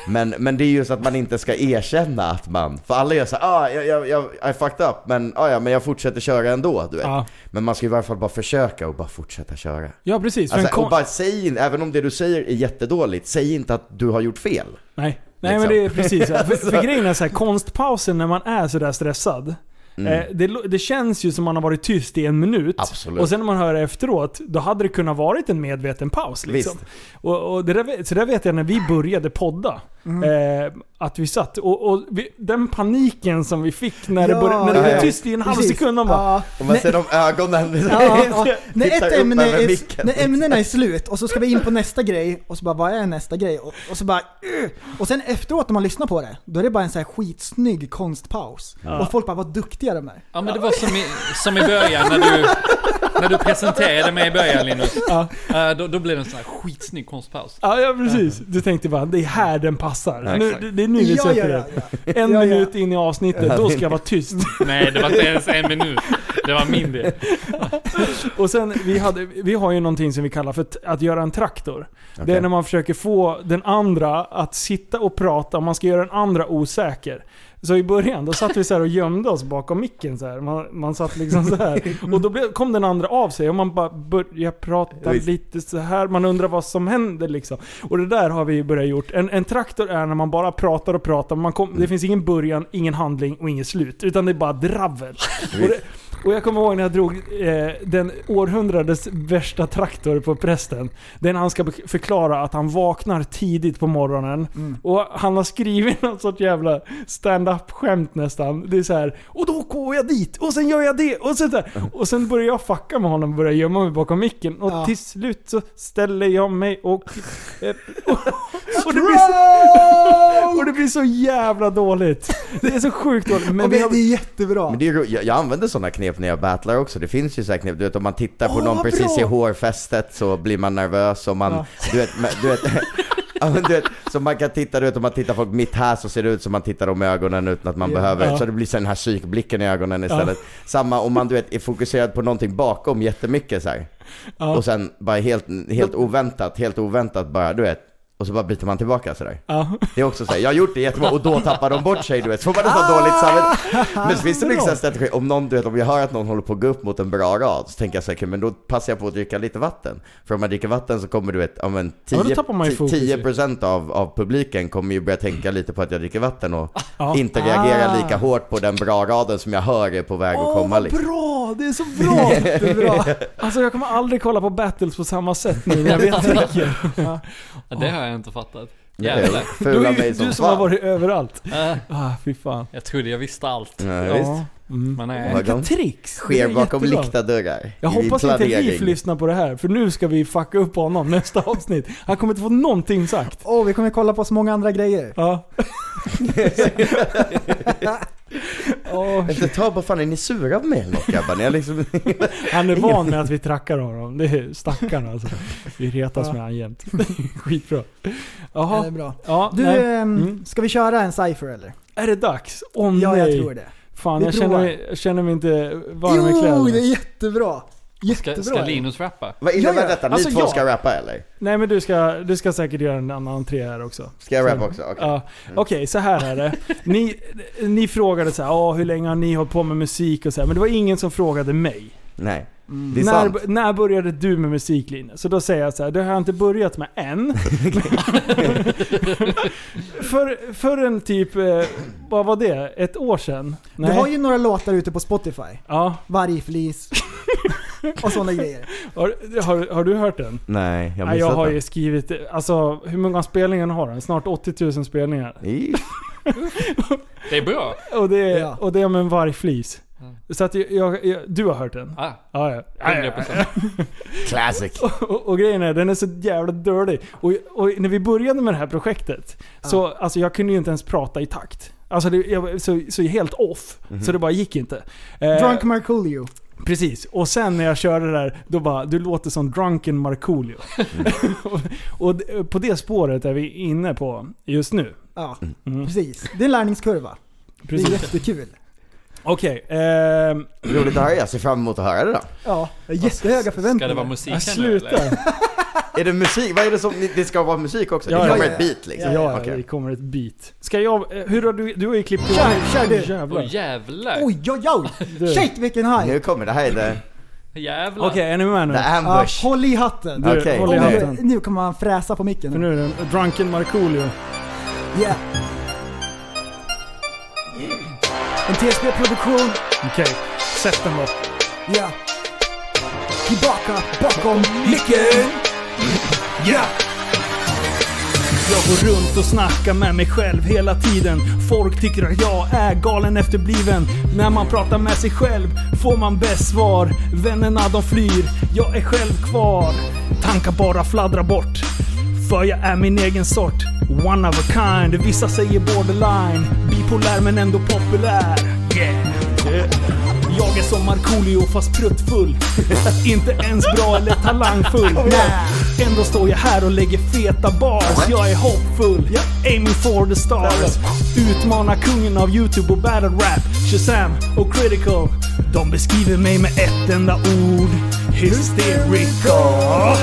H: Men, men det är just att man inte ska erkänna att man, för alla gör såhär ah, jag, jag, jag, I fucked up, men, ah, ja, men jag fortsätter köra ändå du vet.
F: Ja.
H: Men man ska ju i varje fall bara försöka och bara fortsätta köra.
F: Ja, precis. För en
H: Alltså,
F: kon-
H: och bara säg, in- även om det du säger är jättedåligt, säg inte att du har gjort fel.
F: Nej, nej
H: Liksom.
F: men det är precis. så här. För, för grejen är så här, konstpausen när man är sådär stressad.
H: Mm.
F: Eh, det, lo- det känns ju som man har varit tyst i en minut.
H: Absolut.
F: Och sen när man hör efteråt, då hade det kunnat varit en medveten paus. Liksom. Och, och det där, vet- så där vet jag när vi började podda.
G: Mm.
F: Eh, att vi satt och, och vi, den paniken som vi fick när det,
G: Ja,
F: började, när det blev
H: ja.
F: tyst i en halv
G: Precis.
F: sekund. Man bara,
G: Ja.
H: Om man
G: Nej,
H: ser de ögonen.
G: ja, ja. När
H: Tittar
G: ett
H: upp
G: ämne
H: över
G: är,
H: micken.
G: när ämnena är slut och så ska vi in på nästa grej och så bara vad är nästa grej? Och, och så bara "Ugh." Och sen efteråt när man lyssnar på det, då är det bara en så här skitsnygg konstpaus. Och folk bara vad duktiga de är.
I: Ja men det var som i, som i början när du, när du presenterade mig i början Linus.
F: Ja.
I: Eh, då, då blev det en sån här skitsnygg konstpaus.
F: ja, ja precis. Du tänkte bara, det är här den passar.
H: Ja,
F: nu,
H: exakt.
F: det, det är nu vi
G: Ja, ja,
F: sätter
G: ja,
F: det.
G: ja.
F: En
G: Ja, ja.
F: minut in i avsnittet, då ska jag vara tyst.
I: Nej, det var inte ens en minut. Det var min del.
F: Och sen, vi, hade, vi har ju någonting som vi kallar för t- att göra en traktor. Det är
H: Okej.
F: när man försöker få den andra att sitta och prata, man ska göra den andra osäker. Så i början, då satt vi så här och gömde oss bakom micken så här. Man, man satt liksom så här. Och då blev, kom den andra av sig och man bara började prata
H: Visst.
F: lite så här. Man undrar vad som händer liksom. Och det där har vi börjat gjort. En, en traktor är när man bara pratar och pratar. Man kom,
H: Mm.
F: det finns ingen början, ingen handling och inget slut. Utan det är bara dravel. Och, det, och jag kommer ihåg när jag drog eh, den århundradets värsta traktor på prästen. Det är när han ska be- förklara att han vaknar tidigt på morgonen.
G: Mm.
F: Och han har skrivit något sorts jävla stand-up-skämt nästan. Det är så här. Och då går jag dit och sen gör jag det och så där. Och sen börjar jag fucka med honom och börjar gömma mig bakom micken. Och
G: Ja.
F: till slut så ställer jag mig och... eh, och, och, det blir så, och det blir så jävla dåligt. Det är så sjukt dåligt. Men
G: Men
F: vi
G: det,
F: har,
G: det är jättebra.
H: Men det är, ju ro- jag, jag använder sådana knep när jag battlar också. Det finns ju så här knep. Du vet om man tittar på
F: Åh,
H: någon
F: vad
H: precis
F: bra!
H: i hårfästet så blir man nervös och man, du vet, men- du vet, Ja, men du vet, så man kan titta, du vet om man tittar folk mitt här så ser det ut som man tittar dem i ögonen utan att man behöver.
F: Ja.
H: Så det blir så den här psykblicken i ögonen istället. Samma om man du vet är fokuserad på någonting bakom jättemycket så här.
F: Ja.
H: Och sen bara helt, helt oväntat, helt oväntat bara du vet. Och så bara byter man tillbaka sådär.
F: ja.
H: Det är också såhär, jag har gjort det jättebra och då tappar de bort sig du vet. Så får man
F: Ah!
H: nästan dåligt samvete. Men så finns det mycket sån här strategi, om någon, du vet om jag hör att någon håller på att gå upp mot en bra rad så tänker jag såhär, men då passar jag på att dricka lite vatten. För om man dricker vatten så kommer du vet, ja men
F: Ja, då
H: 10,
F: tappar man ju fokus ju.
H: 10% av, av publiken kommer ju börja tänka lite på att jag dricker vatten och
F: Ja. Ah.
H: inte reagera lika hårt på den bra raden som jag hör är på väg att komma
F: vad
H: liksom.
F: bra! Det är så bra! Jättebra. Alltså jag kommer aldrig kolla på battles på samma sätt nu när jag vet tricken.
I: Ja, det har jag inte fattat.
H: Ja, det är
I: Jävlar.
F: Du
H: Fula
F: är ju
H: mig
F: du
H: som
F: som har
H: fan.
F: varit överallt.
I: Äh,
F: Ah, fy fan.
I: Jag trodde jag visste allt. Eh,
H: Ja, visst.
F: Mm.
I: Men
H: Vad
I: nej.
H: gott.
F: Vilka tricks! Det
H: Sker
F: är
H: bakom
F: jättebra.
H: lyckta dörrar.
F: Jag
H: I
F: hoppas inte
H: planering.
F: Liv lyssnar på det här, för nu ska vi fucka upp honom nästa avsnitt. Han kommer inte få någonting sagt.
G: Åh, vi kommer kolla på så många andra grejer.
F: Ja. Åh,
H: Efter ett tag bara fan är ni sura på mig eller något grabbar? Ni har liksom...
F: han är van med att vi trackar honom. Det är stackarn alltså. Vi retas
G: Ja.
F: med han jämt. Skitbra.
G: Ja, det är
F: Jaha.
G: bra.
F: Ja,
G: Du,
F: nej.
G: ehm,
F: Mm.
G: ska vi köra en cypher eller?
F: Är det dags? Åh oh,
G: Ja,
F: nej.
G: jag tror det.
F: Fan,
G: Vi
F: jag känner,
G: provar.
F: mig, jag känner mig inte varm i
G: Jo,
F: kläderna.
G: det är jättebra!
I: Ska,
G: Jättebra!
I: ska Linus rappa?
H: Vad innebär
G: Ja, ja.
H: detta? Ni
F: Alltså,
H: två
F: ja.
H: ska rappa eller?
F: Nej men du ska, du ska säkert göra en annan tre här också.
H: Ska jag rappa också? Okej. Mm.
F: Ja, Okej, så här är det. Ni, ni frågade så här, "Ah, hur länge har ni hållit på med musik och så här, men det var ingen som frågade mig.
H: Nej. Det är sant.
F: Mm. När, när började du med musik Linus? Så då säger jag så här, det har jag inte börjat med än. för, förrän typ, eh, vad var det? Ett år sedan?
G: Du har ju några låtar ute på Spotify.
F: Ja,
G: Vargflis och sådana grejer.
F: har, har, har du hört den?
H: Nej, jag har
F: Nej, jag
H: missat
F: har
H: den.
F: ju skrivit, alltså hur många spelningar har den? Snart 80 000 spelningar.
H: Iff.
I: Det är bra.
F: Och det,
G: Ja.
F: och det är om en vargflis.
I: Mm.
F: Så att jag, jag, jag, du har hört den?
I: Ah,
F: Ja, ja. Ja, ja,
I: 100%.
H: Classic.
F: Och, och grejen är, den är så jävla dirty. Och, och när vi började med det här projektet, så alltså, jag kunde ju inte ens prata i takt. Alltså det, jag var så, så helt off,
H: Mhm.
F: så det bara gick inte. Eh,
G: Drunk Markoolio.
F: Precis, och sen när jag körde det där, då bara du låter som drunken Markoolio.
H: Mm.
F: och, och d- på det spåret är vi inne på just nu.
G: Ja,
F: Mm.
G: precis. Det är en lärningskurva. Det är
F: Precis.
G: jättekul.
F: Okej, ehm,
H: Roligt att höra. Jag ser fram emot att höra det då.
G: Ja, jag har jättehöga
I: ska det vara
G: förväntningar.
I: musik
F: jag
I: här nu, eller?
F: slutar.
H: Är det musik? Vad är det som... ni- Det ska vara musik också?
F: Ja,
H: det
F: ja,
H: kommer
G: ja,
H: ett beat liksom?
F: Ja, ja
H: Okej.
F: det kommer ett beat. Ska jag... eh, Hur har du... Du har ju klippt
G: Kör, kör du.
F: Jävlar.
I: Åh jävlar.
G: Oj, oj, oj!
F: Du.
G: Shit vilken haj!
H: Nu kommer det. här är the,
I: Jävlar.
F: Okej, är ni med nu?
H: the
G: Ja,
H: ambush.
G: håll i hatten.
F: Du,
H: Okej.
F: håll i
H: Om
G: Nu-
F: hatten.
G: Nu kommer han fräsa på
F: För
G: micken.
F: nu är det en drunken Markoolio.
G: Yeah. En TSB-produktion.
F: Okej, sätt den då.
G: Yeah. Tillbaka bakom micken.
F: Jag går runt och snackar med mig själv hela tiden. Folk tycker att jag är galen efterbliven. När man pratar med sig själv får man bäst svar. Vännerna de flyr, jag är själv kvar. Tankar bara fladdrar bort. För jag är min egen sort. One of a kind. Vissa säger borderline. Bipolär men ändå populär. Yeah. Jag är som som Markoolio fast pruttfull. Inte ens bra eller talangfull. Nej. Ändå står jag här och lägger feta bars. Jag är hoppfull. Aiming for the stars. Utmanar kungen av YouTube och battle rap. Shazam och critical. De beskriver mig med ett enda ord. Hysterical.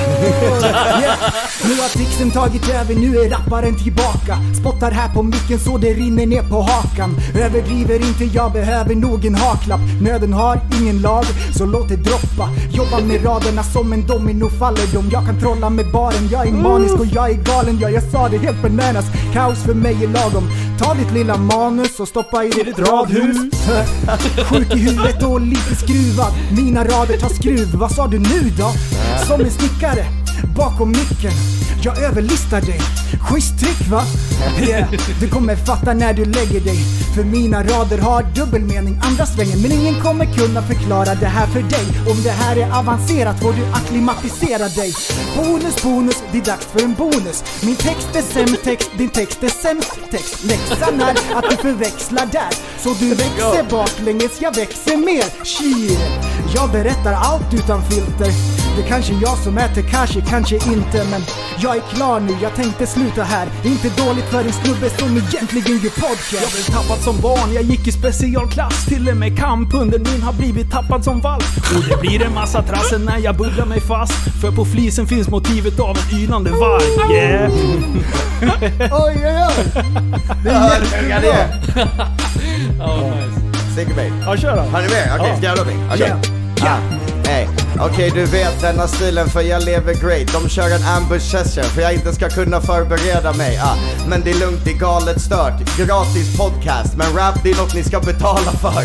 G: Yeah. Nu har trixen tagit över, nu är rapparen tillbaka. Spottar här på micken så det rinner ner på hakan. Överdriver inte, jag behöver nog en haklapp. Nöden har ingen lag, så låt det droppa. Jobbar med raderna som en domino faller de. Jag kan trolla med baren, jag är manisk och jag är galen. Ja, jag sa det helt bananas. Kaos för mig är lagom. Ta ditt lilla manus och stoppa i ditt radhus. Sjuk i huvudet och lite skruvad. Mina rader tar skruv. Vad sa du nu då? Som en snickare bakom micken. Jag överlistar dig. Schysst trick va? Yeah. Du kommer fatta när du lägger dig. För mina rader har dubbel mening andra svängen. Men ingen kommer kunna förklara det här för dig. Om det här är avancerat får du akklimatisera dig. Bonus, bonus, det är dags för en bonus. Min text är sämst text, din text är sämst text. Läxan är att du förväxlar där. Så du växer baklänges, jag växer mer. Shit. Jag berättar allt utan filter. Det kanske är jag som är Tekashi, kanske inte men jag är klar nu, jag tänkte sluta här. Inte dåligt för en snubbe som egentligen gör
F: Jag
G: podcast.
F: blev tappad som barn, jag gick i specialklass. Till och med kamphunden min har blivit tappad som valp. Och det blir en massa trassel när jag bubblar mig fast. För på flisen finns motivet av en ylande varg. Yeah.
G: Oj, oj, oj!
H: Hörde det?
I: Ja, nice.
H: Sticker mig.
F: Ja, kör då.
H: Har ni med? Okej, ska jag dra mig? Okej. Ah, hej. Okej, du vet denna stilen för jag lever great. De kör en ambush session för jag inte ska kunna förbereda mig. Ah, men det är lugnt, det är galet stört. Gratis podcast, men rap det är något ni ska betala för.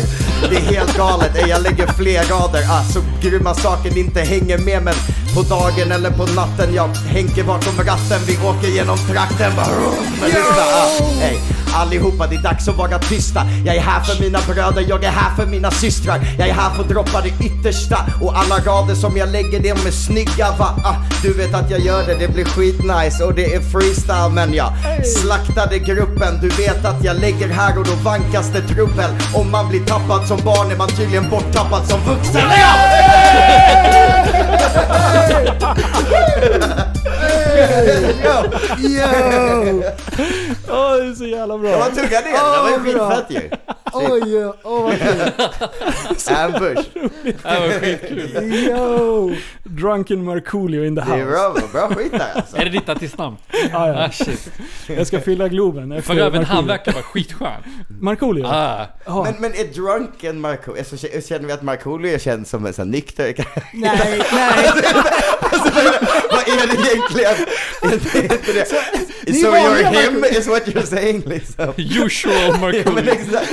H: Det är helt galet, ey, jag lägger fler rader. Ah, så grymma saker ni inte hänger med men på dagen eller på natten. Jag Henke bakom ratten, vi åker genom trakten. Bara, vroom, lyssna. Ah, hej. Allihopa, det är dags att vara tysta. Jag är här för mina bröder, jag är här för mina systrar. Jag är här för att droppa det yttersta. Och alla rader som jag lägger, de är snygga va? Ah, du vet att jag gör det, det blir skitnice och det är freestyle. Men jag slaktade gruppen, du vet att jag lägger här och då vankas det trubbel. Om man blir tappad som barn är man tydligen borttappad som vuxen. Ja!
G: Yo!
F: Ja, det är så jävla
H: Jag
F: bra.
H: var tuggad ner, det var ju skitfett ju.
G: Oj, oj, oj.
H: Ambush.
I: Det var skitkul.
F: Yo! Drunken Markoolio in the
H: Det är
F: house.
H: bra, bra skit där alltså.
I: Är det ditt artistnamn?
F: Ah, ja.
I: Ah, shit.
F: Jag ska fylla Globen
I: För
F: efter
I: övrigt, han
F: Markoolio.
I: verkar vara skitskön.
F: Markoolio?
I: Ah.
F: Ja.
H: Men, men är drunken Markoolio, alltså, k- känner vi att Markoolio är känd som en sån här nykter karaktär?
G: Nej, nej.
H: Alltså, Vad är det egentligen? Är det inte det?
G: är
H: so
G: vanliga
H: you're him
G: Markoolio.
H: is what you're saying liksom.
I: Usual
H: Ja, men liksom,
I: Markoolio.
H: exakt.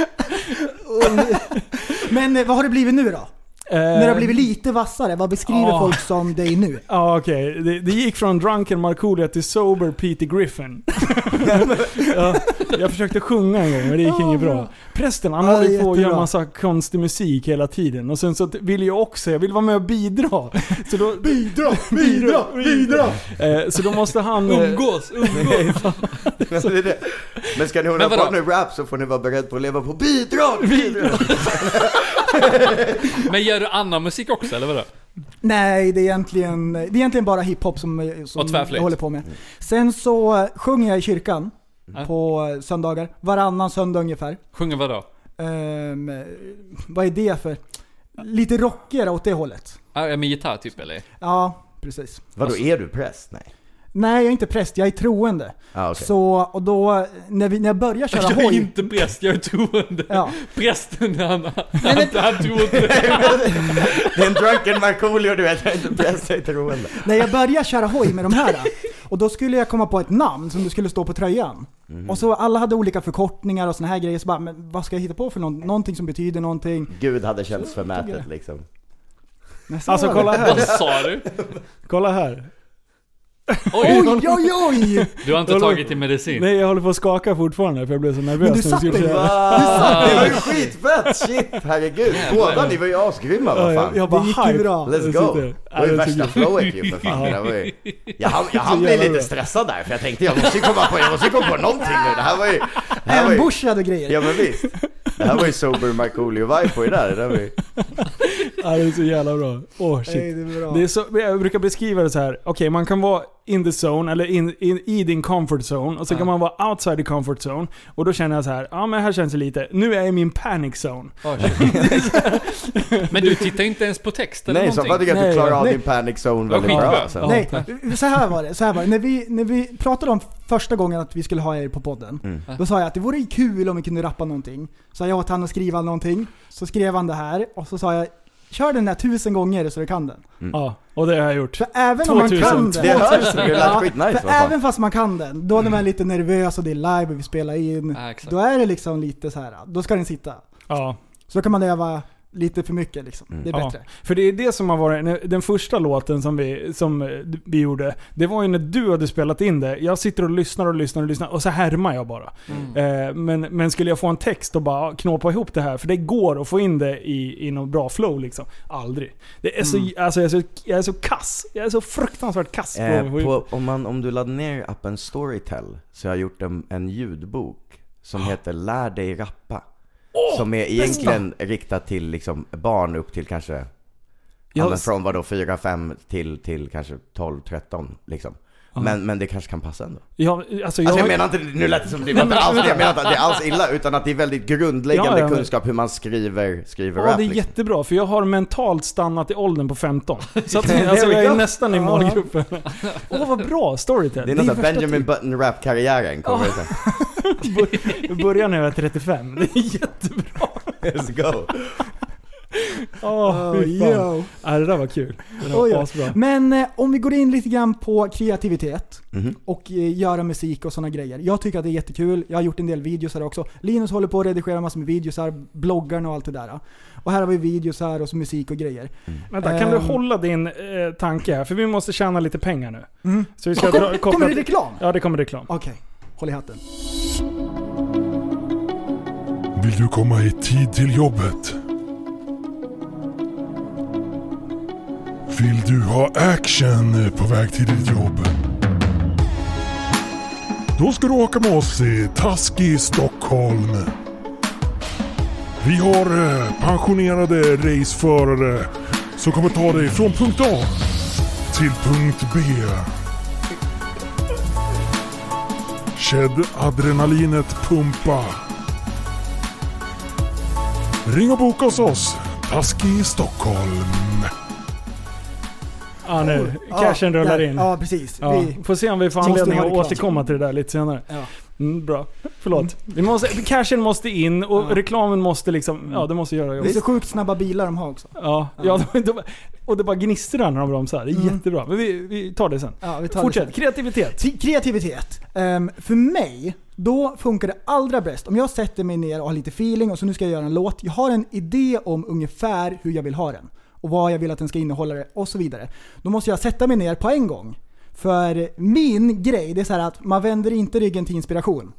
G: Men eh, vad har det blivit nu då?
F: Eh,
G: När det har blivit lite vassare, vad beskriver
F: Ah.
G: folk som dig nu?
F: Ja okej, det, det gick från drunken Markoolio till sober Peter Griffin. ja, jag försökte sjunga en gång men det gick inget bra. Prästen han
G: Ja,
F: håller ju på och gör
G: jättebra.
F: massa konstig musik hela tiden. Och sen så t- vill jag också, jag vill vara med och bidra. Så då, bidra, bidra, bidra! Eh, så då måste han... eh,
I: Umgås, umgås.
H: Men, det är det. men ska ni hålla
I: Men vadå?
H: på med rap så får ni vara beredda på att leva på bidrag!
F: Bidrag.
I: Men gör du annan musik också eller vadå?
G: Nej, det är egentligen, det är egentligen bara hiphop som, eh,
I: Och
G: som
I: tvärflöjt.
G: jag håller på med. Sen så eh, sjunger jag i kyrkan
I: Mm.
G: på eh, söndagar. Varannan söndag ungefär.
I: Sjunger vadå?
G: Ehm, eh, vad är det för? Lite rockigare åt det hållet.
I: Ah, ja, med gitarr typ eller? Alltså-
G: Ja, precis.
H: Vadå, är du präst? Nej.
G: Nej, jag är inte präst, jag är troende.
H: Ah, okay.
G: Så, och då, eh, när, vi, när jag börjar köra
I: Jag är
G: hoj.
I: inte präst, jag är troende.
G: Ja.
I: Prästen han, han, han tror inte.
H: Det är en drunken Markoolio du vet, jag är inte präst, jag är troende.
G: När jag började köra hoj med de här, och då skulle jag komma på ett namn som det skulle stå på tröjan. Och så alla hade olika förkortningar och såna här grejer, så bara, men vad ska jag hitta på för någon, någonting som betyder någonting?
H: Gud hade känts förmätet liksom.
G: Men så
F: Alltså
G: var
F: kolla
G: det.
F: här,
I: Vad sa du?
F: kolla här.
I: Oj,
G: Oj, oj, oj!
I: du har inte tagit din medicin.
F: Nej jag håller på att skaka fortfarande för jag blev så nervös
G: Men du
F: när jag
G: satt
F: skulle
G: dig,
F: säga-
G: va?
H: Ah, Det var ju skitfett! Shit, herregud. Båda ni var ju asgrymma, vad
F: Ja,
H: fan.
F: Jag bara
G: Det gick ju
F: hype.
G: bra.
H: Let's
F: Jag
H: go!
F: sitter-
H: Det
F: Ja,
H: var ju
F: jag tycker-
H: värsta flowet ju för fan. Det där var ju... Jag hann, jag hann
F: Så
H: bli
F: jävla
H: lite
F: bra.
H: stressad där för jag tänkte jag måste ju komma på, jag måste ju komma på någonting nu. Det här var ju Det här var ju-
G: Ambushad och grejer.
H: Ja men visst. Det här var ju sober Markoolio-vibe på det där. Det där var ju...
F: Ja, det är så jävla bra. Åh oh,
G: Nej,
F: shit.
G: det är bra.
F: Det är så, jag brukar beskriva det så här. okej man kan vara in the zone, eller in, in, i din comfort zone, och så kan man vara outside the comfort zone. Och då känner jag så här, ja men här känns det lite, nu är jag i min panic zone.
I: Ah, shit. Men du tittar inte ens på text eller
H: Nej, så jag
I: någonting.
H: tycker att du
F: Nej,
H: klarar av
F: nej.
H: din panic zone
I: Vad
H: väldigt bra.
I: skitbra.
H: Alltså.
F: Ja.
G: Nej, så här var det. Så här var det. När, vi, när vi pratade om första gången att vi skulle ha er på podden, då sa jag att det vore kul om vi kunde rappa någonting. Så jag åt han att skriva någonting, så skrev han det här och så sa jag Kör den där tusen gånger så du kan den.
F: Ja, och det har jag gjort.
G: För även om man
F: 2000.
G: kan den...
H: Det hörs ju, det lät skitnice,
G: för
H: vad fan.
G: även fast man kan den, då när
F: Mm.
G: man är lite nervös och det är live och vi spelar in,
I: Ja, exakt.
G: då är det liksom lite så här. då ska den sitta.
F: Ja.
G: Så då kan man öva lite för mycket liksom.
H: Mm.
G: Det är bättre.
F: Ja, för det är det som har varit, den första låten som vi, som eh, vi gjorde, det var ju när du hade spelat in det. Jag sitter och lyssnar och lyssnar och lyssnar och så härmar jag bara.
G: Mm.
H: Mm.
F: Eh, men, men skulle jag få en text och bara knåpa ihop det här, för det går att få in det i, i någon bra flow liksom. Aldrig. Det är så,
H: Mm.
F: alltså, jag, är så, jag är så kass. Jag är så fruktansvärt kass på att
H: Eh,
F: få ihop
H: på, om, man, om du laddar ner appen Storytel så har jag gjort en, en ljudbok
F: Ah.
H: som heter Lär dig rappa. som är egentligen riktad till liksom barn upp till kanske, ja,
F: Jag-
H: men från vadå 4-5 till, till kanske 12-13 liksom.
F: Ah.
H: Men, men det kanske kan passa ändå.
F: Ja, alltså, jag,
H: Alltså jag menar inte, nu lät det som det var inte alls det, jag menar inte att det är alls illa utan att det är väldigt grundläggande
F: Ja, ja, men-
H: kunskap hur man skriver, skriver
F: Ja,
H: rap
F: det är
H: liksom.
F: jättebra, för jag har mentalt stannat i åldern på 15. Så att,
H: There
F: alltså,
H: we
F: jag är
H: go.
F: nästan i
G: Ja.
F: målgruppen. Åh, vad bra! Storytel.
H: Det är något av
F: värsta typ.
H: Benjamin Button rap-karriären kommer det sen.
F: Jag börjar när jag är 35. Det är jättebra.
H: Let's go!
F: Åh, fy fan.
G: Oh, yo.
F: Ja, det där var kul. Det där var
G: Oj, ja.
F: asbra.
G: Men eh, om vi går in lite grann på kreativitet och eh, göra musik och sådana grejer. Jag tycker att det är jättekul. Jag har gjort en del videosar också. Linus håller på att redigera massor med videosar, bloggarna och allt det där. Och här har vi videosar och så musik och grejer.
H: Mm.
F: Vänta, kan du
G: Ehm.
F: hålla din eh, tanke här? För vi måste tjäna lite pengar nu. Så vi ska
G: Och Mhm. kom-
F: dra, koppla
G: kommer det
F: till-
G: reklam?
F: Ja, det kommer reklam.
G: Okej, håll i hatten.
J: Vill du komma i tid till jobbet? Vill du ha action på väg till ditt jobb? Då ska du åka med oss i Taski Stockholm. Vi har eh, pensionerade raceförare som kommer ta dig från punkt A till punkt B. Känn adrenalinet pumpa. Ring och boka hos oss. Taski Stockholm.
F: Ja, nu. Cashen
G: Ja,
F: rullar
G: där.
F: in.
G: Ja, precis.
F: Ja,
G: Vi,
F: får se om vi får
G: Måste
F: anledning
G: ha
F: att
G: reklam.
F: återkomma till det där lite senare.
G: Ja.
F: Mm, bra. Förlåt. Vi måste, cashen måste in och reklamen måste liksom... Ja, det måste göra
G: det är så
F: jobbet.
G: sjukt snabba bilar de har också.
F: Ja, ja, de, de, och det bara gnistrar när de bromsar.
G: Mm.
F: Det är jättebra. Men vi, vi tar det sen.
G: Ja, vi tar det
F: Fortsätt.
G: sen.
F: Kreativitet.
G: Ti- Kreativitet. Ehm, för mig, då funkar det allra bäst om jag sätter mig ner och har lite feeling och så nu ska jag göra en låt. Jag har en idé om ungefär hur jag vill ha den och vad jag vill att den ska innehålla det och så vidare. Då måste jag sätta mig ner på en gång. För min grej, det är så här att man vänder inte ryggen till inspiration.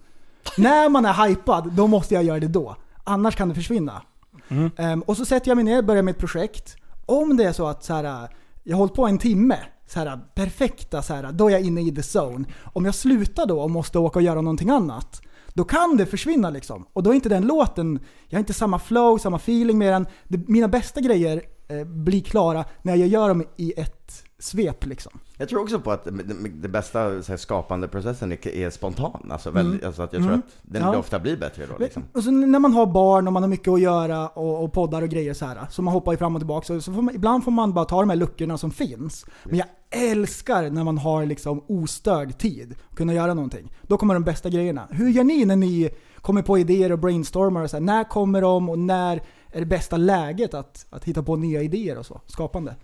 G: När man är hypad, då måste jag göra det då. Annars kan det försvinna. Ehm, och så sätter jag mig ner och börjar med ett projekt. Om det är så att så här, jag har hållit på en timme, så här, perfekta, så här, då är jag inne i the zone. Om jag slutar då och måste åka och göra någonting annat, då kan det försvinna liksom. Och då är inte den låten, jag har inte samma flow, samma feeling med den. Det, mina bästa grejer eh, blir klara när jag gör dem i ett svep liksom.
H: Jag tror också på att det- det det bästa så här, skapandeprocessen är, är spontan. Alltså, väldigt, alltså att jag tror att den
G: Ja.
H: ofta blir bättre då liksom.
G: Och så alltså, när man har barn och man har mycket att göra och, och poddar och grejer så här, så man hoppar ju fram och tillbaka. Så, så får man, ibland får man bara ta de här luckorna som finns. Men jag älskar när man har liksom ostörd tid, att kunna göra någonting. Då kommer de bästa grejerna. Hur gör ni när ni kommer på idéer och brainstormar och så här, När kommer de och när är det bästa läget att, att hitta på nya idéer och så? Skapande.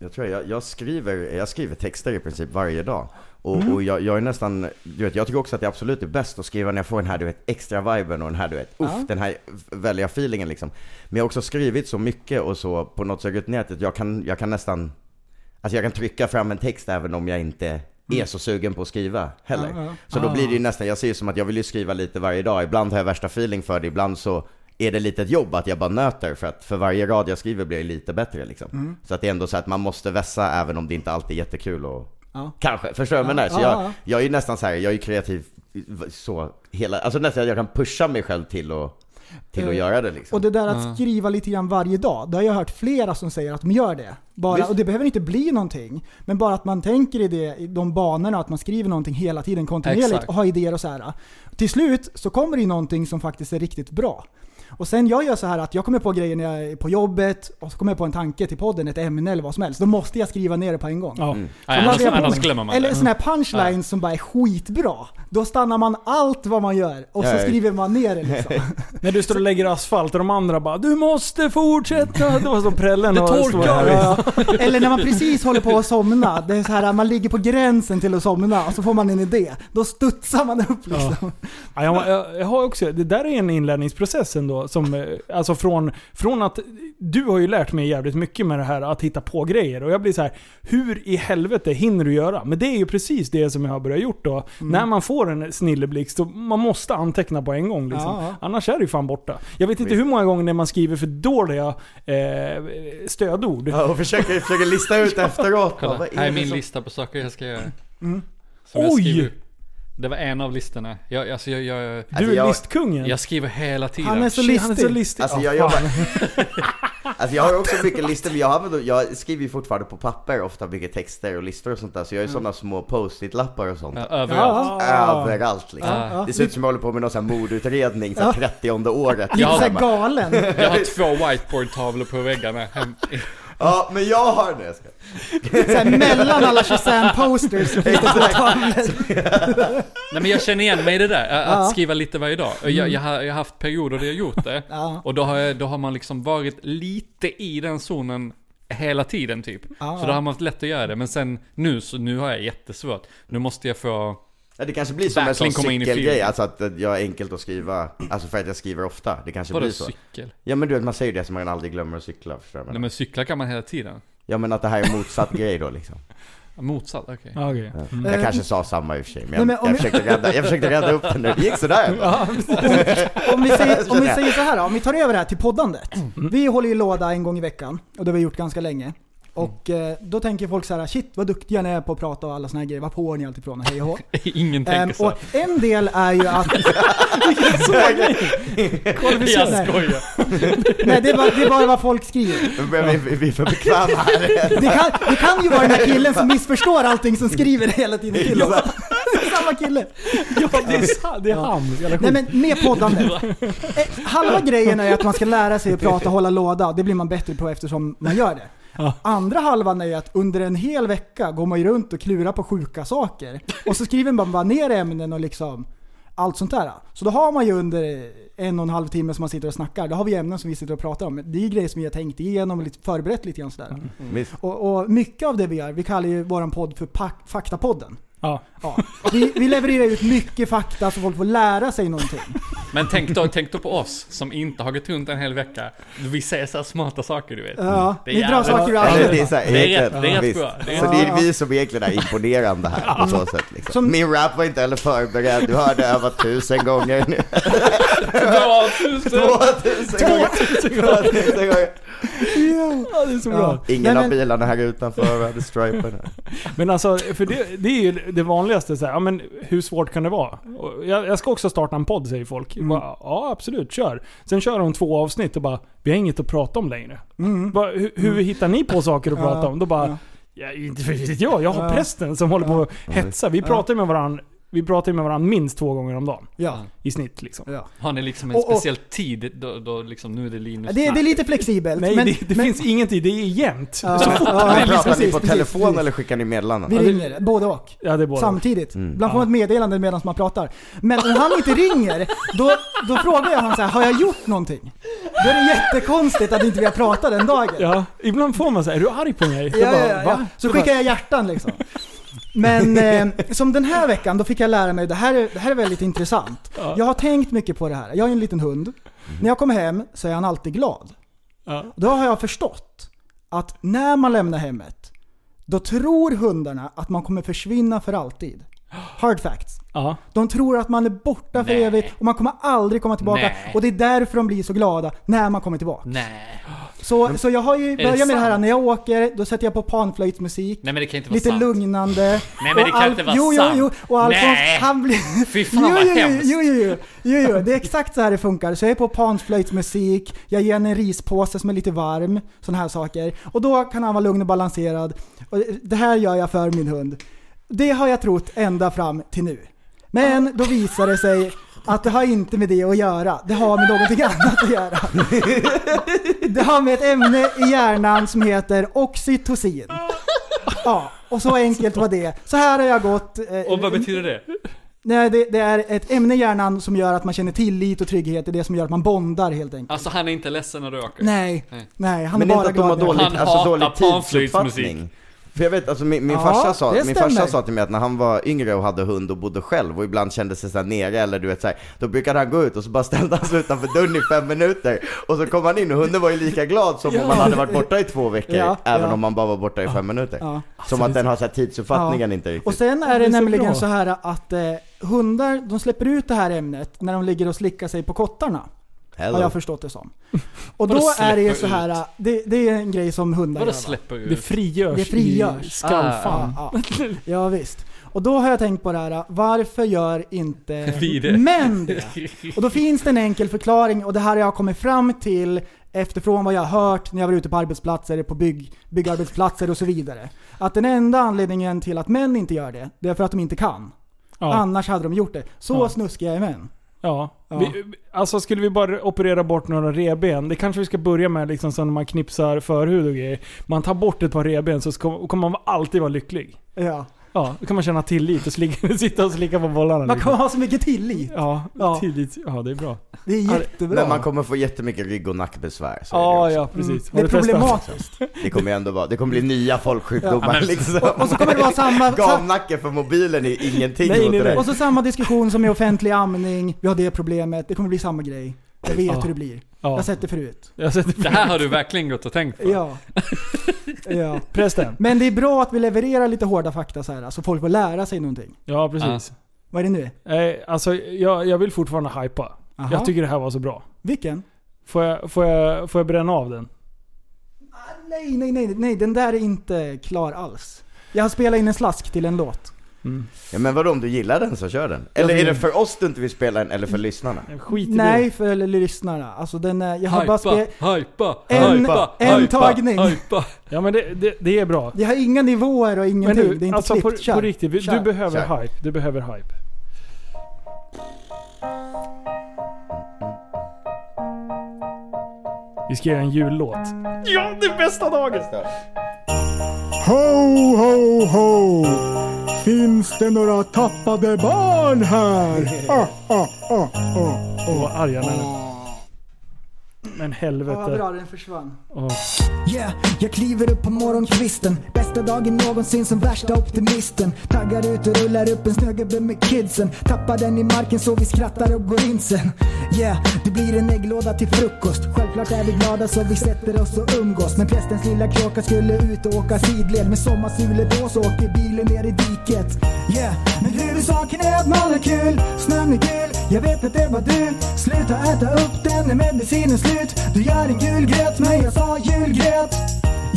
H: Jag tror jag, jag, skriver, jag skriver texter i princip varje dag. Och, och jag, jag är nästan, du vet, jag tycker också att det absolut är bäst att skriva när jag får den här du vet, extra viben och den här du vet, uff, den här välja feelingen liksom. Men jag har också skrivit så mycket och så på något sätt rutinerat att jag kan, jag kan nästan, alltså jag kan trycka fram en text även om jag inte är så sugen på att skriva heller. Så då blir det ju nästan, jag ser ju som att jag vill ju skriva lite varje dag. Ibland har jag värsta feeling för det, ibland så är det lite ett jobb att jag bara nöter för att för varje rad jag skriver blir det lite bättre liksom.
G: Mm.
H: Så att det är ändå så att man måste vässa även om det inte alltid är jättekul och
G: Ja.
H: kanske, förstår du vad jag menar? Så
G: Ja,
H: jag,
G: ja.
H: jag är ju nästan så här, jag är ju kreativ så hela, alltså nästan att jag kan pusha mig själv till att, till att
G: Eh,
H: göra det liksom.
G: Och det där
I: Ja.
G: att skriva lite grann varje dag, det har jag hört flera som säger att de gör det. Bara,
H: Visst.
G: och det behöver inte bli någonting, men bara att man tänker i, det, i de banorna, att man skriver någonting hela tiden kontinuerligt
I: Exakt.
G: och har idéer och så här. Till slut så kommer det ju någonting som faktiskt är riktigt bra. Och sen jag gör så här att jag kommer på grejer när jag är på jobbet och så kommer jag på en tanke till podden, ett ämne eller vad som helst. Då måste jag skriva ner det på en gång.
F: Ja.
I: Mm. Nej,
G: Så
I: annars,
G: laddar jag på
I: annars
G: mig.
I: glömmer man
G: Eller
I: det.
G: sådana här punchlines som bara är skitbra. Då stannar man allt vad man gör och så
H: Ja, ja.
G: skriver man ner det liksom.
F: När du står och lägger asfalt och de andra bara Du måste fortsätta! Då står prällen
I: Det
F: och
I: torkar.
F: står här.
G: Ja, Eller när man precis håller på att somna. Det är så här, man ligger på gränsen till att somna och så får man en idé. Då studsar man upp liksom.
F: Ja, jag, jag, jag har också, det där är en inlärningsprocess ändå. Som, eh, alltså från, från att, du har ju lärt mig jävligt mycket med det här att hitta på grejer. Och jag blir så här, hur i helvete hinner du göra? Men det är ju precis det som jag har börjat gjort då.
H: Mm.
F: När man får en snilleblixt, då man måste anteckna på en gång. Liksom.
G: Ja, ja.
F: Annars är det ju fan borta. Jag vet inte hur många gånger när man skriver för dåliga eh, stödord.
H: Ja, och försöker, försöker lista ut efteråt.
I: Kolla,
H: vad
I: här är
H: det
I: min
H: som-
I: lista på saker jag ska göra. Som jag skriver
F: Oj!
I: upp. Det var en av listorna. Jag, alltså, jag, jag,
F: Du
H: Alltså,
F: är
H: jag-
F: listkungen.
I: jag skriver hela tiden.
G: Han är så
F: Shit, Han är så
G: listig.
F: listig.
H: Alltså
F: Ja,
H: jag
F: fan.
H: jobbar... Alltså jag har också mycket listor, men jag, använder, jag skriver ju fortfarande på papper ofta mycket texter och listor och sånt där. Så jag har ju sådana små post-it-lappar och sånt.
I: Ja, Överallt.
H: Överallt liksom.
I: Ja.
H: Det ser ut som jag håller på med någon sån här mordutredning, så här 30 året. liksom.
G: Lite
I: Ja.
G: såhär galen.
I: Jag har två whiteboardtavlor på väggarna. hem-
H: Ja, men jag har det.
G: Såhär, mellan alla Shazam posters. så finns det två tavlor.
I: Nej men jag känner igen mig i det där, ä- att
G: Ja. Mm.
I: skriva lite varje dag. Jag, jag, har, jag har haft perioder där jag gjort det.
G: Ja.
I: Och då har, jag, då har man liksom varit lite i den zonen hela tiden typ.
G: Ja.
I: Så då har man haft lätt att göra det. Men sen nu, så nu har jag jättesvårt. Nu måste jag få...
H: Ja, det kanske blir som en
I: Verkligen
H: sån
I: komma in i
H: cykelgrej,
I: filmen.
H: alltså att jag är enkelt att skriva. Alltså för att jag skriver ofta. Det kanske
I: Vadå
H: blir så.
I: cykel?
H: Ja men du vet, man säger ju det som man aldrig glömmer att cykla, förstår du?
I: Nej men cykla kan man hela tiden.
H: Ja men att det här är motsatt grej då liksom.
I: Motsatt, okej.
F: Ja, okej.
H: Jag kanske sa samma i och för sig, men jag,
G: Eh, Nej, men om
H: jag,
G: jag-
H: försökte, rädda, jag försökte rädda upp den nu. Det gick sådär. Ja.
G: Om vi, säger, om vi säger så här då, om vi tar över det här till poddandet. Vi håller ju låda en gång i veckan och det har vi gjort ganska länge. Och eh, då tänker folk så här, shit vad duktiga ni är på att prata och alla såna här grejer. Vad får ni allt ifrån? och Hej och hå.
I: Ingen
G: Ehm,
I: tänker så.
G: och en del är ju att...
I: Jag skojar.
G: Nej, det är, bara, det är bara vad folk skriver.
H: Nu börjar vi, vi är för bekväma här.
G: Det kan, det kan ju vara den här killen som missförstår allting som skriver hela tiden till oss. Samma kille.
F: Ja, det är, sa- det är han. Jävla skit.
G: Nej men med poddandet. Eh, Halva grejen är att man ska lära sig att prata och hålla låda. Det blir man bättre på eftersom man gör det. Andra halvan är ju att under en hel vecka går man ju runt och klurar på sjuka saker. Och så skriver man bara ner ämnen och liksom allt sånt där. Så då har man ju under en och en halv timme som man sitter och snackar, då har vi ämnen som vi sitter och pratar om. Det är ju grejer som vi har tänkt igenom och lite förberett lite grann sådär.
F: Mm.
H: Visst.
G: Och, och mycket av det vi gör, vi kallar ju våran podd för pak- Faktapodden.
F: Ja.
G: Ja. Vi, vi levererar ut mycket fakta så folk får lära sig någonting.
I: Men tänk då, tänk då på oss som inte har gått runt en hel vecka. Vi säger så här smarta saker du vet. Mm.
G: Ja,
I: Det är
G: ni drar
I: jävligt.
G: saker ur
H: Eller det är
G: arslet.
H: så här,
I: Det är rätt-
H: egentligen,
I: det är rätt
H: visst.
I: bra. Det är-
H: Så det är vi som egentligen är imponerande här på så sätt liksom.
G: Som-
H: Min rap var inte heller förberedd, du hörde över tusen gånger nu.
I: Bra, tusen!
H: Två tusen gånger. Två tusen gånger.
F: Ja, det är så bra.
G: Ja.
H: Ingen
G: Nej,
H: av
G: men-
H: bilarna här utanför hade stripen. här.
F: Men alltså, för det, det är ju det vanligaste. Så här, ja, men hur svårt kan det vara? Och Jag, jag ska också starta en podd, säger folk.
G: Mm.
F: Jag Bara, ja, absolut, kör. Sen kör de två avsnitt och bara, vi har inget att prata om längre. Bara, hur, hur hittar ni på saker att
G: Mm. Ja,
F: prata om? Då bara,
G: ja.
F: ja, inte vet jag. Jag har
G: Ja.
F: prästen som håller på och hetsar. Vi pratar ju med varandra. Vi pratar ju med varandra minst två gånger om dagen.
G: Ja.
F: I snitt liksom.
G: Ja.
I: Har ni liksom en
G: Och- och-
I: speciell tid då, då liksom, nu är det Linus
G: Det, det är lite flexibelt.
F: Nej,
G: men,
F: det, det
G: men,
F: finns ingen tid. Det är jämnt.
G: ja, ja,
H: Men pratar ni
G: precis,
H: på
G: precis,
H: telefon
G: precis.
H: eller skickar ni meddelanden?
G: Vi ringer, både och.
F: Ja, det är båda.
G: Samtidigt. Ibland får
F: Ja.
G: man ett meddelande medan man pratar. Men om han inte ringer, då, då frågar jag han så här, har jag gjort någonting? Då är det jättekonstigt att inte vi har pratat den dagen.
F: Ja, ibland får man säga är du arg på mig? Jag
G: Ja,
F: bara,
G: ja, ja,
F: "Va?"
G: ja. Så skickar jag hjärtan liksom. Men eh, som den här veckan, då fick jag lära mig, det här är, det här är väldigt intressant.
F: Ja. Mm.
G: Jag har tänkt mycket på det här. Jag är en liten hund. När jag kommer hem så är han alltid glad.
F: Ja.
G: Då har jag förstått att när man lämnar hemmet, då tror hundarna att man kommer försvinna för alltid. Hard facts.
F: Ja.
G: De tror att man är borta för
I: Nej.
G: evigt och man kommer aldrig komma tillbaka.
I: Nej.
G: Och det är därför de blir så glada när man kommer tillbaka.
I: Nej.
G: Så, så jag har ju börjat med det här
I: sant?
G: när jag åker, då sätter jag på panflöjtsmusik.
I: Nej men det kan inte vara
G: Lite
I: sant.
G: lugnande.
I: Nej, men det
G: Och
I: kan inte vara
G: jo,
I: sant.
G: Jo, jo, och Alfons,
I: Nej.
G: han blir...
I: Fy fan
G: jo,
I: vad
G: jo, jo,
I: hemskt.
G: jo, jo, jo, jo, jo, det är exakt så här det funkar. Så jag är på panflöjtsmusik, jag ger henne en rispåse som är lite varm, sådana här saker. Och då kan han vara lugn och balanserad. Och det här gör jag för min hund. Det har jag trott ända fram till nu. Men då visar det sig att det har inte med det att göra. Det har med någonting annat att göra. Det har med ett ämne i hjärnan som heter oxytocin. Ja, och så enkelt var det. Så här har jag gått. eh,
I: Och vad betyder det?
G: Nej, det, det är ett ämne i hjärnan som gör att man känner tillit och trygghet. Det är det som gör att man bondar helt enkelt.
I: Alltså han är inte ledsen när du åker.
G: Nej,
I: Nej.
G: nej, han
H: Men
G: är
H: inte
G: bara
H: att de
G: glad.
H: har
G: när jag-
H: dålig,
I: Han
H: alltså,
I: hatar
H: dålig tidsuppfattning.
I: panflöjtsmusik.
H: För jag vet, alltså min, min,
G: Ja,
H: farsa sa,
G: det
H: min
G: stämmer.
H: farsa sa till mig att när han var yngre och hade hund och bodde själv och ibland kände sig såhär nere eller du vet såhär, då brukade han gå ut och så bara ställde han sig utanför dörren i fem minuter och så kom han in och hunden var ju lika glad som om han hade varit borta i två veckor,
G: Ja,
H: även
G: ja.
H: om man bara var borta i fem minuter.
G: Ja.
H: Som att den har såhär tidsuppfattningen
G: Ja.
H: inte riktigt.
G: Och sen är det,
F: Det är så
G: nämligen
F: bra.
G: så här att eh, hundar, de släpper ut det här ämnet när de ligger och slickar sig på kottarna. Har jag förstått det som. Och
I: Vadå
G: då är det ju
I: släpper
G: så här, det, det är en grej som hundar
I: Vadå
G: gör, va?
I: släpper
F: Det
I: ut?
F: frigörs,
G: Det frigörs. Ah,
F: i skallfan.
G: Ja, ja. ja visst. Och då har jag tänkt på det här, varför gör inte
I: Vi det?
G: män det? Och då finns det en enkel förklaring och det här har jag kommit fram till efterfrån vad jag har hört när jag var ute på arbetsplatser, på bygg, byggarbetsplatser och så vidare. Att den enda anledningen till att män inte gör det, det är för att de inte kan.
F: Ja.
G: Annars hade de gjort det. Så
F: Ja.
G: snuskiga är män.
F: Ja.
G: Ja.
F: Vi, alltså skulle vi bara operera bort några reben, det kanske vi ska börja med liksom sen när man knipsar förhud och grejer. Man tar bort ett par reben så ska, kommer man alltid vara lycklig.
G: Ja.
F: Ja, då kan man känna tillit och slicka, sitta och slicka på bollarna.
G: Man
F: liksom.
G: kan ha så mycket tillit.
F: Ja,
G: Ja.
F: tillit. Ja, det är bra.
G: Det är
F: det-
G: jättebra.
H: Men man kommer få jättemycket rygg och nackbesvär. Så är det
F: Ja,
H: också. Mm.
F: ja precis.
G: Det är
F: Har du testat?
G: problematiskt.
H: Det kommer ju ändå vara, det kommer bli nya folksjukdomar liksom.
G: Och så kommer det vara samma... sa-
H: Gamnacke för mobilen är ingenting
F: Nej,
H: mot
F: nej,
H: det där.
F: nej.
G: Och så samma diskussion som med offentlig amning. Vi har det problemet. Det kommer bli samma grej. Jag vet
F: Ja.
G: hur det blir. Jag
F: Ja.
G: har sett det förut.
F: Jag sätter
I: Det här har du verkligen gått och tänkt på.
G: Ja. ja.
F: Prästen.
G: Men det är bra att vi levererar lite hårda fakta så här, så folk får lära sig någonting.
F: Ja, precis.
G: Vad är det nu?
F: Eh, alltså, jag, jag vill fortfarande hypa.
G: Aha.
F: Jag tycker det här var så bra.
G: Vilken?
F: Får jag, får jag, får jag bränna av den?
G: Ah, nej, nej, nej, nej, den där är inte klar alls. Jag har spelat in en slask till en låt.
F: Mm.
H: Ja, men vadå om du gillar den så kör den? Eller är det för oss du inte vill spela den eller för lyssnarna?
F: Skit i
G: Nej, för lyssnarna. Alltså den är, jag har bara
I: Hypa,
G: spelat...
I: hypa,
G: En-
I: hypa,
G: en
I: hypa,
G: tagning.
I: Hypa.
F: det. Ja men det, det, det är bra.
G: Jag har inga nivåer och
F: Men
G: ingenting. det är
F: du,
G: inte
F: alltså på,
G: klippt. Kör.
F: på riktigt. vi- Du
G: Kör.
F: behöver
H: Kör.
F: hype. Du behöver hype. Vi ska göra en jullåt. Ja, det är bästa dagen!
J: Ho, ho, ho! Oh, Finns det några tappade barn här? Ah, ah, ah, ah.
F: Åh, vad arg han är. Men
G: Ja, vad
F: helvete.
G: bra den försvann.
F: Åh.
K: Yeah, jag kliver upp på morgonkvisten Bästa dagen någonsin som värsta optimisten Taggar ut och rullar upp en snögubbe med kidsen Tappar den i marken så vi skrattar och går in sen Yeah, det blir en ägglåda till frukost Självklart är vi glada så vi sätter oss och umgås Men prästens lilla kråka skulle ut och åka sidled Med sommarsulor på så åker bilen ner i diket Yeah, men huvudsaken är att man har kul Snön är gul, jag vet att det var du Sluta äta upp den när medicinen är slut Du gör en julgröt, men jag sa julgröt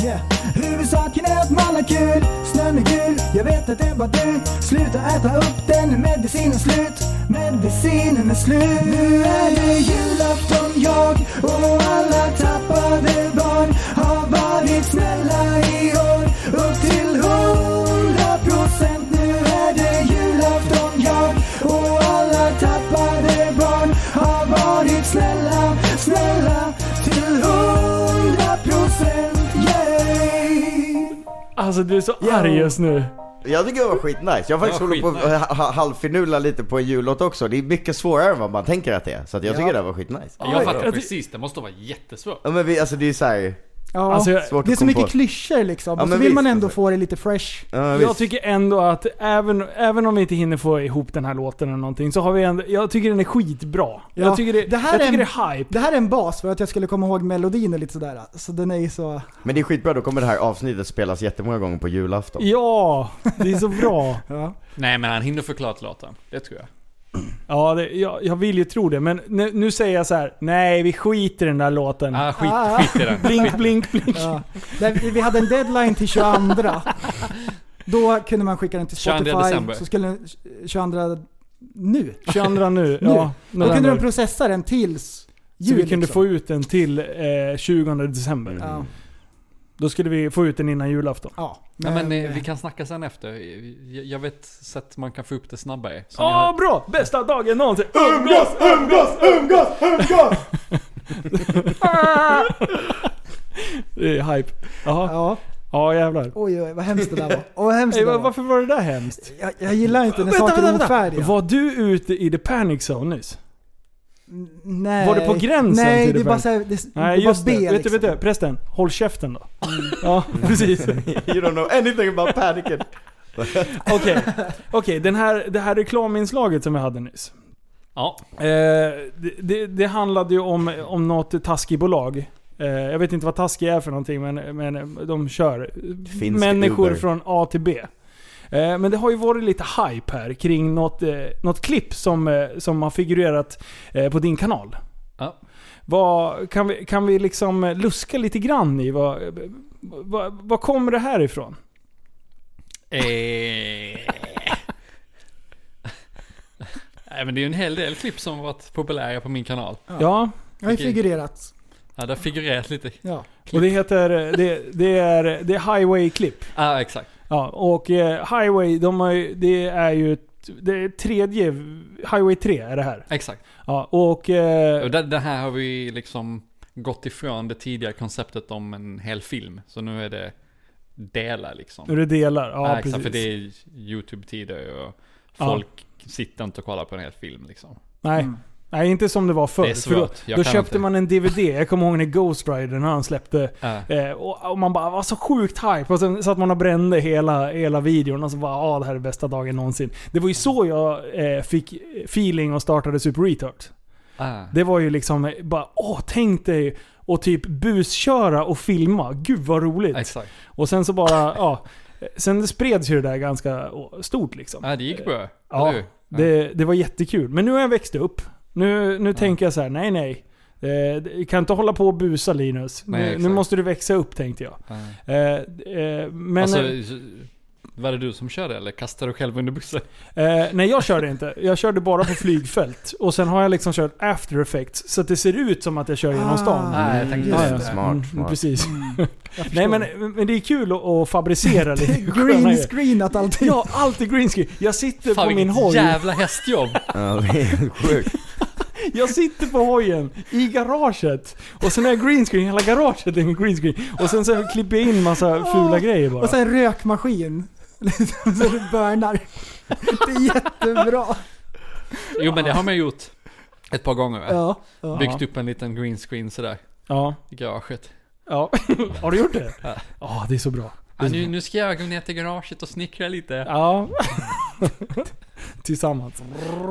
K: Yeah. Huvudsaken är att man har kul, snön är gul, jag vet att det var du Sluta äta upp den när medicinen är slut, medicinen är slut Nu är det julafton jag och alla tappade barn har varit snälla i år upp till hundra procent Nu är det julafton jag och alla tappade barn har varit snälla, snälla till hundra procent Yay!
F: Alltså du är så arg just nu.
H: Jag tycker det var skitnice. Jag har faktiskt
I: Ja,
H: hållit på att ha- ha- halvfinula lite på en jullåt också. Det är mycket svårare än vad man tänker att det är. Så att jag tycker det var skitnice.
I: Jag fattar precis, det måste vara jättesvårt.
H: Ja men vi, alltså det är såhär,
G: Ja,
F: Alltså, jag-
H: Svårt
G: det är
H: att
G: så
H: komma
G: mycket
H: på.
G: klyschor liksom.
H: Ja,
G: och så
H: men
G: vill man
H: visst,
G: ändå
H: alltså.
G: få det lite fresh.
H: Ja,
F: Jag
H: visst.
F: tycker ändå att även, även om vi inte hinner få ihop den här låten eller någonting så har vi ändå, jag tycker den är skitbra.
G: Ja,
F: jag tycker det,
G: det här
F: jag
G: är
F: tycker
G: en-
F: det är hype.
G: Det här är en bas för att jag skulle komma ihåg melodin och lite sådär. Så den är ju så...
H: Men det är skitbra, då kommer det här avsnittet spelas jättemånga gånger på julafton.
F: Ja, det är så bra.
G: Ja.
I: Nej men han hinner förklara låten. Det tror jag.
F: Ja, det, jag, jag vill ju tro det, men nu, nu säger jag så här: nej vi skiter i den där låten.
I: Ah, skit,
G: Ah.
I: skit i den.
F: Blink, blink, blink.
G: Ja. Nej, vi- vi hade en deadline till 22. Då kunde man skicka den till
I: 22
G: Spotify.
I: december.
G: Så skulle den 22 nu.
F: 22 nu.
G: Nu.
F: Ja,
G: Då kunde
F: november.
G: de processa den tills
F: Så
G: jul.
F: vi kunde
G: liksom.
F: få ut den till eh, 20 december.
I: Mm.
G: Ja,
F: Då skulle vi få ut den innan julafton.
G: ja.
I: Ja, men eh,
G: eh,
I: vi kan snacka sen efter. Jag, jag vet sätt man kan få upp det snabbare. Som jag
F: Ja,
I: har-
F: bra! Bästa dagen någonsin!
H: Umgås, umgås, umgås, umgås!
F: Det är hype. Jaha.
G: ja.
F: Ja, jävlar.
G: Oj, oj, vad hemskt det där var. Åh, vad hemskt
F: Ey,
G: det där
F: va-
G: var.
F: varför var det där hemskt?
G: Jag, jag gillar inte när
F: Vänta,
G: saker
F: vänta,
G: är
F: vänta.
G: ofärdiga.
F: Var du ute i the panic zone nyss?
G: Nej.
F: Var det på gränsen
G: Nej,
F: till
G: det
F: det
G: är bara
F: bästa?
G: såhär, det,
F: Nej,
G: det är bara
F: just
G: B
F: det. Vet du,
G: liksom. Mm.
F: vet du, prästen. Håll käften då. Ja, precis.
H: You don't know anything about panicen.
F: Okej, Okej, den här det här reklaminslaget som vi hade nyss.
I: Ja.
F: Eh, det, det, det handlade ju om, om något taskibolag. Eh, jag vet inte vad taski är för någonting, men, men de kör
H: Finns
F: människor
H: Uber.
F: från A till B. Eh, men det har ju varit lite hype här kring något, eh, något klipp som, eh, som har figurerat eh, på din kanal.
I: Ja.
F: Vad, kan, vi, kan vi liksom eh, luska lite grann i vad, vad, vad kommer det här ifrån?
I: Eh. Nej men det är ju en hel del klipp som har varit populära på min kanal.
F: Ja,
G: Jag har ju figurerat.
I: Ja, det har figurerat lite.
G: Ja.
F: och det heter... eh, Det, det är, det är Highway-klipp.
I: Ja, ah, exakt.
F: Ja, och eh, Highway, de har ju, det är ju ett- det är tredje, Highway 3 är det här.
I: Exakt.
F: Ja, och... Eh,
I: Och det, det här har vi liksom gått ifrån det tidigare konceptet om en hel film. Så nu är det delar liksom.
F: nu är det delar, ja
I: Ja,
F: precis.
I: exakt, för det är YouTube-tider och folk sitter inte och kollar på en hel film liksom.
F: Nej. Nej, inte som det var förr.
I: Det är
F: för då
I: svårt. Jag
F: då
I: kan
F: köpte
I: inte.
F: man en DVD, jag kommer ihåg när Ghost Rider, när han släppte.
I: Ja.
F: Eh, och, och man bara var så sjukt hype. Och sen satt man och brände hela, hela videon och så bara ah, det här är bästa dagen någonsin. Det var ju så jag eh, fick feeling och startade Super Retard.
I: Ah.
F: Det var ju liksom eh, bara åh, tänk dig och typ busköra och filma. Gud vad roligt.
I: Exakt.
F: Och sen så bara, ja. Sen spreds ju det där ganska stort liksom.
I: Ja, det gick bra.
F: Ja,
I: eller hur?
F: det, det var jättekul. Men nu har jag växt upp. Nu, nu tänker jag så här: nej nej. Eh, Du kan inte hålla på och busa Linus.
I: Nej,
F: nu, nu
I: exakt.
F: måste du växa upp tänkte jag.
I: Ja.
F: Eh, eh, Men
I: alltså, var det du som körde eller kastade du själv under bussen?
F: eh, nej, jag körde inte. Jag körde bara på flygfält. Och sen har jag liksom kört after effects. Så att det ser ut som att jag kör genom stan.
I: Ah, jag tänkte
G: just
F: Ja, ja.
G: det.
H: Smart,
F: Mm,
H: smart.
F: Precis. Nej men, men det är kul att, att fabricera lite sköna
G: Green
F: grejer.
G: screenat allting.
F: Ja, alltid green screen. Jag sitter
I: Fan
F: på min hoj.
I: jävla hästjobb.
H: Ja, det är helt sjukt.
F: Jag sitter på hojen i garaget. Och sen är jag green screen. Hela garaget är en green screen. Och sen så klipper jag in massa fula grejer bara.
G: Och sen rökmaskin. Liksom, så det burnar. Det är jättebra.
I: Jo men det har man gjort ett par gånger. va?
G: Ja, ja.
I: Byggt upp en liten green screen sådär
F: Ja.
I: i garaget.
F: ja. Har du gjort det? Ja,
I: Ja.
F: det är så bra.
I: Ja, nu, nu ska jag gå ner till garaget och snickra lite.
F: Ja. Tillsammans.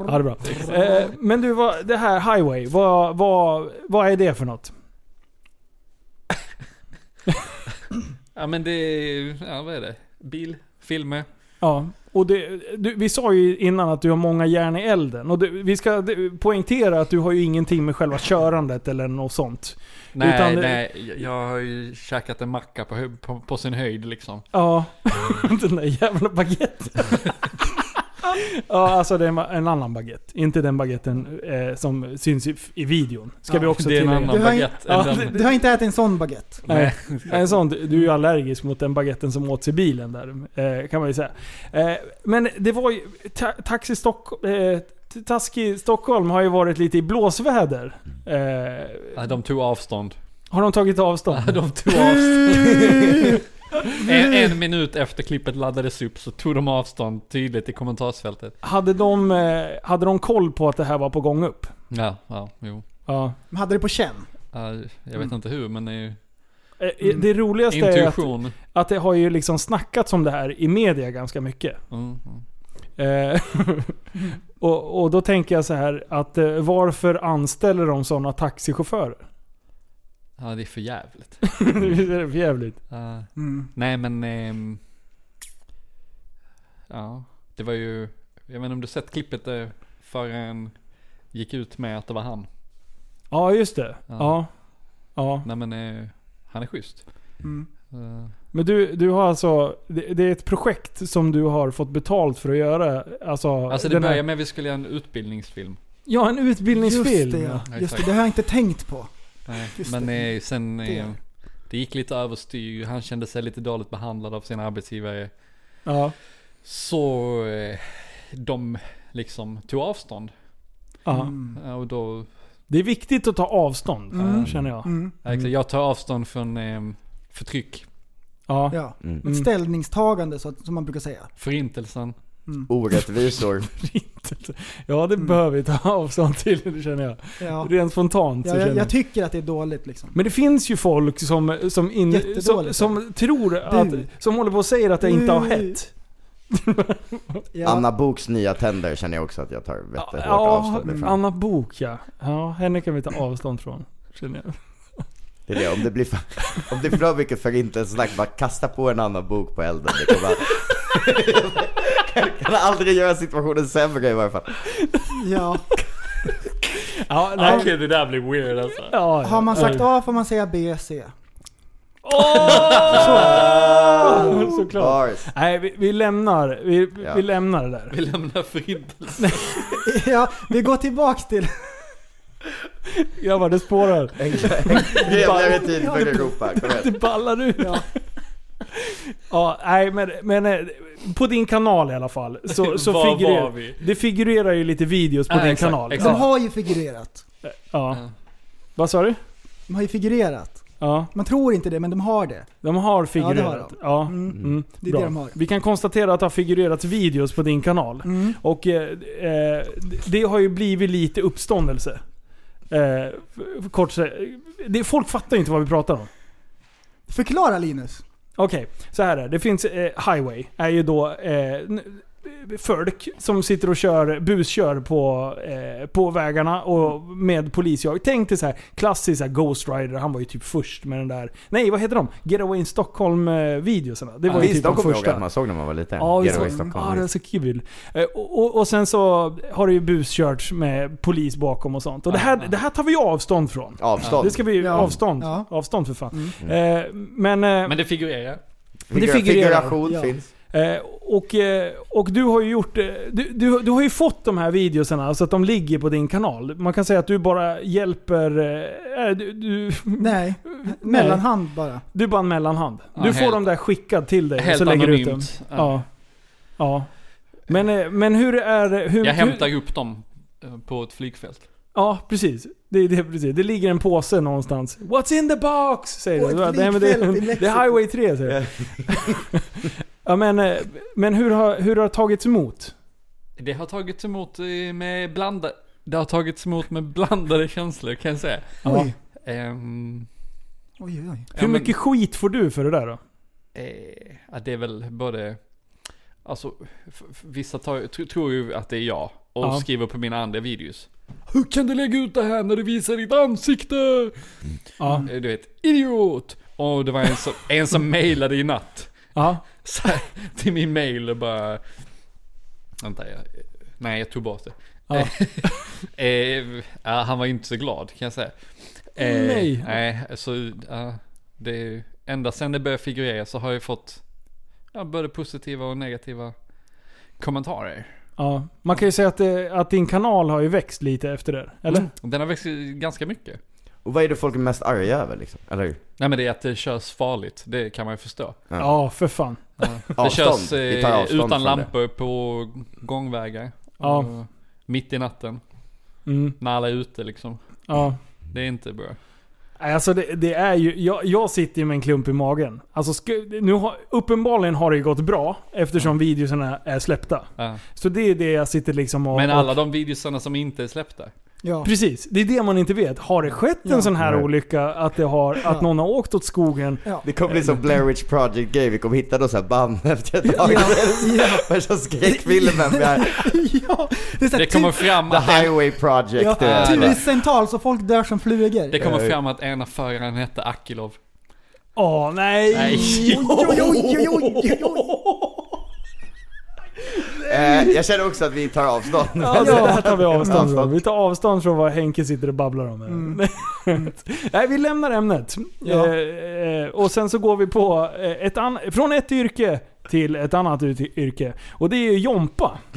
F: Ja, det är bra. Eh, men du, vad, det här Highway, vad, vad, vad är det för något?
I: Ja men det är, ja vad är det? Bil, filmer.
F: Ja, och det, du, vi sa ju innan att du har många järn i elden. Och det, vi ska det, poängtera att du har ju ingenting med själva körandet eller något sånt.
I: Nej,
F: Utan det-
I: nej. jag- Jag har ju käkat en macka på, hö- på, på sin höjd liksom.
F: Ja, den där jävla baguetten. ja, alltså det är ma- en annan baguette. Inte den baguetten eh, som syns i, i videon. Ska vi också
I: det är en
F: tillägga.
I: annan
G: Du har ju-
I: baguette.
F: Ja,
I: än den-
G: Du har inte ätit en sån baguette?
F: Nej, en sån, du är ju allergisk mot den baguetten som åts i bilen där, eh, kan man ju säga. Eh, men det var ju, ta, taxi Stockholm, eh, t- Taski Stockholm har ju varit lite i blåsväder. Eh,
I: Ja, de tog avstånd.
F: har de tagit avstånd?
I: De tog avstånd. en, en minut efter klippet laddades upp så tog de avstånd tydligt i kommentarsfältet.
F: Hade de, eh, hade de koll på att det här var på gång upp?
I: Ja, ja, jo. Eh,
F: Ja.
G: Men hade det på känn?
I: Ja, jag vet inte hur men Mm. det är ju...
F: Eh, eh, Det roligaste är att,
I: Mm. Intuition.
F: att det har ju liksom snackats om det här i media ganska mycket.
I: Mm. mm.
F: Eh, och, och då tänker jag så här att eh, varför anställer de sådana taxichaufförer?
I: Ja, det är för jävligt.
F: Visst är det för jävligt?
I: Ja. Nej men... ehm, ja, det var ju... Jag vet inte om du sett klippet där förrän gick ut med att det var han.
F: Ja, just det.
I: Ja.
F: Ja. ja.
I: Nej men eh, han är schysst.
G: Mm.
I: Eh,
F: Men du, du har alltså... Det, det är ett projekt som du har fått betalt för att göra. Alltså,
I: alltså det
F: den här-
I: börjar med att vi skulle göra en utbildningsfilm.
F: Ja, en utbildningsfilm.
G: Just det, ja.
I: Ja,
G: Just det,
I: exakt.
G: det har jag inte tänkt på.
I: Nej,
G: Just
I: men eh, sen...
G: Det gör
I: Eh,
G: vi.
I: det gick lite överstyr. Han kände sig lite dåligt behandlad av sin arbetsgivare.
F: Ja.
I: Så eh, de liksom tog avstånd.
F: Ja.
G: Mm.
I: Ja, Och då eh,
F: Det är viktigt att ta avstånd,
G: Mm.
F: känner jag.
G: Mm.
I: Ja, exakt. Jag tar avstånd från ehm, förtryck,
F: Ja.
G: Ja.
H: Mm.
G: Ett ställningstagande så att, som man brukar säga. Mm.
I: förintelsen.
H: Orättvisor.
F: Ja, det behöver vi ta avstånd till, det känner jag.
G: Ja.
F: Rent spontant så
G: Ja, jag,
F: känner jag.
G: jag tycker att det är dåligt liksom.
F: Men det finns ju folk som, som, in,
G: Jättedåligt.
F: som, som tror att... Som håller på och säger att det inte har
G: Du.
F: hett.
G: Ja.
H: Anna Boks nya tänder känner jag också att jag tar vettigt hårt
F: Ja,
H: avstånd ifrån.
F: Anna Bok ja. Ja, henne kan vi ta avstånd från. Känner jag.
H: Det är det, om det blir för, om det blir för mycket förintelsesnack, bara kasta på en annan bok på elden. Det kommer kan, kan aldrig göra situationen sämre i varje fall.
G: Ja.
F: Ja,
I: Okej,
F: nej.
I: det där blir weird alltså.
F: Ja, ja.
G: Har man sagt A får man säga B, C. Ah.
F: Ja, Ah, Såklart.
H: Bars.
F: Nej, vi, vi lämnar. Vi,
H: Ja.
F: vi lämnar det där.
I: Vi lämnar förintelsen.
G: Ja, vi går tillbaks till...
F: Grabbar, det spårar.
H: Jävlar med tid för Europa, kom igen.
F: Det ballar ur. Ja. nej, men, men eh, på din kanal i alla fall. Så, så
I: Var
F: figurer-
I: var vi?
F: Det figurerar ju lite videos på
I: Ja,
F: din
I: exakt,
F: kanal.
I: exakt.
G: De
F: Ja.
G: har ju figurerat.
F: Ja.
I: Ja.
F: Vad sa du?
G: De har ju figurerat.
F: Ja,
G: Man tror inte det, men de har det.
F: de har
G: har
F: figurerat. Ja,
G: de.
F: Mm.
G: Det är
F: Bra.
G: det de har.
F: Vi kan konstatera att det har figurerats videos på din kanal.
G: Mm.
F: Och eh, eh, det har ju blivit lite uppståndelse. Eh, f- kort sagt, det, folk fattar ju inte vad vi pratar om.
G: Förklara Linus.
F: Okej, så här är det. Det finns eh, Highway, är ju då eh, n- folk som sitter och kör, buskör på, eh, på vägarna och med polisjag. Tänk dig så här, klassisk så här Ghost Rider, han var ju typ först med den där... Nej, vad heter de? Getaway in Stockholm-videosarna. Det var ju
H: Ah, Visst,
F: typ
H: de
F: de
H: kommer ihåg
F: första.
H: att man såg när man var liten.
F: Ja, just
H: Getaway
F: det.
H: Stockholm.
F: Ja, det är så kul. Eh, Och, och, och sen så har det ju buskörts med polis bakom och sånt. Och det här, det här tar vi ju avstånd från.
H: Avstånd.
F: Det ska vi ju
G: Ja.
F: avstånd.
G: Ja. Mm.
F: Avstånd för fan. Eh, men, eh,
I: Men det figurerar.
H: Figur-
F: det figurerar.
H: Figuration
G: Ja.
H: finns.
F: eh, och, eh, och du har ju gjort... eh, Du, du, du har ju fått de här videoserna så att de ligger på din kanal. Man kan säga att du bara hjälper... eh, eh, Du, du,
G: Nej. Mellanhand bara.
F: du är bara en mellanhand. Du
I: Ja,
F: får
I: helt-
F: dem där skickad till dig och
I: Helt
F: så lägger du ut dem.
I: anonymt. Ja.
F: Ja. ja. Men, eh, men hur är... Hur,
I: Jag
F: hur,
I: hämtar upp dem eh, på ett flygfält.
F: Ja, precis. Det, det, precis. det ligger en påse någonstans. What's in the box? Säger
G: Och
F: du.
G: ett
F: Bara, Nej, men det,
G: flygfält i
F: det
G: Mexiko."
F: är Highway 3 säger du. ja, men, eh, men hur har, hur har det tagits emot?
I: Det har tagits emot eh, med blanda... Det har tagits emot med blandade känslor kan jag säga.
F: Ja.
G: Oj.
I: Ehm,
G: Oj, oj, oj.
I: ja,
F: Hur
I: men-
F: mycket skit får du för det där då?
I: Eh, ja, det är väl både... Alltså, f- f- vissa tar, tr- tror ju att det är jag och
F: Ja.
I: skriver på mina andra videos. Hur kan du lägga ut det här när du visar ditt ansikte?
F: Ja.
I: Eh, Du vet, idiot! Och det var en som, en som mejlade i natt.
F: ja.
I: Så här, till min mail och bara... Vänta, jag, nej jag tog bort det.
F: Ja.
I: Eh, eh, ja, han var inte så glad kan jag säga. Eh,
F: Nej.
I: Nej, alltså, ja, det är ju, ända sen det började figurera så har jag fått ja, både positiva och negativa kommentarer.
F: ja. Man kan ju säga att, det, att din kanal har ju växt lite efter det. Eller?
I: Mm. Den har växt ganska mycket.
H: Och vad är det folk är mest arga över liksom? Eller hur?
I: Nej men det är att det körs farligt, det kan man ju förstå.
F: Ja, för fan.
I: Det
H: Avstånd.
I: körs
H: Vi tar
I: eh,
H: avstånd
I: utan
H: från
I: lampor på gångvägar.
F: Ja.
I: Och Mitt i natten,
F: Mm.
I: när alla är ute liksom.
F: Ja.
I: Det är inte bra.
F: Nej, Alltså det, det är ju, jag, jag sitter ju med en klump i magen. Alltså sku, nu har, uppenbarligen har det ju gått bra eftersom videoserna är släppta.
I: Ja.
F: Så det är det jag sitter liksom och...
I: Men alla
F: och,
I: de videosarna som inte är släppta.
G: Ja.
F: Precis, det är det man inte vet. Har det skett en sån här
H: Nej.
F: olycka att, det har, att någon har åkt åt skogen?
H: Det kommer bli som Eh, Blair Witch Project-grej, vi kommer hitta då såhär band efter ett tag. Värsta skräckfilmen. vi har
G: Det, är så här,
I: Det kommer
F: typ-
I: fram
H: The
I: att, en,
H: Highway Project.
G: ja,
H: du vet.
G: tusentals och folk dör som flugor.
I: det kommer fram att ena föraren hette Akilov.
F: Åh nej!
I: Nej.
G: Oj, oj, oj, oj, oj, oj.
H: Eh, jag känner också att vi tar avstånd.
F: Ja,
I: Alltså,
F: det här tar vi avstånd från.
H: Avstånd.
F: Vi tar avstånd från vad Henke sitter och babblar om. här. Nej, vi lämnar ämnet.
G: Mm. Ja.
F: Eh, eh, och sen så går vi på eh, ett an- från ett yrke till ett annat ut- yrke. Och det är ju Jompa.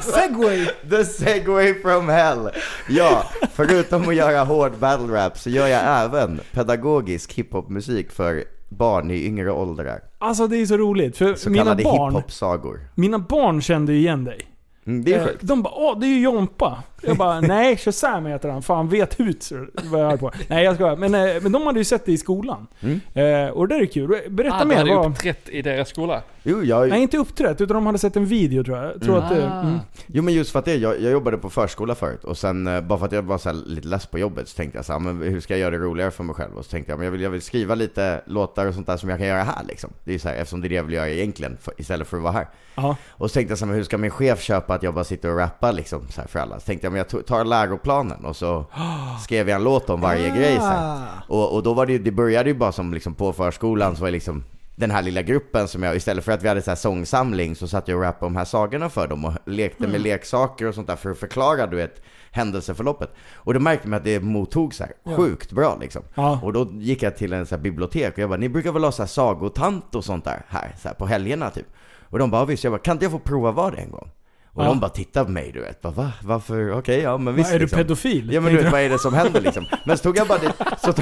G: Segway!
H: The segway from hell. Ja, förutom att göra hård battle rap så gör jag även pedagogisk hiphopmusik för barn i yngre åldrar.
F: Alltså det är så roligt. För
H: Så
F: mina
H: kallade
F: barn,
H: hiphop-sagor.
F: mina barn kände ju igen dig.
H: Mm, det är
F: Eh,
H: sjukt.
F: De bara åh det är ju Jompa. Jag bara nej Shazam heter han. Fan vet hut vad jag är på. Nej jag skojar. Men, eh, men de hade ju sett det i skolan.
H: Mm.
F: Eh, och det där är kul. Berätta
I: Ah, de
F: mer.
I: hade
F: Vad...
I: uppträtt i deras skola.
H: Jo, jag,
F: Nej, inte uppträtt, utan de hade sett en video tror jag. jag tror att det,
H: Ah.
F: mm.
H: Jo men just för att det, jag, jag jobbade på förskola förut och sen eh, bara för att jag var så här lite less på jobbet så tänkte jag så här, men hur ska jag göra det roligare för mig själv? Och så tänkte jag, men jag vill, jag vill skriva lite låtar och sånt där som jag kan göra här liksom. Det är ju så här, eftersom det är det jag vill göra egentligen för, istället för att vara här.
F: Ja.
H: Och så tänkte jag så här, men hur ska min chef köpa att jag bara sitter och rappar liksom så här för alla? Så tänkte jag, men jag to- tar läroplanen och så skrev jag en låt om varje grej så här. Och, och då var det ju, det började ju bara som liksom på förskolan så var det liksom den här lilla gruppen som jag, istället för att vi hade så här sångsamling så satt jag och rappade de här sagorna för dem och lekte med leksaker och sånt där för att förklara du vet händelseförloppet. Och då märkte man att det mottogs så här sjukt bra liksom.
F: Ja.
H: Och då gick jag till en så här bibliotek och jag bara, ni brukar väl ha så här sagotant och sånt där här, så här på helgerna typ? Och de bara, "Ja, visst, jag bara, kan inte jag få prova vara det en gång? Och
F: Ja.
H: de bara tittade på mig du vet, bara, va? Varför? Okej, ja men
F: Va,
H: visst
F: är du
H: liksom.
F: pedofil?
H: Ja men du vet vad är det som händer liksom? Men så tog jag bara dit, så,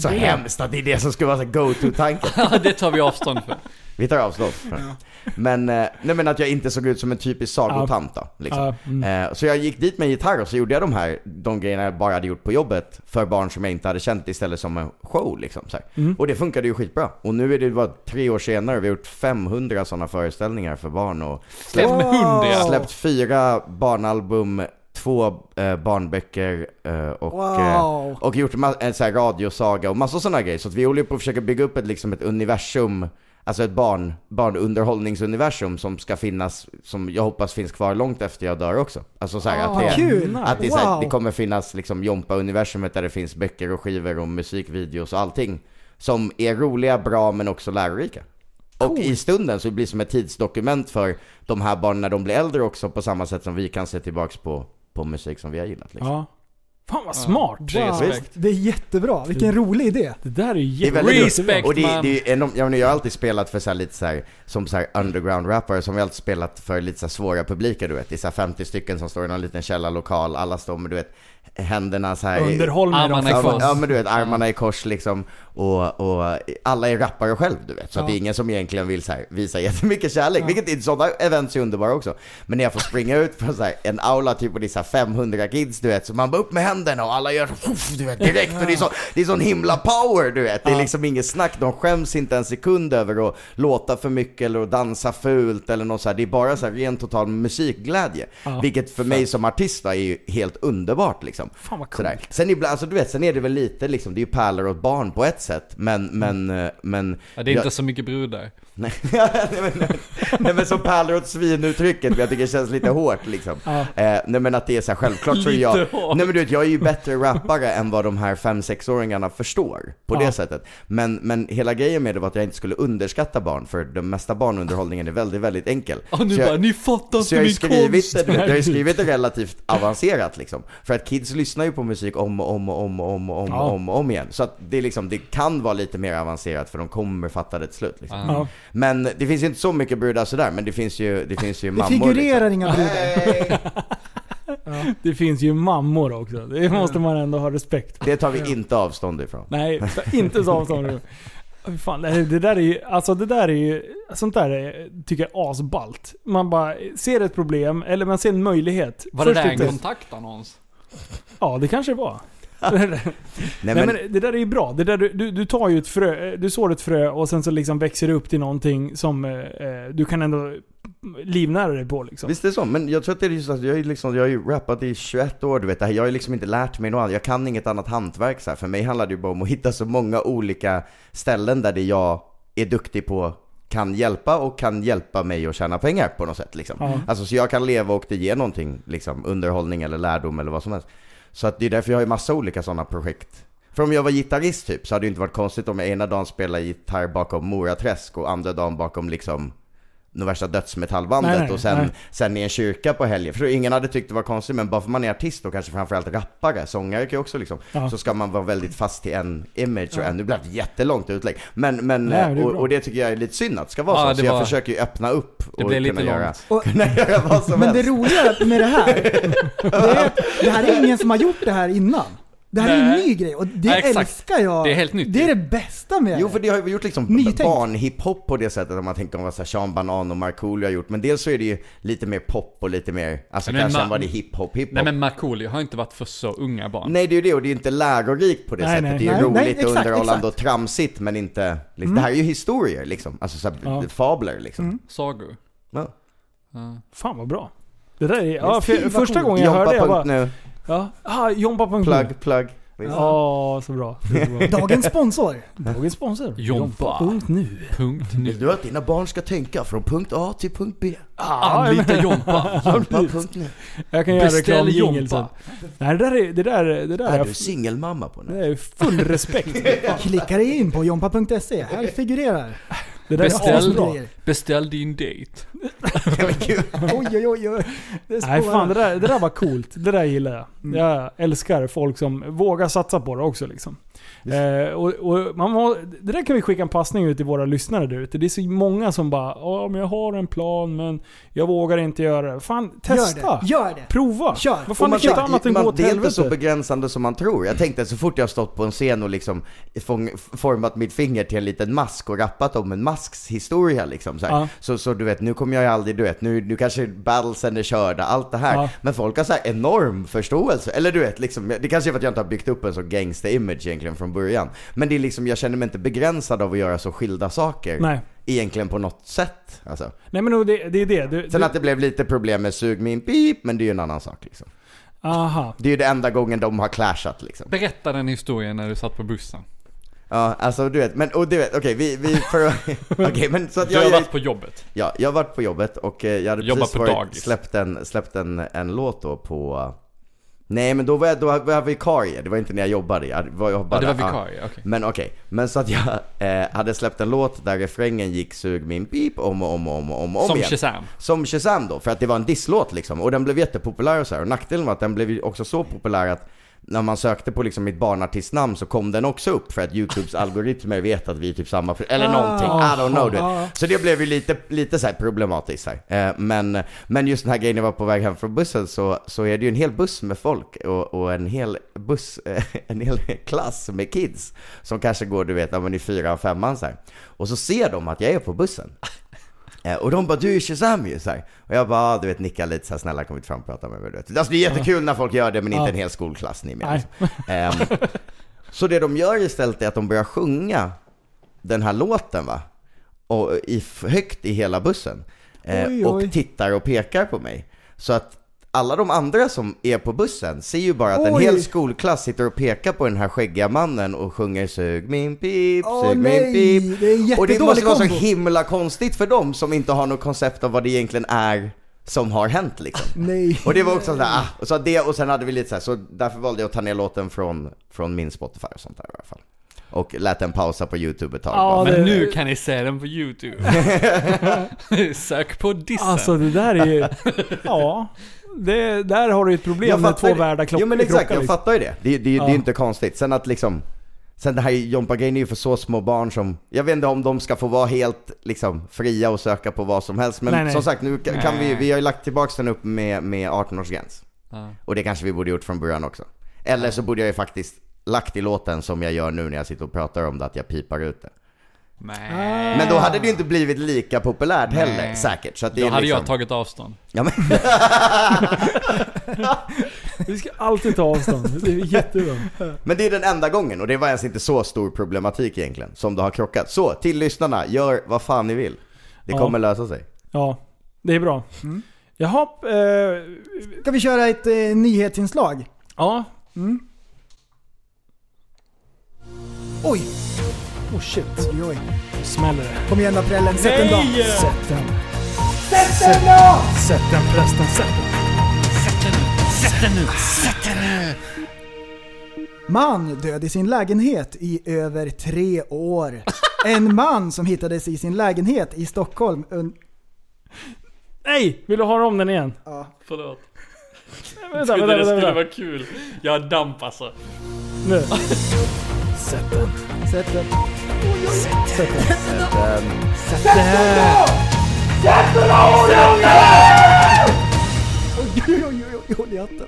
H: så hemskt att det är det som skulle vara så här go-to-tanken.
I: Ja, det tar vi avstånd för.
H: Vi tar avstånd. Men, eh, nej men att jag inte såg ut som en typisk sagotant då, liksom.
F: Ja, mm.
H: Eh, Så jag gick dit med en gitarr och så gjorde jag de här, de grejerna jag bara hade gjort på jobbet för barn som jag inte hade känt istället som en show liksom. Så här.
F: Mm.
H: Och det funkade ju skitbra. Och nu är det bara tre år senare, vi har gjort 500 sådana föreställningar för barn och släppt,
I: 500
H: släppt fyra barnalbum, två eh, barnböcker eh, och,
G: Wow.
H: eh, och gjort ma- en så här radiosaga och massor sådana grejer. Så att vi håller ju på att försöka bygga upp ett, liksom ett universum Alltså ett barn, barnunderhållningsuniversum som ska finnas, som jag hoppas finns kvar långt efter jag dör också. Alltså så här, att det,
G: Ah, Kul!
H: att det, är så här,
G: Wow.
H: det kommer finnas liksom Jompa-universumet där det finns böcker och skivor och musikvideos och allting. Som är roliga, bra men också lärorika. Och i stunden så blir det som ett tidsdokument för de här barnen när de blir äldre också på samma sätt som vi kan se tillbaks på, på musik som vi har gillat. Liksom.
F: ja. Fan vad smart!
I: Respekt.
G: Det är jättebra, vilken rolig idé.
F: Det där är ju
H: Det är
F: jätte...
H: väldigt roligt.
I: Respect,
H: Och det,
I: man.
H: det är enormt, jag, menar, jag har alltid spelat för så här lite så här, som så här underground rappare som jag alltid spelat för lite så här svåra publiker du vet. Det är så här 50 stycken som står i någon liten källarlokal, alla står med du vet händerna så här i-
F: Underhåll med dem.
I: Armarna i
H: Ja,
I: kors.
H: men- ja men du vet, armarna i kors liksom. Och, och alla är rappare själv du vet. Så att det är ingen som egentligen vill så här, visa jättemycket kärlek. Vilket är sådana events är underbara också. Men när jag får springa ut från så här, en aula typ och det är så här 500 kids du vet. Så man bara upp med händerna och alla gör så, du vet,
I: Mm.
H: direkt. Och det är, så, det är sån himla power du vet. Det är liksom inget snack. De skäms inte en sekund över att låta för mycket eller att dansa fult eller något så här. Det är bara så här ren total musikglädje. Vilket för mig som artist då, är ju helt underbart liksom.
F: Fan vad coolt.
H: Sådär. Sen ibland, alltså du vet, sen är det väl lite liksom, det är ju pärlor åt barn på ett sätt, men, men, eh, men...
I: Ja, det är
H: jag-
I: inte så mycket brudar.
H: nej, nej, men, nej, nej men som pärlor åt svinuttrycket, men jag tycker det känns lite hårt liksom. Eh, nej men att det är så här, självklart så är jag...
I: Lite hårt.
H: Nej men du vet, jag är ju bättre rappare än vad de här 5-6-åringarna förstår på
F: Ja.
H: det sättet. Men, men hela grejen med det var att jag inte skulle underskatta barn, för den mesta barnunderhållningen är väldigt, väldigt enkel.
I: Och nu
H: Så jag-
I: bara, ni fattar inte
H: så jag har ju
I: min
H: skrivit
I: konst.
H: det, du vet, jag har ju skrivit det relativt avancerat liksom. För att kids lyssnar ju på musik om och om och om och om och om,
F: Ja.
H: och om, och om igen. Så att det, är liksom, det kan vara lite mer avancerat för de kommer fatta det till slut. Liksom.
F: Ja.
H: Men det finns ju inte så mycket brudar sådär, men det finns ju, det finns ju
G: Det
H: mammor.
G: figurerar inga brudar.
H: Liksom.
F: Det finns ju mammor också. Det måste man ändå ha respekt för.
H: Det tar vi inte avstånd ifrån.
F: Nej, ta inte så avstånd nu. Fy Fan, det här- det där är ju, alltså det där är ju, sånt där är, tycker jag är asballt. Man bara ser ett problem, eller man ser en möjlighet.
I: Var det
F: Först
I: där en
F: inte-
I: kontaktannons?
F: Ja, det kanske det var.
H: Nej,
F: Nej,
H: men,
F: men, det där är ju bra. Det där, du- du, du tar ju ett frö, du sår ett frö och sen så liksom växer det upp till någonting som eh, eh, du kan ändå livnära dig på liksom.
H: Visst är det så, men jag tror att det är just att jag, är liksom, jag har ju rappat i 21 år, du vet. Det här, jag har ju liksom inte lärt mig något annat. Jag kan inget annat hantverk så här. För mig handlar det ju bara om att hitta så många olika ställen där det jag är duktig på kan hjälpa och kan hjälpa mig att tjäna pengar på något sätt liksom.
F: Ja.
H: Alltså så jag kan leva och det ger någonting, liksom underhållning eller lärdom eller vad som helst. Så att det är därför jag har ju massa olika sådana projekt. För om jag var gitarrist typ så hade det ju inte varit konstigt om jag ena dagen spelade gitarr bakom Moraträsk och andra dagen bakom liksom det värsta dödsmetallbandet
F: Nej, nej,
H: och sen,
F: nej.
H: sen i en kyrka på helgen. För ingen hade tyckt det var konstigt men bara för man är artist och kanske framförallt rappare, sångare kan ju också liksom,
F: Ja.
H: så ska man vara väldigt fast till en image och en, nu blev det ett jättelångt utlägg. Men, men, eh,
F: Nej, men det är
H: och,
F: bra.
H: och det tycker jag är lite synd att det ska vara
I: Ja,
H: så. Så
I: det
H: jag
I: var-
H: försöker ju öppna upp
I: Det
H: och
I: blev lite
H: kunna göra,
I: långt.
G: Och-
H: kunna göra vad som
G: Men
H: helst.
G: det roliga med det här, det är att det här är ingen som har gjort det här innan. Det här är en
I: Nej.
G: ny grej och det
I: Nej, exakt.
G: älskar jag.
I: Det är helt nytt
G: Det är
I: ju.
G: det bästa med
H: Jo för det har ju gjort liksom
G: Nytänkt.
H: barnhiphop på det sättet om man tänker om vad så här Sean Banan och Markoolio har gjort. Men dels så är det ju lite mer pop och lite mer, alltså
I: Men
H: kanske
I: man-
H: än vad det är hiphop, hiphop.
I: Nej men Markoolio har inte varit för så unga barn.
H: Nej det är ju det och det är inte lärorikt på det
F: Nej,
H: sättet.
F: nej.
H: Det är ju
G: Nej,
H: roligt
G: nej,
H: och
G: exakt,
H: underhållande
G: exakt. Mm.
H: och tramsigt men inte... Liksom, Det här är ju historier liksom. Alltså så här,
F: Ja.
H: fabler liksom.
I: Sagor.
H: Ja.
I: Ja.
F: Fan vad bra. Det där är, ja, för,
G: Skriva
F: första
G: coolt.
F: gången jag hörde det jag bara,
H: nu.
F: ja, ah, jompa.nu.
H: Plug, plug. Visst.
F: Ja, så bra. Så bra.
G: Dagens sponsor.
F: Dagens sponsor.
I: Jompa.
F: Jompa.nu.
I: Punkt
H: Vill
I: nu.
H: du att dina barn ska tänka från punkt A till punkt B?
F: Ah,
I: Anlita Ah, Jompa.
H: Jompa, punkt nu.
F: Jag kan göra
I: Beställ
F: reklamjingel sen.
I: Jompa.
F: Nej, det där är, det där, det där
H: Är
F: är,
H: du singelmamma på nu?
F: det är full respekt.
G: Klicka dig in på jompa.se. Här figurerar.
F: Det där är
I: Beställ,
F: asbra.
G: asbra.
I: beställ din dejt.
G: Oj, oj, oj. oj. Det
F: Nej fan, det
G: spårar.
F: där, det där var coolt. Det där gillar jag.
H: Mm.
F: Jag älskar folk som vågar satsa på det också. Liksom. Eh, och, och man må, det där kan vi skicka en passning ut till våra lyssnare där ute. Det är så många som bara ja men jag har en plan men jag vågar inte göra det. Fan, testa!
G: Gör det. Gör det.
F: Prova!
G: Kör.
F: Vad
H: Och
F: fan, det
H: man
F: är inget
H: tänker-
F: annat än
H: man,
F: gå åt
H: det är inte så
F: helvete.
H: begränsande som man tror. Jag tänkte så fort jag har stått på en scen och liksom fång, format mitt finger till en liten mask och rappat om en masks historia liksom, så, här.
F: Ja.
H: så, så du vet, nu kommer jag ju aldrig, du vet, nu, nu kanske battlesen är körda, allt det här.
F: Ja.
H: Men folk har så här enorm förståelse. Eller du vet, liksom, det kanske är för att jag inte har byggt upp en så gangster-image egentligen från början. Men det är liksom, jag känner mig inte begränsad av att göra så skilda saker.
F: Nej.
H: Egentligen på något sätt. Alltså.
F: Nej men det, det är det. Du,
H: Sen
F: du,
H: att det blev lite problem med sug min pip, men det är ju en annan sak liksom.
F: aha.
H: Det är ju det enda gången de har clashat liksom.
I: Berätta den historien när du satt på bussen.
H: Ja, alltså du vet, men och du vet, okej vi, vi för Okej men så att
I: Du har
H: jag,
I: varit på jobbet.
H: ja, jag har varit på jobbet och eh, jag hade
I: Jobbat
H: precis
I: på
H: varit,
I: dagis.
H: släppt, en, släppt en, en låt då på Nej men då var jag, då var jag vikarie, det var inte när jag jobbade, jag var, jag bara,
I: Ja, det var vikarie, okej.
H: Men okej, men så att jag eh, hade släppt en låt där refrängen gick sug min pip om och om och om och om, och om
I: Som
H: igen.
I: Shazam.
H: Som Shazam då, för att det var en disslåt liksom. Och den blev jättepopulär och så här. Och nackdelen var att den blev ju också så populär att när man sökte på liksom mitt barnartistnamn så kom den också upp för att Youtubes algoritmer vet att vi är typ samma, eller
F: Ah.
H: någonting, I don't know du
G: Ah.
H: vet. Så det blev ju lite, lite så här problematiskt så här. Eh, Men, men just den här grejen när jag var på väg hem från bussen så, så är det ju en hel buss med folk och, och en hel buss, eh, en hel klass med kids som kanske går du vet, ja men i fyran, femman så här. Och så ser de att jag är på bussen. Eh, Och de bara 'Du är Shazam ju' så här. Och jag bara ah, du vet nickar lite så här, snälla kom hit fram och prata med mig du vet. Alltså det är jättekul när folk gör det men inte
F: Ja.
H: en hel skolklass ni är med
F: Nej.
H: liksom. Ehm, Så det de gör istället är att de börjar sjunga den här låten va? Och i, högt i hela bussen. Eh,
G: Oj,
H: och
G: oj.
H: tittar och pekar på mig. Så att alla de andra som är på bussen ser ju bara att en
G: Oj.
H: hel skolklass sitter och pekar på den här skäggiga mannen och sjunger 'Sug min pip,
G: Åh,
H: sug min
G: nej.
H: pip'
G: Det är en
H: Och det
G: jättedålig
H: måste vara så
G: kombo.
H: himla konstigt för dem som inte har något koncept av vad det egentligen är som har hänt liksom.
G: Nej.
H: Och det var också sådär, ah, och så det och sen hade vi lite såhär, så därför valde jag att ta ner låten från, från min Spotify och sånt där i alla fall. Och lät den pausa på YouTube ett tag.
F: Ja,
H: bara.
F: det-
I: Men nu kan ni se den på YouTube. Sök på dissen.
F: Alltså det där är ju... Ja. Det, där har du ett problem med två
H: ju-
F: världar klock-
H: Jo men exakt,
F: krockar,
H: jag
F: liksom.
H: fattar ju det. Det, det, det, är
F: Ja.
H: ju inte konstigt. Sen att liksom, sen det här Jompa-grejen är ju för så små barn som, jag vet inte om de ska få vara helt liksom fria och söka på vad som helst. Men
F: Nej, nej.
H: som sagt, nu kan kan vi,
I: Nej.
H: vi har ju lagt tillbaks den upp med, med 18-årsgräns.
I: Ja.
H: Och det kanske vi borde gjort från början också. Eller så borde jag ju faktiskt lagt i låten som jag gör nu när jag sitter och pratar om det, att jag pipar ut det.
I: Nej.
H: Men då hade det ju inte blivit lika populärt heller
I: Eh. Nej.
H: säkert. Så att det liksom-
I: Då
H: är
I: hade
H: liksom...
I: jag tagit avstånd.
H: Ja, men...
F: Vi ska alltid ta avstånd. Det är jättebra.
H: Men det är den enda gången och det var ens inte så stor problematik egentligen som det har krockat. Så till lyssnarna, gör vad fan ni vill. Det
F: Ja.
H: kommer lösa sig.
F: Ja, det är bra.
G: Mm.
F: Jaha, eh,
G: Ska vi köra ett eh, nyhetsinslag?
F: ja.
G: Mm. Oj! Oh shit. Oj, oj.
F: Smäller det.
G: Kom igen då prällen, sätt den då.
F: Nej!
G: Sätt den.
F: Sätt den prästen, sätt den.
G: Man död i sin lägenhet i över tre år. En man som hittades i sin lägenhet i Stockholm un-
F: Nej! Vill du ha om den igen?
I: Förlåt.
F: Vänta,
I: Trodde
F: vänta,
I: det
F: vänta.
I: skulle
F: vänta.
I: vara kul. Jag damp alltså.
F: Nu. Sätt den.
G: Sätt den. Oj, oj, oj, håll i hatten.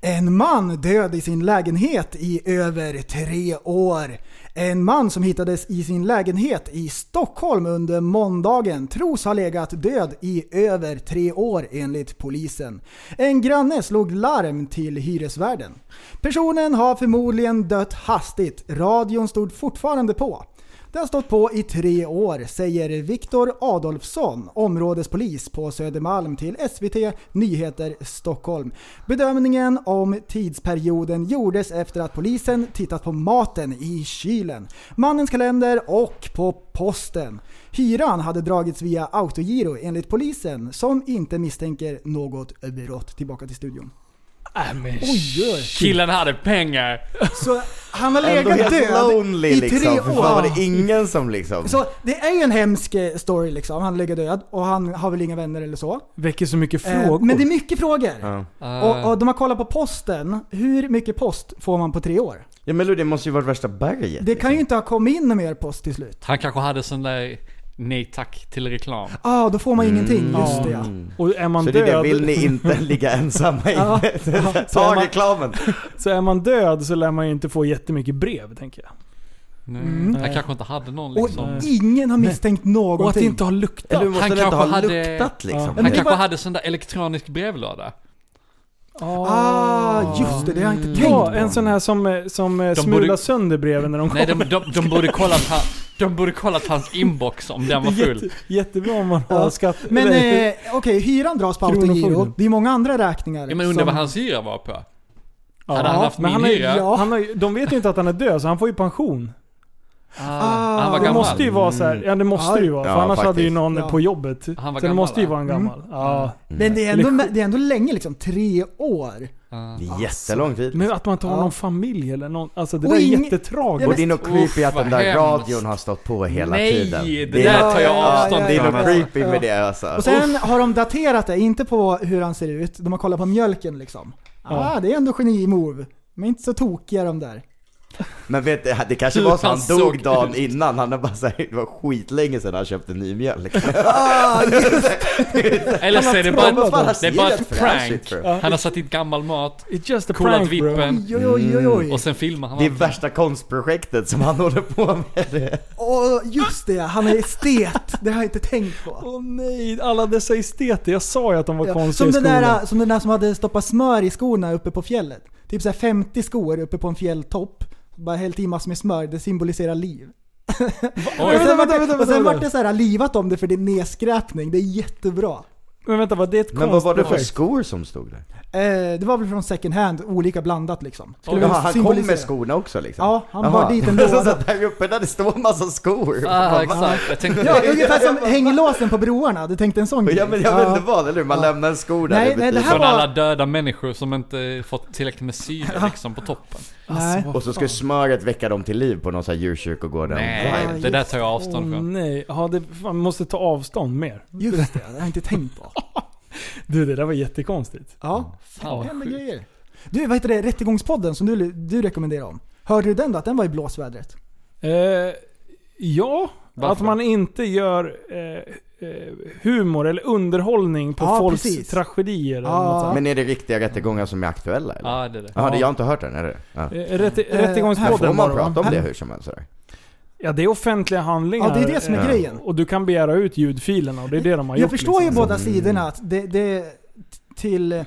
G: En man död i sin lägenhet i över tre år. En man som hittades i sin lägenhet i Stockholm under måndagen tros ha legat död i över tre år enligt polisen. En granne slog larm till hyresvärden. Personen har förmodligen dött hastigt. Radion stod fortfarande på. Det har stått på i tre år, säger Viktor Adolfsson, områdespolis på Södermalm till SVT Nyheter Stockholm. Bedömningen om tidsperioden gjordes efter att polisen tittat på maten i kylen, mannens kalender och på posten. Hyran hade dragits via autogiro enligt polisen som inte misstänker något brott. Tillbaka till studion.
F: Äh, men
G: Oj, oj.
I: Killen hade pengar.
G: Så han har
H: Ändå
G: legat
H: helt
G: död
H: lonely
G: i
H: liksom.
G: tre
H: För fan var
G: år.
H: det ingen som liksom...
G: Så det är ju en hemsk eh, story liksom. Han ligger död och han har väl inga vänner eller så.
F: Väcker så mycket
G: Eh,
F: frågor.
G: Men det är mycket frågor.
H: Ja.
G: Och, och de har kollat på posten. Hur mycket post får man på tre år?
H: ja men Lou, det måste ju varit värsta berget. liksom.
G: Det kan ju inte ha kommit in mer post till slut.
I: Han kanske hade sån där nej tack till reklam. Mm.
G: Ah, då får man ingenting. Just det ja.
F: Och är man
H: Så det är
F: död...
H: det, vill ni inte ligga ensamma i?
F: så är
H: Ta
F: man-
H: reklamen!
F: Så är man död så lär man ju inte få jättemycket brev, tänker jag.
I: Nej.
G: Mm.
F: Mm.
I: Han kanske inte hade någon
G: Och
I: liksom.
G: ingen har misstänkt någonting.
F: Och att det inte har luktat.
H: Eller hur, måste
I: Han
H: den inte
I: kanske
H: ha
I: hade-
H: luktat liksom?
F: Ja.
I: Han
G: Men det
I: kanske
G: var-
I: hade sån där elektronisk brevlåda.
G: Ah, just det. Det har jag inte tänkt
F: Ja,
G: på.
F: en sån här som, eh, som eh,
I: De
F: smular
I: borde-
F: sönder breven när de kommer.
I: Nej, de, de, de borde kollat han, de borde kollat hans inbox om den var full.
F: Jätte, jättebra om man har
G: Ja.
F: skatt...
G: Men eh,
F: eller-
G: okej, hyran dras på autogiro.
F: Kronofogden.
G: Det är många andra räkningar.
I: Ja, men undrar
G: som-
I: vad hans hyra var på?
F: Ja,
I: hade han haft
F: men
I: min
F: har ju-
I: hyra?
F: Ja, han har, ju- de vet ju inte att han är död, så han får ju pension.
G: Ah,
I: han var
F: Det
G: det
I: gammal.
F: måste ju vara så här, ja det måste det ju vara. För
H: Ja,
F: annars hade ju
H: faktiskt.
F: någon
G: Ja. Mm.
F: på jobbet. Så
I: Han var
F: det
I: gammal,
F: måste ju
I: va?
F: vara en gammal. Ja.
H: Mm.
G: Men det är, ändå, det är ändå länge liksom. Tre år.
H: Det är jättelång tid.
F: Men att man inte har
G: Ja.
F: någon familj eller någon, alltså det
G: Och
F: där är
G: ing-
H: Och
F: jättetragiskt.
H: det är nog creepy
I: Uff,
H: att den
I: vad
H: där
I: hemskt.
H: radion har stått på hela
I: Nej,
H: tiden.
I: det
H: är
I: där
H: nog-
I: tar jag avstånd
H: Det är
I: ifrån.
H: nog creepy
G: Ja.
H: med det alltså.
G: Och sen har de daterat det, inte på hur han ser ut. De har kollat på mjölken liksom.
F: Ja.
G: Ah, det är ändå geni-move. De är inte så tokiga de där.
H: Men vet du, det kanske
I: Hur
H: var så
I: han
H: han dog
I: såg
H: dagen
I: ut.
H: innan, han har bara såhär, det var skitlänge sedan han köpte ny mjölk.
I: Eller så är det bara,
H: Vad fan, han
I: det är
H: ser
I: bara
H: helt
I: ett
H: fräschigt,
I: prank.
H: tror jag.
I: Han har satt dit gammal mat,
F: It's just a
I: kolat
F: prank bro.
I: vippen
G: Oj, oj, oj, oj, oj.
I: Mm. och sen filmar han.
H: Det är
I: allting.
H: värsta konstprojektet som han håller på med.
G: Åh, just det, han är estet. Det har jag inte tänkt på.
F: Åh nej, alla dessa esteter. Jag sa ju att de var
G: Ja,
F: konstiga
G: som,
F: i
G: den
F: skolan.
G: där, äh, som den där som hade stoppat smör i skorna uppe på fjället. Typ såhär 50 skor uppe på en fjälltopp. Bara hällt i massor med smör, det symboliserar liv.
I: Oj.
G: och sen vart det,
F: vänta,
G: och sen
F: vänta.
G: vart det såhär livat om det för det är nedskräpning. Det är jättebra.
F: Men vänta, var det ett
H: Men vad var det för
F: konstprojekt?
H: skor som stod där?
G: Eh, det var väl från second hand, olika blandat liksom. Skulle
H: Jaha, han kom
G: symbolisera.
H: med skorna också liksom?
G: Ja, han
H: Jaha.
G: bar dit en
H: Så
G: låda.
H: satt där uppe där det står en massa skor.
I: Ah, exakt. Jag tänkte,
G: Ja, ungefär som hänglåsen på broarna. Du tänkte en sån grej?
H: Ja men jag vet inte vad, eller hur? Man lämnar en sko där
G: Nej, nej,
H: i
G: det här
H: butiken.
I: från
G: var-
I: alla döda människor som inte fått tillräckligt med syre liksom på toppen. Alltså,
G: Nej.
H: Och så ska smöret väcka dem till liv på någon sån här djurkyrkogård.
G: Ja,
I: Nej, det där
G: just-
I: tar jag avstånd
F: Åh
I: från.
F: nej, ja, det, fan, man måste ta avstånd mer.
G: Just det, det har jag inte tänkt på.
F: Du det där var jättekonstigt.
G: Ja,
I: Fan, vad
G: det händer
I: sjukt.
G: grejer. Du, vad heter det? Rättegångspodden som du, du rekommenderade om. Hörde du den då? Att den var i blåsvädret?
F: Eh, ja,
I: Varför?
F: att man inte gör eh, eh, humor eller underhållning på
G: Ja,
F: folks
G: precis.
F: tragedier. Eller
G: Ja.
F: något sånt.
H: Men är det riktiga rättegångar som är aktuella eller?
I: Ja, det är det.
H: Jaha, det, jag har inte hört den, är det ja.
F: Eh, Rätt,
H: Här får
F: rättegångspodden
H: man
F: var det,
H: prata
F: va?
H: om det hur som helst sådär.
F: Ja, det är offentliga handlingar.
G: Ja, det är det som är
F: eh,
G: grejen.
F: Och du kan begära ut ljudfilerna och det är det de har
G: Jag
H: Mm.
F: gjort.
G: förstår ju
F: liksom.
G: båda sidorna att det, det till...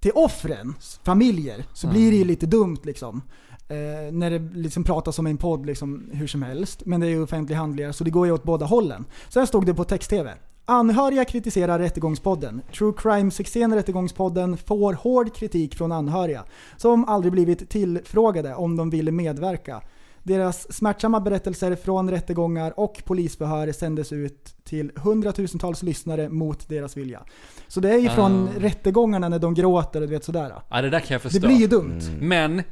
G: till offrens familjer
I: Mm.
G: så blir det ju lite dumt liksom. Eh, när det liksom pratas om en podd liksom, hur som helst. Men det är ju offentliga handlingar så det går ju åt båda hållen. Så här stod det på text-tv. Anhöriga kritiserar Rättegångspodden. True crime-succén Rättegångspodden får hård kritik från anhöriga som aldrig blivit tillfrågade om de ville medverka. Deras smärtsamma berättelser från rättegångar och polisförhör sändes ut till hundratusentals lyssnare mot deras vilja. Så det är ju från
I: Ah.
G: rättegångarna när de gråter och du vet sådär.
I: Ja, det där kan jag förstå.
G: Det blir ju dumt.
H: Mm.
I: Men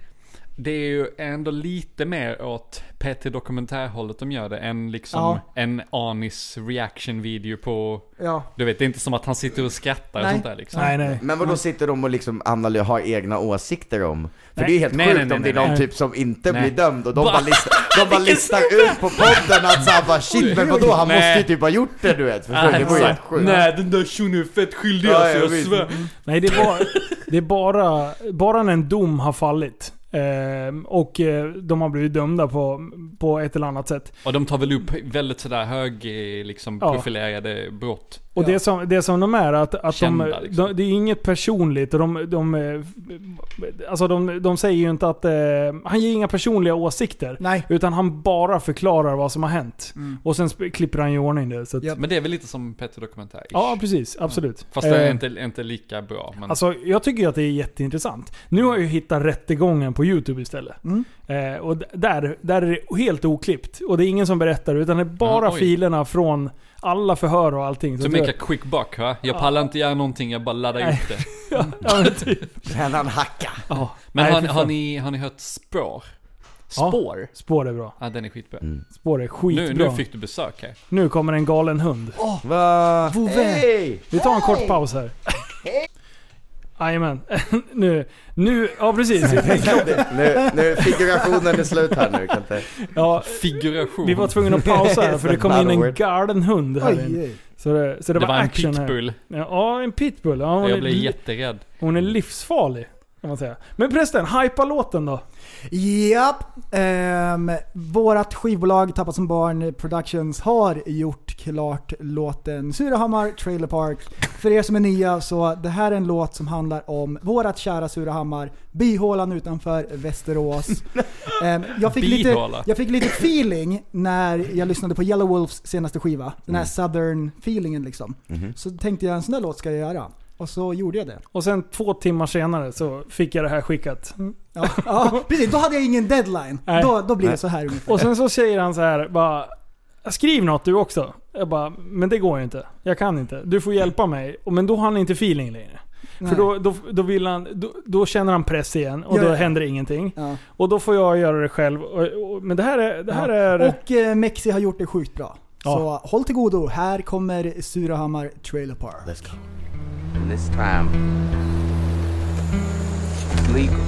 I: det är ju ändå lite mer åt PT dokumentärhållet de gör det än liksom
G: Ja.
I: en Anis reaction video på...
G: Ja.
I: Du vet, det är inte som att han sitter och skrattar och
G: Nej.
I: sånt där liksom.
G: Nej,
H: Men vadå sitter de och liksom analy- har egna åsikter om? För
I: Nej.
H: det är helt
I: Nej,
H: sjukt
I: nej, nej,
H: om det är
I: nej,
H: någon
I: nej.
H: typ som inte
I: Nej.
H: blir dömd och de
I: Va?
H: bara listar, de bara listar ut på podden att såhär bara shit men vadå han
I: Nej. Alltså,
H: måste ju typ ha gjort det du vet, förstår du? Det var ju helt
I: Exakt.
H: sjukt.
I: Nej, den där shunon är fett skyldig
H: Ja,
I: alltså,
H: ja,
I: jag
H: visst.
I: svär.
G: Mm.
F: Nej, det är bara, det är bara, bara när en dom har fallit eh, och eh, de har blivit dömda på, på ett eller annat sätt.
I: Och de tar väl upp väldigt sådär hög, eh, liksom
F: Ja.
I: profilerade brott.
F: Och det, som, det som de är, att, att
I: Kända,
F: de,
I: liksom.
F: de, det är inget personligt. Och de, de, eh, alltså de, de säger ju inte att... Eh, han ger inga personliga åsikter.
G: Nej.
F: Utan han bara förklarar vad som har hänt.
I: Mm.
F: Och sen sp- klipper han ju i ordning det. Så att,
I: Men det är väl lite som Petter Dokumentär?
F: Ja, precis. Absolut.
I: Fast det är
F: Eh,
I: inte, inte lika bra. Men...
F: Alltså, jag tycker ju att det är jätteintressant. Nu har jag ju hittat rättegången på YouTube istället. Eh, och d- där, där är det helt oklippt. Och det är ingen som berättar, utan det är bara
I: Ja, oj.
F: filerna från alla förhör och allting.
I: To
F: att jag-
I: make a quick buck va? Jag pallar inte göra någonting, jag bara laddar
F: Alltså, Nej.
I: ut det.
F: ja, men typ.
H: Kärnan hacka.
F: Ja.
I: Men
F: Nej,
I: har,
F: fy fan.
I: har, ni, har ni hört spår? Spår? Ja,
F: Spår är bra.
I: den är skitbra.
H: Mm.
F: Spår är skitbra.
I: Nu, nu fick du besök här.
F: Nu kommer en galen hund.
H: Va?
G: Vove.
H: Hej!
F: Vi tar en kort paus här. Jajamän. nu, nu, ja precis.
H: Nu, nu, figurationen är slut här nu kan inte...
F: Ja,
I: Figuration.
F: vi var tvungna att pausa här för det kom in en galen hund här
G: Oj,
F: in.
G: oj.
F: Så det, så det,
I: det var, en
F: action här.
I: pitbull.
F: Ja, en pitbull. Ja, hon,
I: Jag
F: är,
I: blev jätterädd.
F: hon är livsfarlig. Kan man säga. Men förresten, hypa låten då.
G: Japp. Ehm, vårat skivbolag Tappat som barn Productions har gjort klart låten Surahammar Trailer Park. För er som är nya så det här är en låt som handlar om vårat kära Surahammar, bihålan utanför Västerås. Ehm, jag, fick lite,
I: Bihåla.
G: jag fick lite feeling när jag lyssnade på Yellow Wolves senaste skiva. Den här
F: Mm.
G: southern feelingen liksom.
H: Mhm.
G: Så tänkte jag en sån där låt ska jag göra. Och så gjorde jag det.
F: Och sen två timmar senare så fick jag det här skickat.
G: Ja, ja precis. Då hade jag ingen deadline.
F: Nej.
G: Då, då blir det
H: Nej.
G: så här ungefär.
F: Och sen så säger han så här bara Skriv något du också. Jag bara, men det går ju inte. Jag kan inte. Du får hjälpa mig. Och- Men då har han inte feeling längre. För
G: Nej.
F: då, då, då, vill han, då, då känner han press igen och
G: Ja,
F: då
G: ja.
F: händer ingenting.
G: Ja.
F: Och då får jag göra det själv. Och, och, men det här är... Det här
G: Ja.
F: är
G: Och eh, Mexi har gjort det sjukt bra.
F: Ja.
G: Så håll till godo. Här kommer Surahammar Trailer Park.
H: Let's go.
C: And this time, it's legal.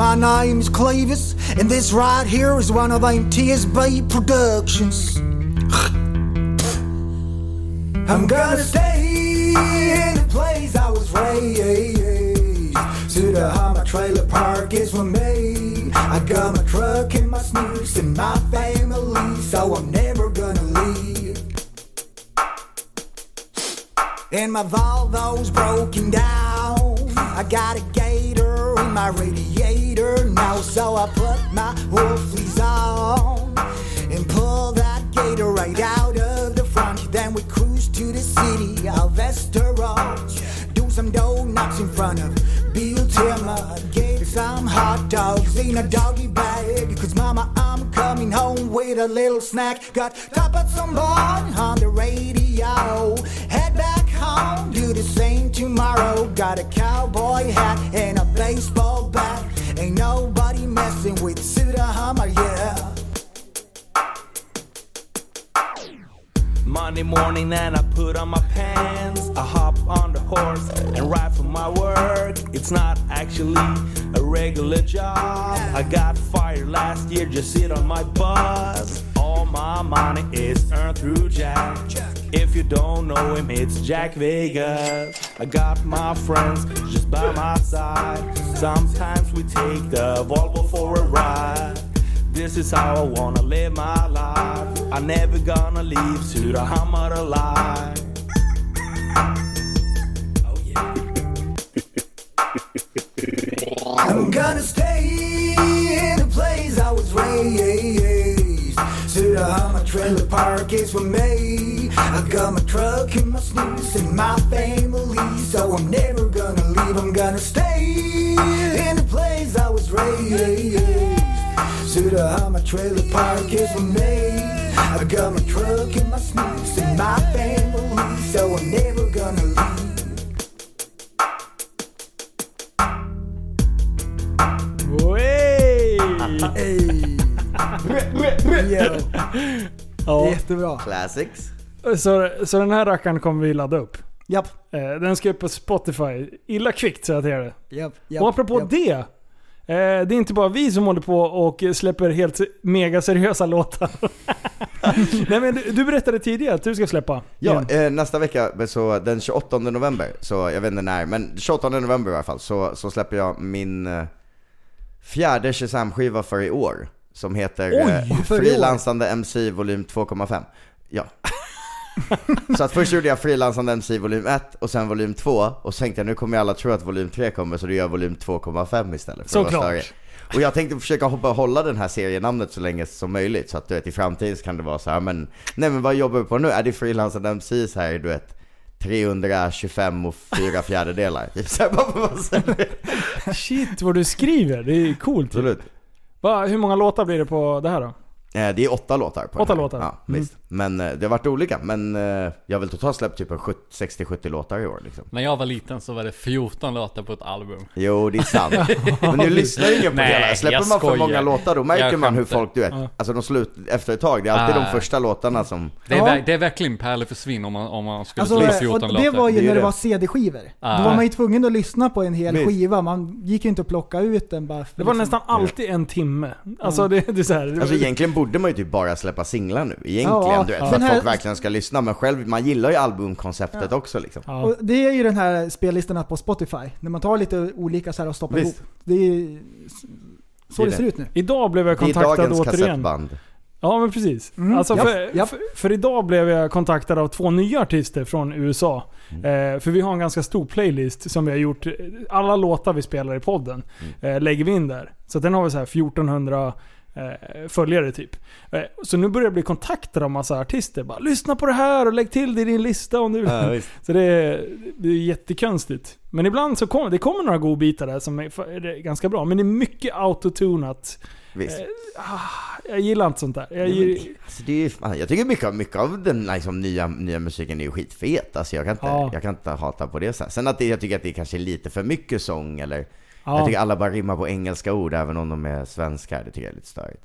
K: My name's Clevis, and this right here is one of them TSB productions. I'm gonna stay in the place I was raised. To the how my trailer park is for me. I got my truck and my snooze and my family, so I'm never gonna leave. And my Volvo's broken down. I got a gator in my radiator now, so I put my wolfies on and pull that gator right out of the front. Then we cruise to the city of Västerås. Do some donuts in front of Bill Timmer. Get some hot dogs in a doggy bag. Cause mama, I'm coming home with a little snack. Got top of some barn on the radio. Head back home, do the same tomorrow. Got a cowboy hat and a baseball bat. Ain't nobody messing with Suda Hummer, yeah.
L: Monday morning and I put on my pants. I hop on the horse and ride for my work. It's not actually a regular job. I got fired last year, just sit on my bus. All my money is earned through Jack. If you don't know him, it's Jack Vegas. I got my friends just by my side. Sometimes we take the Volvo for a ride. This is how I wanna live my life. I never gonna leave Surahammar alive.
M: trying to stay in the place I was raised. See how my trailer park is for me. I got my truck and my snooze and my family, so I'm never gonna leave. I'm gonna stay in the place I was raised. See how my trailer park is for me. I got my truck and my snooze and my family, so I'm never gonna leave.
F: Wey!
G: Ja. Jättebra.
H: Classics.
F: Så, så den här rackaren kommer vi ladda upp. Eh,
G: Japp.
F: Den ska upp på Spotify. Illa kvickt så jag till det.
G: Japp,
F: och apropå det. eh, Det är inte bara vi som håller på och släpper helt mega seriösa låtar. Nej, men du, du berättade tidigare att du ska släppa.
H: Ja,
F: igen.
H: eh, nästa vecka, så den 28 november, så jag vet inte när, men 28 november i alla fall, så, så släpper jag min eh, fjärde Shazam-skiva för i år. Som heter
G: Oj,
H: eh,
G: för i år?
H: Frilansande MC volym 2,5. Ja. så att först gjorde jag Frilansande MC volym 1 och sen volym 2 och så tänkte jag nu kommer ju alla tro att volym 3 kommer så då gör jag volym 2,5 istället. för att vara
F: Såklart.
H: större. Och jag tänkte försöka hoppa, hålla den här serienamnet så länge som möjligt så att du vet i framtiden så kan det vara så här men Nej men vad jobbar du på nu? Är det frilansande MC så här du vet 325 och 4 fjärdedelar? Typ så här, bara för att vara så-
F: Shit vad du skriver. Det är coolt.
H: Absolut.
F: Va, hur många låtar blir det på det här då?
H: Eh, Det är åtta låtar på den
F: Åtta
H: här.
F: låtar.
H: Ja,
F: Mm.
H: visst. Men eh, det har varit olika. Men eh, jag har väl totalt släppt typ en 70 60-70 låtar i år liksom.
I: När jag var liten så var det 14 låtar på ett album.
H: Jo, det är sant. Men nu lyssnar ju ingen på det hela. Släpper man för många låtar då märker man hur folk, du vet, alltså de slutar efter ett tag. Det är alltid
I: Ah.
H: de första låtarna som...
I: Det är,
H: Ja.
I: ver- det är verkligen pärlor försvinn om man, om man skulle
G: Alltså,
I: ta ut 14
G: och
I: låtar.
G: det var ju när det var CD-skivor.
I: Ah.
G: Då var man ju tvungen att lyssna på en hel
I: Visst.
G: skiva. Man gick ju inte att plocka ut den bara. liksom-
F: Det var nästan alltid en timme. Alltså det, det är så här, det
H: Alltså egentligen borde man ju typ bara släppa singlar nu, egentligen
G: Ja,
H: du vet,
G: ja.
H: för att
G: Den här-
H: folk verkligen ska lyssna men själv, man gillar ju albumkonceptet också liksom.
G: Och det är ju den här spellistan på Spotify. När man tar lite olika så här och stoppar
H: Visst.
G: ihop. Det är ju så det, ser ut nu.
F: Idag blev jag
H: Det är
F: kontaktad
H: dagens
F: återigen.
H: kassettband.
F: Ja men precis.
G: Mm,
F: Alltså,
G: japp,
F: för, För, för idag blev jag kontaktad av två nya artister från USA.
H: Mm.
F: Eh, för vi har en ganska stor playlist som vi har gjort. eh, Alla låtar vi spelar i podden
H: Mm.
F: eh, lägger vi in där. Så att den har vi så här 1400 eh, följare typ. Eh, så nu börjar jag bli kontaktad av massa artister. Bara, Lyssna på det här och lägg till det i din lista om du vill.
H: Ja, visst.
F: så det är, det är jättekonstigt. Men ibland så kommer det kommer några godbitar där som är, fa- är ganska bra. Men det är mycket autotunat.
H: Visst.
F: Eh, ah, jag gillar inte sånt där. Jag
H: Nej, men
F: gillar,
H: det- Alltså, det är, ju fan, jag tycker mycket, av- mycket av den liksom, nya, nya musiken är ju skitfet. Alltså, jag, kan inte,
F: Ja.
H: jag kan inte hata på det. Så här. Sen att det, jag tycker att det kanske är lite för mycket sång eller
F: Ja.
H: Jag tycker alla bara rimmar på engelska ord även om de är svenskar. Det tycker jag är lite störigt.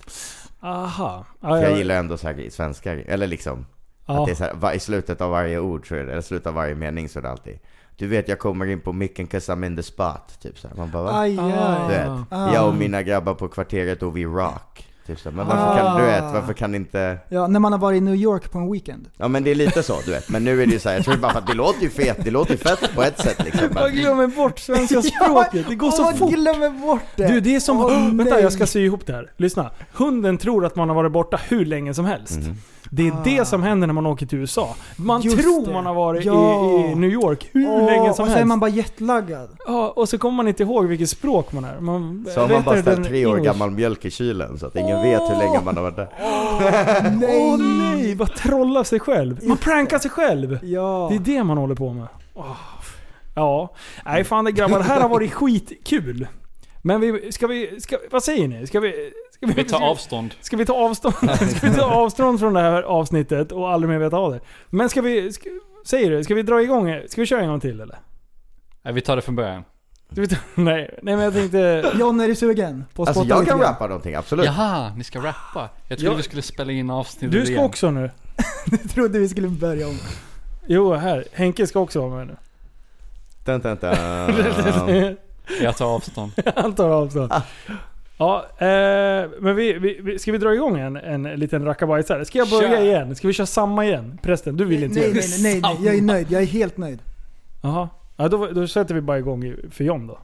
F: Aha.
H: För
F: Ja, ja.
H: jag gillar ändå så här, svenskar, eller liksom
F: Ja.
H: att det är så här, va- i slutet av varje ord, så är det, eller slutet av varje mening så är det alltid du vet jag kommer in på micken 'cause I'm in the spot' typ så här. Man bara va?
G: Aj, aj.
H: Du vet,
G: Ah.
H: jag och mina grabbar på kvarteret och vi rock. Typ så här. Men varför kan,
G: Ah.
H: du vet, varför kan inte...
G: Ja, när man har varit i New York på en weekend.
H: Ja men det är lite så du vet, men nu är det ju såhär, jag tror det är bara för att det låter ju fet, det låter ju fett på ett sätt liksom.
F: Jag
H: Men,
F: glömmer bort svenska språket. Det går så
G: Åh,
F: fort.
G: glömmer bort det!
F: Du, det är som...
G: Åh,
F: Oh, vänta,
G: nej.
F: jag ska sy ihop det här. Lyssna. Hunden tror att man har varit borta hur länge som helst.
H: Mm.
F: Det är det som händer när man åker till USA. Man
G: Ah. Just
F: tror
G: det.
F: man har varit
G: Ja.
F: i, i New York hur
G: Åh,
F: länge som
G: Och så är
F: helst.
G: man bara jetlaggad.
F: Ja, och så kommer man inte ihåg vilket språk man är. Man
H: så har man
F: vet
H: bara
F: det
H: ställt
F: den
H: tre år
F: English.
H: gammal mjölk i kylen så att ingen vet hur länge man har varit där.
F: Åh nej, vad trollar sig själv. Man prankar sig själv.
G: Ja.
F: Det är det man håller på med. Åh. Ja. Nej fan det grabbar, det här har varit skitkul. Men vi, ska vi, ska, vad säger ni? Ska vi, ska
I: Vi tar avstånd.
F: Ska vi ta avstånd, ska vi ta avstånd från det här avsnittet och aldrig mer veta av det? Men ska vi, ska, säger du, ska vi dra igång? Ska vi köra en gång till eller?
I: Nej, vi tar det från början.
F: Ska vi ta, nej, nej men jag tänkte...
G: John, är du sugen? På
H: Alltså jag kan rappa någonting, absolut.
I: Jaha, Ah, ni ska rappa. Jag trodde
F: Ja.
I: vi skulle spela in avsnittet
F: Du ska
I: igen.
F: också nu.
G: Jag trodde vi skulle börja om.
F: Jo, här. Henke ska också vara med nu.
H: Dun, dun, dun. Ehm.
I: Jag tar avstånd.
F: Han tar avstånd.
H: Ah.
F: Ja, eh, men vi, vi, vi, ska vi dra igång en, en liten rackabajsare? Ska jag börja
G: Kör.
F: igen? Ska vi köra samma igen? Prästen, du vill inte
G: Nej,
F: göra
G: nej, nej, nej, jag är nöjd. Jag är helt nöjd.
F: Jaha. Ja, då, då sätter vi bara igång i- för John då.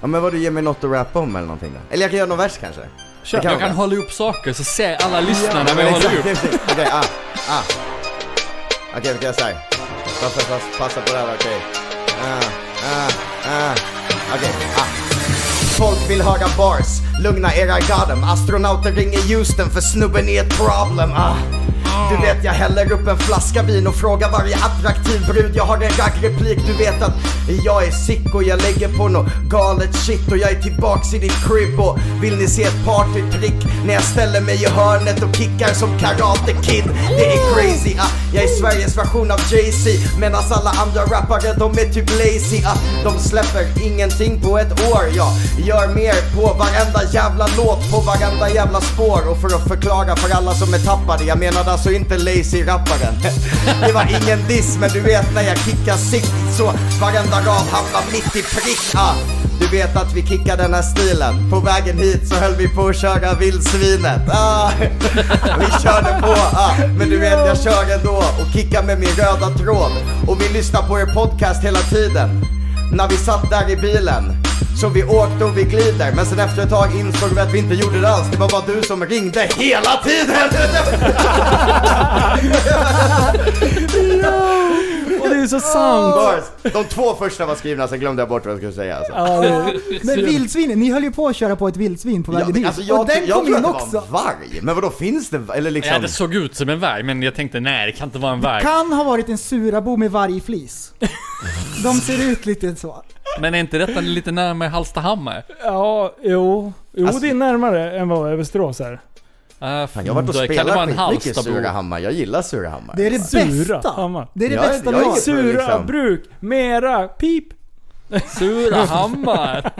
H: Ja men vadå, ge mig något att rappa om eller någonting då? Eller jag kan göra någon vers kanske?
I: Kör. Jag kan hålla upp saker så ser alla lyssnarna vad jag håller upp.
H: Okej, ah, ah. Okej, vi kan göra såhär. Passa, passa, passa på det här, okej. Ah, ah, ah. Okej, ah.
N: folk vill höra bars. Lugna era goddam. Astronauter ringer Houston för snubben är ett problem. Ah. Du vet jag häller upp en flaska vin och frågar varje attraktiv brud Jag har en raggreplik, du vet att jag är sick och jag lägger på något galet shit och jag är tillbaks i ditt crib och vill ni se ett partytrick? När jag ställer mig i hörnet och kickar som Karate Kid Det är crazy, ah, jag är Sveriges version av Jay-Z Medan alla andra rappare de är typ lazy ah, De släpper ingenting på ett år Jag gör mer på varenda jävla låt, på varenda jävla spår Och för att förklara för alla som är tappade, jag menade alltså inte lazy-rapparen Det var ingen diss men du vet när jag kickar sikt så varenda rad hamnar mitt i prick ah. Du vet att vi kickar den här stilen På vägen hit så höll vi på att köra vildsvinet ah. Vi körde på, ah. men du vet jag kör ändå och kickar med min röda tråd Och vi lyssnar på er podcast hela tiden När vi satt där i bilen så vi åkte och vi glider Men sen efter ett tag insåg vi att vi inte gjorde det alls Det var bara du som ringde hela tiden!
F: Och det är så sant!
H: Bars. De två första var skrivna, sen glömde jag bort vad jag skulle säga alltså.
G: Ja, det- Men vildsvin, ni höll ju på att köra på ett vildsvin på
H: Ja,
G: vägen
H: men
G: hit.
H: alltså jag,
G: och den
H: jag
G: kom
H: tror
G: in
H: att det
G: också.
H: var en varg, men vadå finns det? Eller liksom...
I: Ja, det såg ut som en varg, men jag tänkte nej, det kan inte vara en varg.
G: Kan ha varit en surabo med vargflis. De ser ut lite så.
I: Men är inte detta lite närmare Hallstahammar?
F: Ja, jo. Jo,
I: Alltså-
F: det är närmare än vad Västerås är.
I: Uh,
H: Fan, jag har varit och spelat skitmycket Surahammar, jag gillar Surahammar.
F: Det är det Sura. bästa. Hammar. Det är det bästa vi har. Sura
H: liksom.
F: bruk, mera, pip.
I: Surahammar.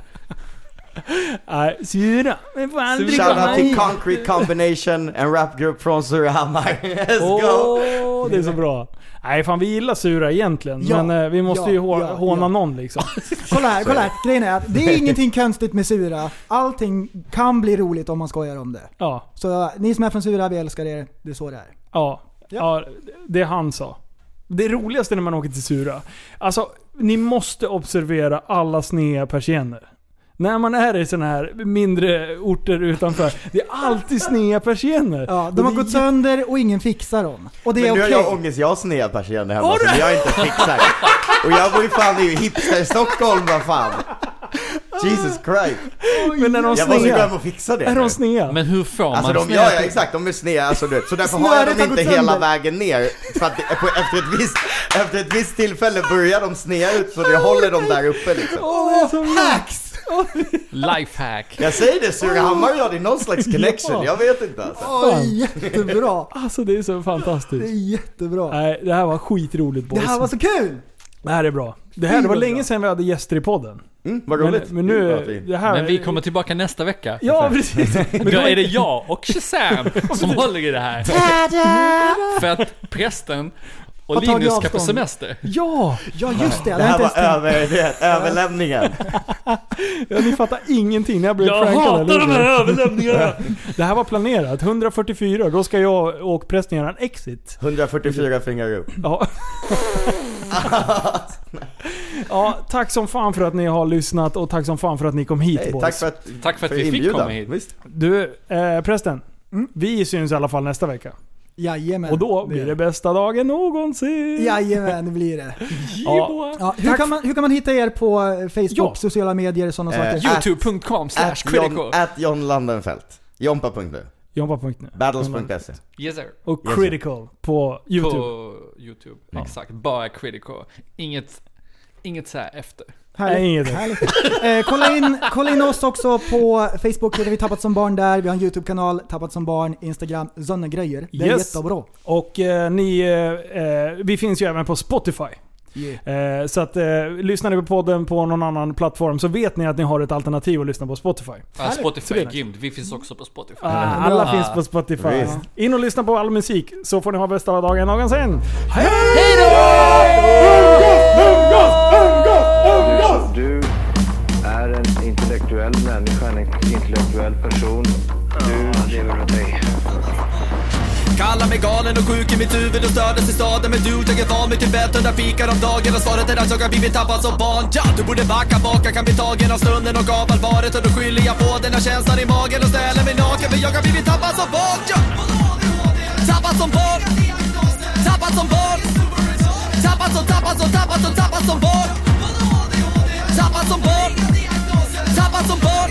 F: Nej, Sura. Men får aldrig komma
H: Shoutout till
F: hit.
H: Concrete Combination, en rapgrupp från Surahammar. Let's
F: Åh,
H: go!
F: det är så bra. Nej fan vi gillar Sura egentligen,
G: Ja,
F: men eh, vi måste
G: ja,
F: ju hå-
G: ja,
F: håna
G: ja.
F: någon liksom.
G: Kolla här, kolla här. Grejen är att det är ingenting konstigt med Sura. Allting kan bli roligt om man skojar om det.
F: Ja.
G: Så ni som är från Sura, vi älskar er. Det är så det är.
F: Ja. ja, det han sa. Det roligaste när man åker till Sura. Alltså, ni måste observera alla sneda persienner. När man är i sådana här mindre orter utanför, det är alltid sneda persienner.
G: Ja, de har gått sönder och ingen fixar dem. Och det är
H: men nu
G: okej.
H: har jag ångest, jag har sneda persienner hemma som jag inte fixar. Och jag bor ju fan i hipster-Stockholm, vad fan. Jesus Christ.
F: Men när de
H: jag måste
F: snea-
H: glömma att fixa det.
F: Är
H: nu.
F: de sneda?
I: Men hur får
H: Alltså de, ja, ja exakt, de är sneda alltså du vet. Så därför har jag
F: Snöret har
H: dem inte
F: gått
H: hela
F: sönder.
H: vägen ner. För att det, på, efter, ett visst, efter ett visst tillfälle börjar de sneda ut så det håller dem där uppe liksom.
M: Oh,
G: hacks!
I: Lifehack.
H: Jag säger det, Surahammar och jag, det är någon slags
F: Ja.
H: connection. Jag vet inte alltså.
G: Oj, jättebra!
F: Alltså det är så fantastiskt.
G: Det är jättebra.
F: Nej, det här var skitroligt
G: Det
F: boys.
G: här var så kul!
F: Det här är bra. Det här det var
G: Skitroligt
F: länge sedan vi hade gäster i podden.
H: Mm,
I: vad roligt.
F: Men, men
I: Det är bra att vi-
F: nu... Det här,
I: Men vi kommer tillbaka nästa vecka.
F: Ja, precis.
I: Men då är det jag och Shazam som håller i det här. För att prästen
F: Har
I: och
F: tagit
I: Linus ska på
F: avstånd.
I: semester.
F: Ja!
G: Ja just det,
H: Det här var över, du vet, överlämningen.
F: Ja, ni fattar ingenting när jag blev
I: Jag
F: prankad,
I: hatar
F: eller
I: de
F: hur?
I: här överlämningarna!
F: Det här var planerat. 144, då ska jag och prästen göra en exit.
H: 144 fingrar upp.
F: Ja. ja, tack som fan för att ni har lyssnat och tack som fan för att ni kom hit
H: Hej,
F: boys.
H: tack för att,
I: Tack för att vi fick komma hit.
H: Visst.
F: Du, eh, prästen. Vi syns i alla fall nästa vecka.
G: Jajamän.
F: och då blir det bästa dagen någonsin.
G: Jajamän, det blir det.
F: Ja.
G: Ja, hur, kan man, hur kan man hitta er på eh, Facebook,
F: Ja.
G: sociala medier och sådana
H: Eh,
G: saker?
H: att-
I: Youtube.com slash
H: At John-
I: critical.
H: At John Landenfelt. Jompa.nu.
F: Jompa.nu.
H: Battles.se.
I: Yes sir.
F: Och
H: Yes.
F: critical på YouTube.
I: På YouTube. Exakt. Bara critical. Inget, inget så här efter.
F: Nej, inget.
G: härligt. Eh, kolla, in, kolla in oss också på Facebook, heter vi Tappat som barn där. Vi har en YouTube-kanal, Tappat som barn, Instagram, sådana grejer. Det är
F: Yes.
G: jättebra.
F: Och eh, ni, eh, eh, vi finns ju även på Spotify. Eh, så att eh, lyssnar ni på podden på någon annan plattform så vet ni att ni har ett alternativ att lyssna på Spotify.
I: Ja,
F: Så
I: Spotify
F: det är
I: är grymt. Vi finns också på Spotify.
F: Ah, alla finns på Spotify.
I: Visst.
F: In och lyssna på all musik så får ni ha bästa dagen någonsin. Hej!
C: Eftersom du är en intellektuell människa, en intellektuell person. Du lever av dig.
A: Kallar mig galen och sjuk i mitt huvud och stördes i staden Men du, jag är van vid Tibet och där fikar om dagen Och svaret är att jag har blivit tappad som barn ja, Du borde backa bak, jag kan bli tagen av stunden och av allvaret Och då skyller jag på den här känslan i magen och ställer mig naken För jag har blivit tappad som barn ja. Tappad som barn Tappad som barn Tappad som, tappad som, tappad som, tappad som barn Tappad som barn Tappad som barn